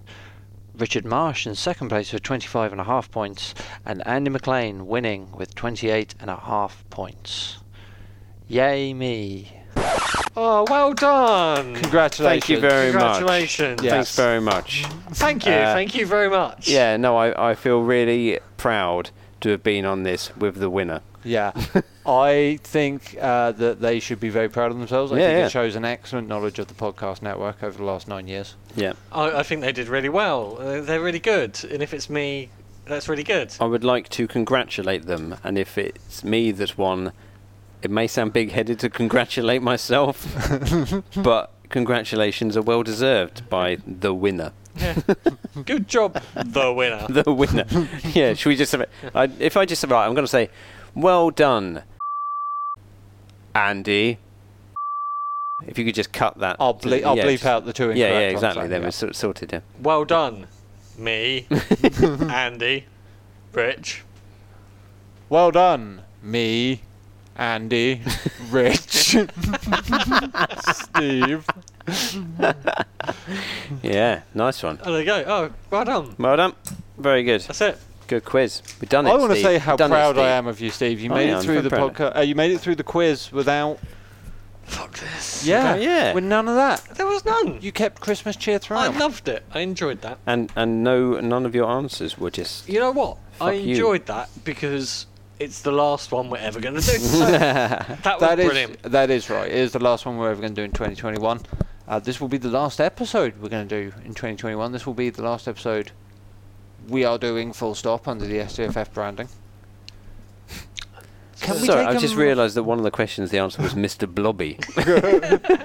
[SPEAKER 6] Richard Marsh in second place with 25 and a half points, and Andy McLean winning with 28 and a half points. Yay me!
[SPEAKER 2] Oh, well done.
[SPEAKER 6] Congratulations!
[SPEAKER 5] Thank you very
[SPEAKER 2] Congratulations.
[SPEAKER 5] much. Thanks very much.
[SPEAKER 2] Thank you.
[SPEAKER 5] Uh,
[SPEAKER 2] thank you very much.
[SPEAKER 5] Yeah, no, I, I feel really proud to have been on this with the winner. (laughs)
[SPEAKER 6] Yeah, I think uh, that they should be very proud of themselves. I
[SPEAKER 5] Yeah,
[SPEAKER 6] think
[SPEAKER 5] yeah.
[SPEAKER 6] it shows an excellent knowledge of the podcast network over the last nine years.
[SPEAKER 5] Yeah.
[SPEAKER 2] I, I think they did really well. Uh, they're really good. And if it's me, that's really good.
[SPEAKER 5] I would like to congratulate them, and if it's me that won, it may sound big headed to congratulate myself, (laughs) but congratulations are well deserved by the winner. (laughs)
[SPEAKER 2] Good job, the winner.
[SPEAKER 5] The winner. yeah, should we just have it? I, if I just, right, I'm going to say, well done, Andy. If you could just cut that.
[SPEAKER 6] I'll ble- I'll bleep
[SPEAKER 5] just-
[SPEAKER 6] out the two
[SPEAKER 5] Yeah, yeah,
[SPEAKER 6] incorrect ones,
[SPEAKER 5] exactly.
[SPEAKER 6] like,
[SPEAKER 5] Then
[SPEAKER 6] yeah.
[SPEAKER 5] we're sort- sorted, yeah.
[SPEAKER 2] Well done, me, Andy, Rich.
[SPEAKER 6] Well done, me,
[SPEAKER 5] (laughs)
[SPEAKER 6] Andy, Rich, Steve.
[SPEAKER 5] Yeah, nice one.
[SPEAKER 2] Oh, there you go. Oh, well done.
[SPEAKER 5] Well done. Very good.
[SPEAKER 2] That's it.
[SPEAKER 5] Good quiz. We've done it.
[SPEAKER 6] I want to
[SPEAKER 5] Steve.
[SPEAKER 6] say how
[SPEAKER 5] We've done it,
[SPEAKER 6] proud I
[SPEAKER 5] Steve.
[SPEAKER 6] am of you, Steve. You
[SPEAKER 5] Oh,
[SPEAKER 6] made
[SPEAKER 5] yeah,
[SPEAKER 6] it
[SPEAKER 5] I'm
[SPEAKER 6] through
[SPEAKER 5] very
[SPEAKER 6] the
[SPEAKER 5] proud of
[SPEAKER 6] podcast. Uh, you made it through the quiz without.
[SPEAKER 2] Fuck this.
[SPEAKER 6] Yeah,
[SPEAKER 5] Okay, yeah.
[SPEAKER 6] With none of that,
[SPEAKER 2] There was none.
[SPEAKER 6] you kept Christmas cheer
[SPEAKER 2] I
[SPEAKER 6] throughout.
[SPEAKER 2] loved it. I enjoyed that.
[SPEAKER 5] And and no, none of your answers were just.
[SPEAKER 2] You know what? I
[SPEAKER 5] Fuck you.
[SPEAKER 2] enjoyed that because it's the last one we're ever going to do. So that was
[SPEAKER 6] That is-
[SPEAKER 2] brilliant.
[SPEAKER 6] that is right. It is the last one we're ever going to do in 2021. Uh, this will be the last episode we're going to do in 2021. This will be the last episode we are doing full stop under the SDFF branding. Can we
[SPEAKER 5] Sorry,
[SPEAKER 6] take
[SPEAKER 5] I've
[SPEAKER 6] a
[SPEAKER 5] just
[SPEAKER 6] mo-
[SPEAKER 5] realised that one of the questions, the answer was Mr.
[SPEAKER 6] (laughs)
[SPEAKER 5] Blobby. (laughs)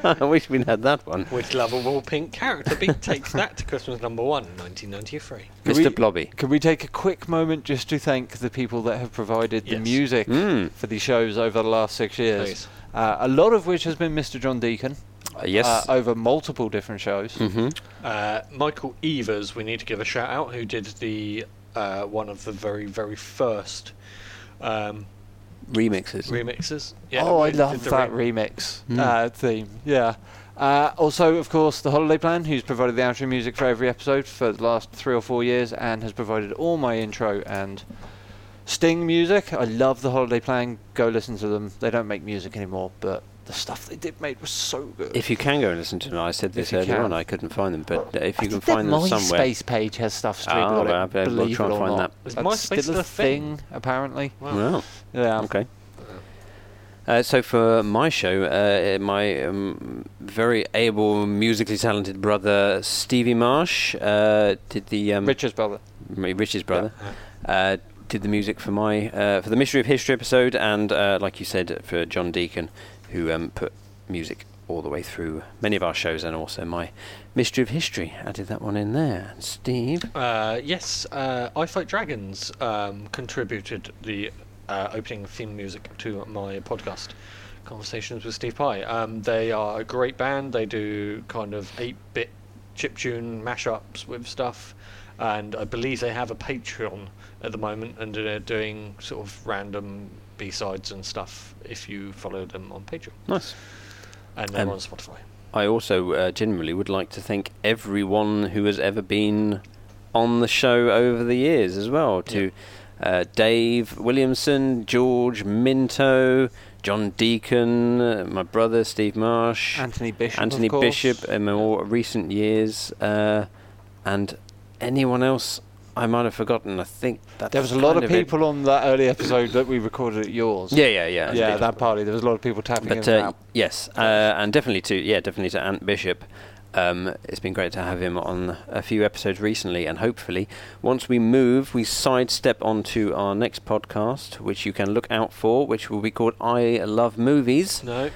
[SPEAKER 5] I wish we'd had that one.
[SPEAKER 2] With lovable pink character beat takes that to Christmas number one in 1993.
[SPEAKER 6] Can
[SPEAKER 5] Mr.
[SPEAKER 6] we-
[SPEAKER 5] Blobby.
[SPEAKER 6] Can we take a quick moment just to thank the people that have provided the
[SPEAKER 2] Yes.
[SPEAKER 6] music
[SPEAKER 5] Mm.
[SPEAKER 6] for the shows over the last six years?
[SPEAKER 2] Please.
[SPEAKER 6] Uh, a lot of which has been Mr. John Deacon.
[SPEAKER 5] Uh, yes.
[SPEAKER 6] uh, over multiple different shows.
[SPEAKER 5] hmm
[SPEAKER 2] Uh, Michael Evers, we need to give a shout out, who did the uh, one of the very very first um,
[SPEAKER 5] Remixes.
[SPEAKER 2] remixes. Yeah,
[SPEAKER 6] oh, I
[SPEAKER 2] we
[SPEAKER 6] love
[SPEAKER 2] did the
[SPEAKER 6] that
[SPEAKER 2] rem-
[SPEAKER 6] remix
[SPEAKER 5] Mm.
[SPEAKER 6] uh, theme. Yeah. Uh, also, of course, the Holiday Plan, who's provided the outro music for every episode for the last three or four years, and has provided all my intro and Sting music. I love the Holiday Plan. Go listen to them. They don't make music anymore, but the stuff they did make was so good.
[SPEAKER 5] If you can go and listen to them, I said this
[SPEAKER 6] you
[SPEAKER 5] earlier
[SPEAKER 6] can.
[SPEAKER 5] on, I couldn't find them, but uh, if
[SPEAKER 6] I
[SPEAKER 5] you can
[SPEAKER 6] think their
[SPEAKER 5] find them somewhere.
[SPEAKER 6] MySpace page has stuff streamed
[SPEAKER 5] Ah,
[SPEAKER 6] on
[SPEAKER 5] well,
[SPEAKER 6] it.
[SPEAKER 5] I'll- I'll
[SPEAKER 6] believe
[SPEAKER 5] try
[SPEAKER 6] it
[SPEAKER 5] and
[SPEAKER 6] or
[SPEAKER 5] find
[SPEAKER 6] not.
[SPEAKER 2] that. Is
[SPEAKER 6] That's
[SPEAKER 2] MySpace
[SPEAKER 6] still
[SPEAKER 2] a
[SPEAKER 6] a
[SPEAKER 2] thing?
[SPEAKER 6] thing, apparently.
[SPEAKER 5] Wow.
[SPEAKER 6] Yeah.
[SPEAKER 5] Okay. Uh, so for my show, uh, my um, very able, musically talented brother Stevie Marsh uh, did the um,
[SPEAKER 6] Richard's brother.
[SPEAKER 5] my- Rich's brother, uh, did the music for my uh, for the Mystery of History episode, and uh, like you said, for John Deacon, who um, put music all the way through many of our shows, and also my Mystery of History. Added that one in there. And Steve,
[SPEAKER 2] Uh, yes, uh, I Fight Dragons um, contributed the uh, opening theme music to my podcast, Conversations with Steve Pye. Um, they are a great band. They do kind of 8 bit chiptune mashups with stuff, and I believe they have a Patreon at the moment, and they're doing sort of random B sides and stuff if you follow them on Patreon.
[SPEAKER 5] nice.
[SPEAKER 2] And they're
[SPEAKER 5] Um,
[SPEAKER 2] on Spotify.
[SPEAKER 5] I also uh, generally would like to thank everyone who has ever been on the show over the years as well. To uh, Dave Williamson, George Minto, John Deacon, uh, my brother Steve Marsh,
[SPEAKER 6] Anthony Bishop. of
[SPEAKER 5] Anthony
[SPEAKER 6] course.
[SPEAKER 5] Bishop in my more recent years, uh, and anyone else I might have forgotten. I think that's
[SPEAKER 6] There was a lot
[SPEAKER 5] kind
[SPEAKER 6] of
[SPEAKER 5] it.
[SPEAKER 6] people on that early episode that we recorded at yours.
[SPEAKER 5] Yeah, yeah, yeah.
[SPEAKER 6] yeah,
[SPEAKER 5] indeed.
[SPEAKER 6] that party. There was a lot of people tapping in
[SPEAKER 5] But
[SPEAKER 6] and
[SPEAKER 5] uh,
[SPEAKER 6] out.
[SPEAKER 5] yes, uh, and definitely to yeah, definitely to Ant Bishop, Um, it's been great to have him on a few episodes recently, and hopefully, once we move, we sidestep onto our next podcast, which you can look out for, which will be called I Love Movies.
[SPEAKER 2] No.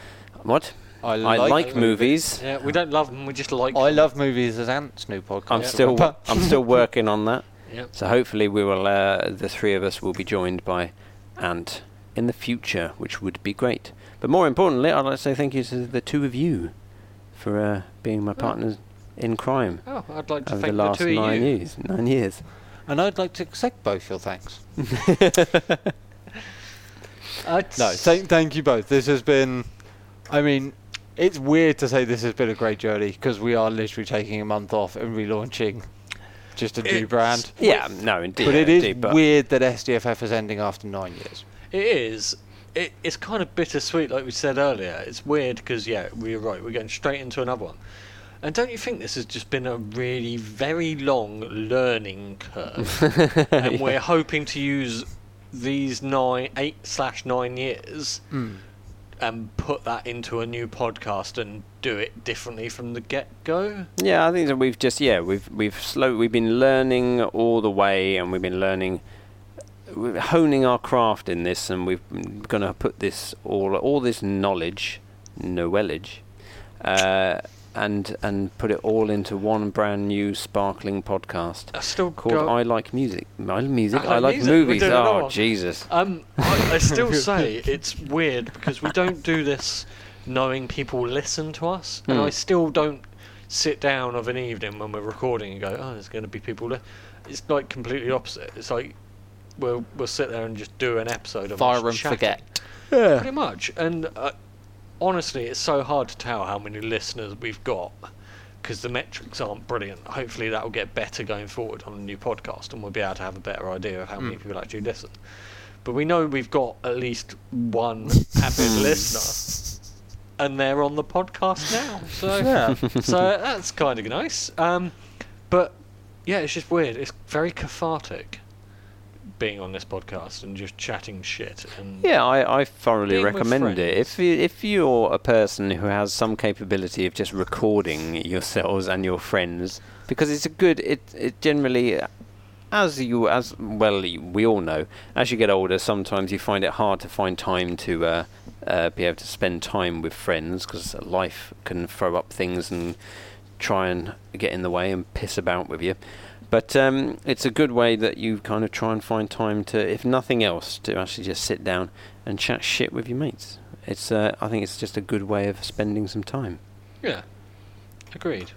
[SPEAKER 5] What? I, like movies.
[SPEAKER 2] Yeah, we don't love them. We just like.
[SPEAKER 6] I
[SPEAKER 2] them.
[SPEAKER 6] love movies as Ant's new podcast.
[SPEAKER 5] I'm still
[SPEAKER 6] (laughs)
[SPEAKER 5] I'm still working on that.
[SPEAKER 2] Yep.
[SPEAKER 5] So hopefully we will uh, the three of us will be joined by Ant in the future, which would be great. But more importantly, I'd like to say thank you to the two of you for uh, being my partners in crime
[SPEAKER 2] Oh, I'd like to
[SPEAKER 5] over
[SPEAKER 2] thank
[SPEAKER 5] the
[SPEAKER 2] the
[SPEAKER 5] last
[SPEAKER 2] two of
[SPEAKER 5] nine
[SPEAKER 2] you.
[SPEAKER 5] years. Nine years.
[SPEAKER 6] And I'd like to accept both your
[SPEAKER 5] (laughs)
[SPEAKER 6] thanks.
[SPEAKER 2] Uh,
[SPEAKER 6] No,
[SPEAKER 4] thank, thank you both. This has been, I mean, it's weird to say this has been a great journey because we are literally taking a month off and relaunching just a new brand.
[SPEAKER 5] Yeah, no, indeed.
[SPEAKER 4] But it
[SPEAKER 5] yeah,
[SPEAKER 4] is
[SPEAKER 5] indeed, but-
[SPEAKER 4] weird that SDFF is ending after nine years.
[SPEAKER 2] It is. It, it's kind of bittersweet, like we said earlier. It's weird because, yeah, we're right. We're going straight into another one. And don't you think this has just been a really very long learning curve?
[SPEAKER 5] (laughs)
[SPEAKER 2] and
[SPEAKER 5] Yeah.
[SPEAKER 2] we're hoping to use these nine, eight slash nine years
[SPEAKER 12] Hmm.
[SPEAKER 2] and put that into a new podcast and do it differently from the get go.
[SPEAKER 5] Yeah, I think that we've just yeah we've we've slow we've been learning all the way, and we've been learning, we're honing our craft in this, and we've going to put this all all this knowledge, knowledge, uh, and and put it all into one brand new sparkling podcast
[SPEAKER 2] I still
[SPEAKER 5] called
[SPEAKER 2] go-
[SPEAKER 5] I like music. I like music. I
[SPEAKER 2] I
[SPEAKER 5] like
[SPEAKER 2] music. We're
[SPEAKER 5] movies.
[SPEAKER 2] doing it
[SPEAKER 5] Oh
[SPEAKER 2] all.
[SPEAKER 5] Jesus!
[SPEAKER 2] Um, I,
[SPEAKER 6] (laughs)
[SPEAKER 2] I still say it's weird because we don't do this knowing people listen to us, and
[SPEAKER 5] Hmm.
[SPEAKER 2] I still don't sit down of an evening when we're recording and go, "Oh, there's going to be people." Li-. It's like completely opposite. It's like we'll we'll sit there and just do an episode of
[SPEAKER 6] Fire
[SPEAKER 2] us
[SPEAKER 6] and
[SPEAKER 2] chatting.
[SPEAKER 6] forget.
[SPEAKER 2] pretty much. And uh, honestly, it's so hard to tell how many listeners we've got. Because the metrics aren't brilliant. Hopefully, that will get better going forward on a new podcast, and we'll be able to have a better idea of how
[SPEAKER 5] Hmm.
[SPEAKER 2] many people actually listen. But we know we've got at least
[SPEAKER 5] (laughs)
[SPEAKER 2] one avid listener, and they're on the podcast now.
[SPEAKER 5] (laughs)
[SPEAKER 2] So,
[SPEAKER 5] Yeah.
[SPEAKER 2] so that's kind of nice. Um, but yeah, it's just weird. It's very cathartic being on this podcast and just chatting shit. And
[SPEAKER 5] Yeah, I, I thoroughly
[SPEAKER 2] Being with
[SPEAKER 5] recommend it. If you, if you're a person who has some capability of just recording (laughs) yourselves and your friends, because it's a good it it generally, as you as well you- we all know, as you get older, sometimes you find it hard to find time to uh, uh, be able to spend time with friends because life can throw up things and try and get in the way and piss about with you. But um, it's a good way that you kind of try and find time to, if nothing else, to actually just sit down and chat shit with your mates. It's, uh, I think it's just a good way of spending some time.
[SPEAKER 2] yeah, agreed.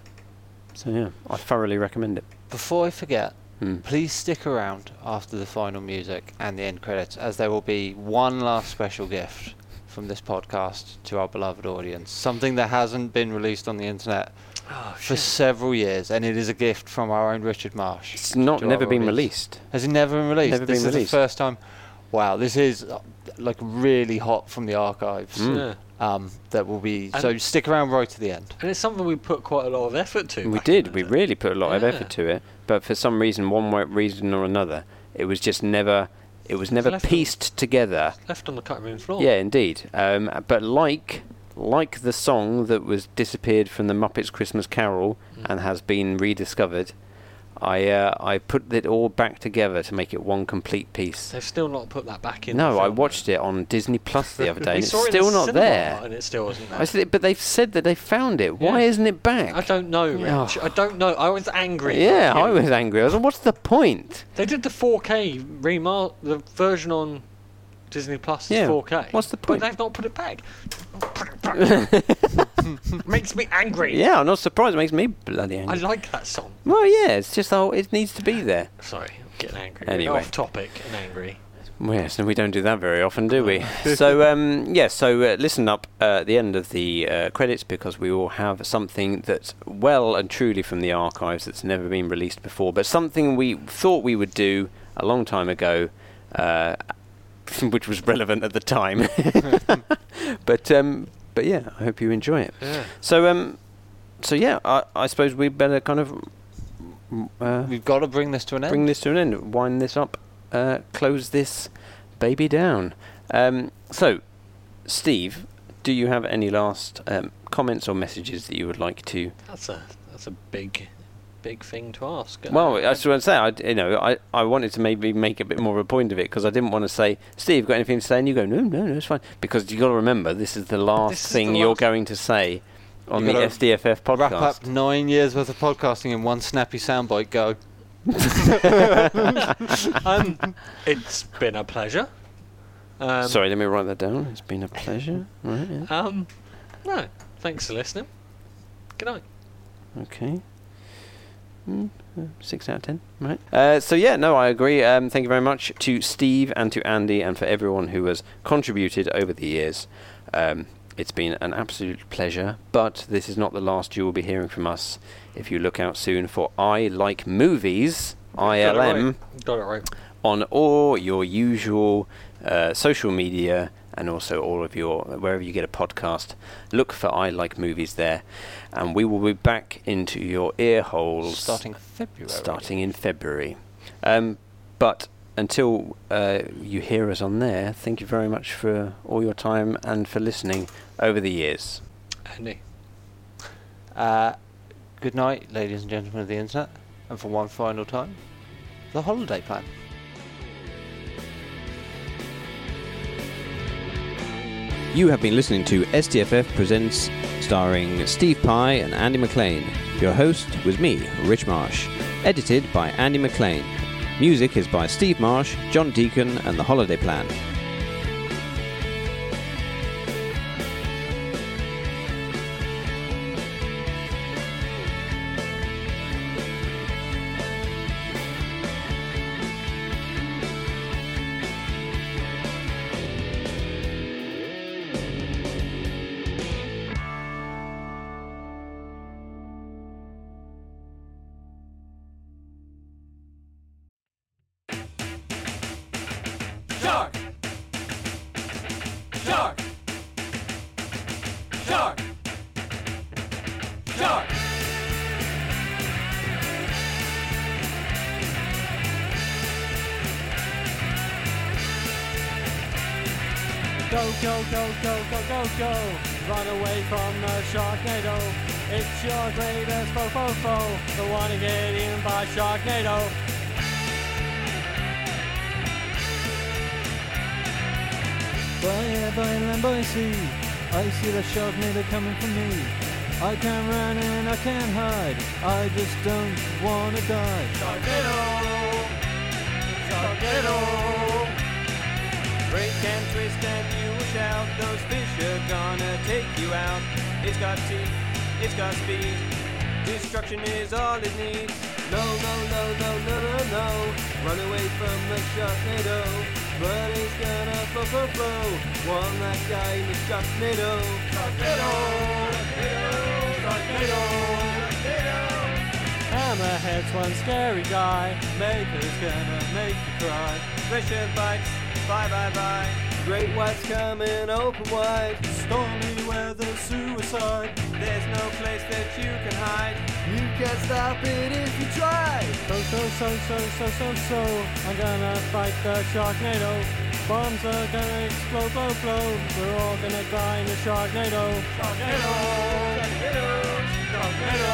[SPEAKER 5] So yeah, I thoroughly recommend it.
[SPEAKER 6] Before I forget,
[SPEAKER 5] Hmm.
[SPEAKER 6] please stick around after the final music and the end credits, as there will be one last special gift from this podcast to our beloved audience. Something that hasn't been released on the internet
[SPEAKER 2] Oh,
[SPEAKER 5] Oh,
[SPEAKER 6] for several years, and it is a gift from our own Richard Marsh.
[SPEAKER 5] It's not
[SPEAKER 6] to our
[SPEAKER 5] never been
[SPEAKER 6] audience.
[SPEAKER 5] released.
[SPEAKER 6] Has it never been released?
[SPEAKER 5] Never
[SPEAKER 6] this
[SPEAKER 5] been
[SPEAKER 6] is
[SPEAKER 5] released.
[SPEAKER 6] the first time. Wow, this is uh, like really hot from the archives.
[SPEAKER 5] Hmm.
[SPEAKER 2] Mm.
[SPEAKER 6] Um, that will be
[SPEAKER 2] And-
[SPEAKER 6] so. Stick around right to the end.
[SPEAKER 2] And it's something we put quite a lot of effort to.
[SPEAKER 5] We
[SPEAKER 2] back
[SPEAKER 5] did.
[SPEAKER 2] in
[SPEAKER 5] We
[SPEAKER 2] the-
[SPEAKER 5] really put a lot of
[SPEAKER 2] Yeah.
[SPEAKER 5] effort to it, but for some reason, one wa- reason or another, it was just never. It was never
[SPEAKER 2] left on-
[SPEAKER 5] pieced together.
[SPEAKER 2] left on the cutting room floor.
[SPEAKER 5] Yeah, indeed. Um, but like like the song that was disappeared from the Muppets Christmas Carol
[SPEAKER 2] Hmm.
[SPEAKER 5] and has been rediscovered, I uh, I put it all back together to make it one complete piece.
[SPEAKER 2] They've still not put that back in.
[SPEAKER 5] No,
[SPEAKER 2] the
[SPEAKER 5] I
[SPEAKER 2] film.
[SPEAKER 5] watched it on Disney Plus
[SPEAKER 2] (laughs)
[SPEAKER 5] the other day,
[SPEAKER 2] We
[SPEAKER 5] and it's
[SPEAKER 2] saw it in
[SPEAKER 5] still
[SPEAKER 2] the
[SPEAKER 5] not
[SPEAKER 2] cinema,
[SPEAKER 5] there.
[SPEAKER 2] And it still wasn't there.
[SPEAKER 5] I said, but they've said that they found it. Why
[SPEAKER 2] Yeah.
[SPEAKER 5] isn't it back?
[SPEAKER 2] I don't know,
[SPEAKER 5] Yeah.
[SPEAKER 2] Rich. I don't know. I was angry.
[SPEAKER 5] yeah,
[SPEAKER 2] Fuck
[SPEAKER 5] I
[SPEAKER 2] you.
[SPEAKER 5] was angry. I was like, what's the point?
[SPEAKER 2] They did the 4K remar the version on Disney Plus is
[SPEAKER 5] Yeah,
[SPEAKER 2] 4K.
[SPEAKER 5] what's the point?
[SPEAKER 2] But they've not put
[SPEAKER 5] (laughs)
[SPEAKER 2] it back. Put it back. Makes me angry.
[SPEAKER 5] Yeah, I'm not surprised. It makes me bloody
[SPEAKER 2] I
[SPEAKER 5] angry.
[SPEAKER 2] like that song.
[SPEAKER 5] well, yeah, it's just oh, it needs to be there.
[SPEAKER 2] Sorry, I'm getting angry.
[SPEAKER 5] Anyway.
[SPEAKER 2] Off topic and angry.
[SPEAKER 5] Well, Yes, and we don't do that very often, do we? (laughs) so, um, yeah, so uh, listen up uh, at the end of the uh, credits because we will have something that's well and truly from the archives that's never been released before, but something we thought we would do a long time ago, uh, (laughs) which was relevant at the time. (laughs) but, um, but yeah, I hope you enjoy it.
[SPEAKER 2] Yeah.
[SPEAKER 5] So, um, so yeah, I, I suppose we better kind of uh,
[SPEAKER 6] We've got to bring this to an end.
[SPEAKER 5] bring this to an end, wind this up, uh, close this baby down. Um, so, Steve, do you have any last um, comments or messages that you would like to?
[SPEAKER 2] That's a that's a big, big thing to ask.
[SPEAKER 5] Well, I was going to say, I, you know, I, I wanted to maybe make a bit more of a point of it because I didn't want to say, Steve, got anything to say? And you go, no, no, no, it's fine. Because you got to remember, this is the last
[SPEAKER 4] This is
[SPEAKER 5] thing
[SPEAKER 4] the
[SPEAKER 5] you're
[SPEAKER 4] last-
[SPEAKER 5] going to say on
[SPEAKER 4] You
[SPEAKER 5] the
[SPEAKER 4] gotta
[SPEAKER 5] SDFF podcast.
[SPEAKER 4] Wrap up nine years worth of podcasting in one snappy soundbite. Go.
[SPEAKER 2] um, it's been a pleasure. Um,
[SPEAKER 5] Sorry, let me write that down. It's been a pleasure. Right, yeah.
[SPEAKER 2] Um, no, thanks for listening. Good night.
[SPEAKER 5] Okay. Mm, uh, six out of ten, right? Uh, so yeah, no, I agree. Um, thank you very much to Steve and to Andy and for everyone who has contributed over the years. Um, it's been an absolute pleasure, but this is not the last you will be hearing from us. If you look out soon for I Like Movies,
[SPEAKER 2] Got it
[SPEAKER 5] ILM
[SPEAKER 2] right. Got it right.
[SPEAKER 5] on all your usual uh, social media and also all of your wherever you get a podcast. Look for I Like Movies there, and we will be back into your ear holes
[SPEAKER 4] Starting February.
[SPEAKER 5] Starting in February, um, but until uh, you hear us on there, thank you very much for all your time and for listening over the years.
[SPEAKER 2] Andy.
[SPEAKER 4] Uh, good night, ladies and gentlemen of the internet, and for one final time, the holiday plan.
[SPEAKER 13] You have been listening to STFF Presents, starring Steve Pye and Andy McLean. Your host was me, Rich Marsh. Edited by Andy McLean. Music is by Steve Marsh, John Deacon, and The Holiday Plan.
[SPEAKER 14] Shark! Shark! Shark! Shark! Go, go, go, go, go, go, go! Run away from the Sharknado! It's your greatest foe, foe, foe! The one to get eaten by Sharknado!
[SPEAKER 15] Bye bye land by sea. I see the sharknado coming for me. I can run and I can hide. I just don't wanna die.
[SPEAKER 14] Sharknado! Sharknado! Break and twist and you will shout. Those fish are gonna take you out. It's got teeth, it's got speed. Destruction is all it needs. No, no, no, no, no, no, no. Run away from the Sharknado. But it's gonna flow, flow, flow. One last guy in the Sharknado. Sharknado! Sharknado! Sharknado! Hammerhead's one scary guy. Maker's gonna make you cry. Fisher bites, bye bye bye. Great white's coming open wide. Stormy weather, suicide. There's no place that you can hide. You can't stop it if you try. So so so so so so so. I'm gonna fight the Sharknado. Bombs are gonna explode, blow, blow. We're all gonna die in the Sharknado. Sharknado. Sharknado. Sharknado.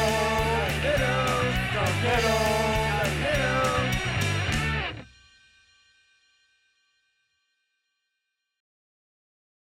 [SPEAKER 14] Sharknado.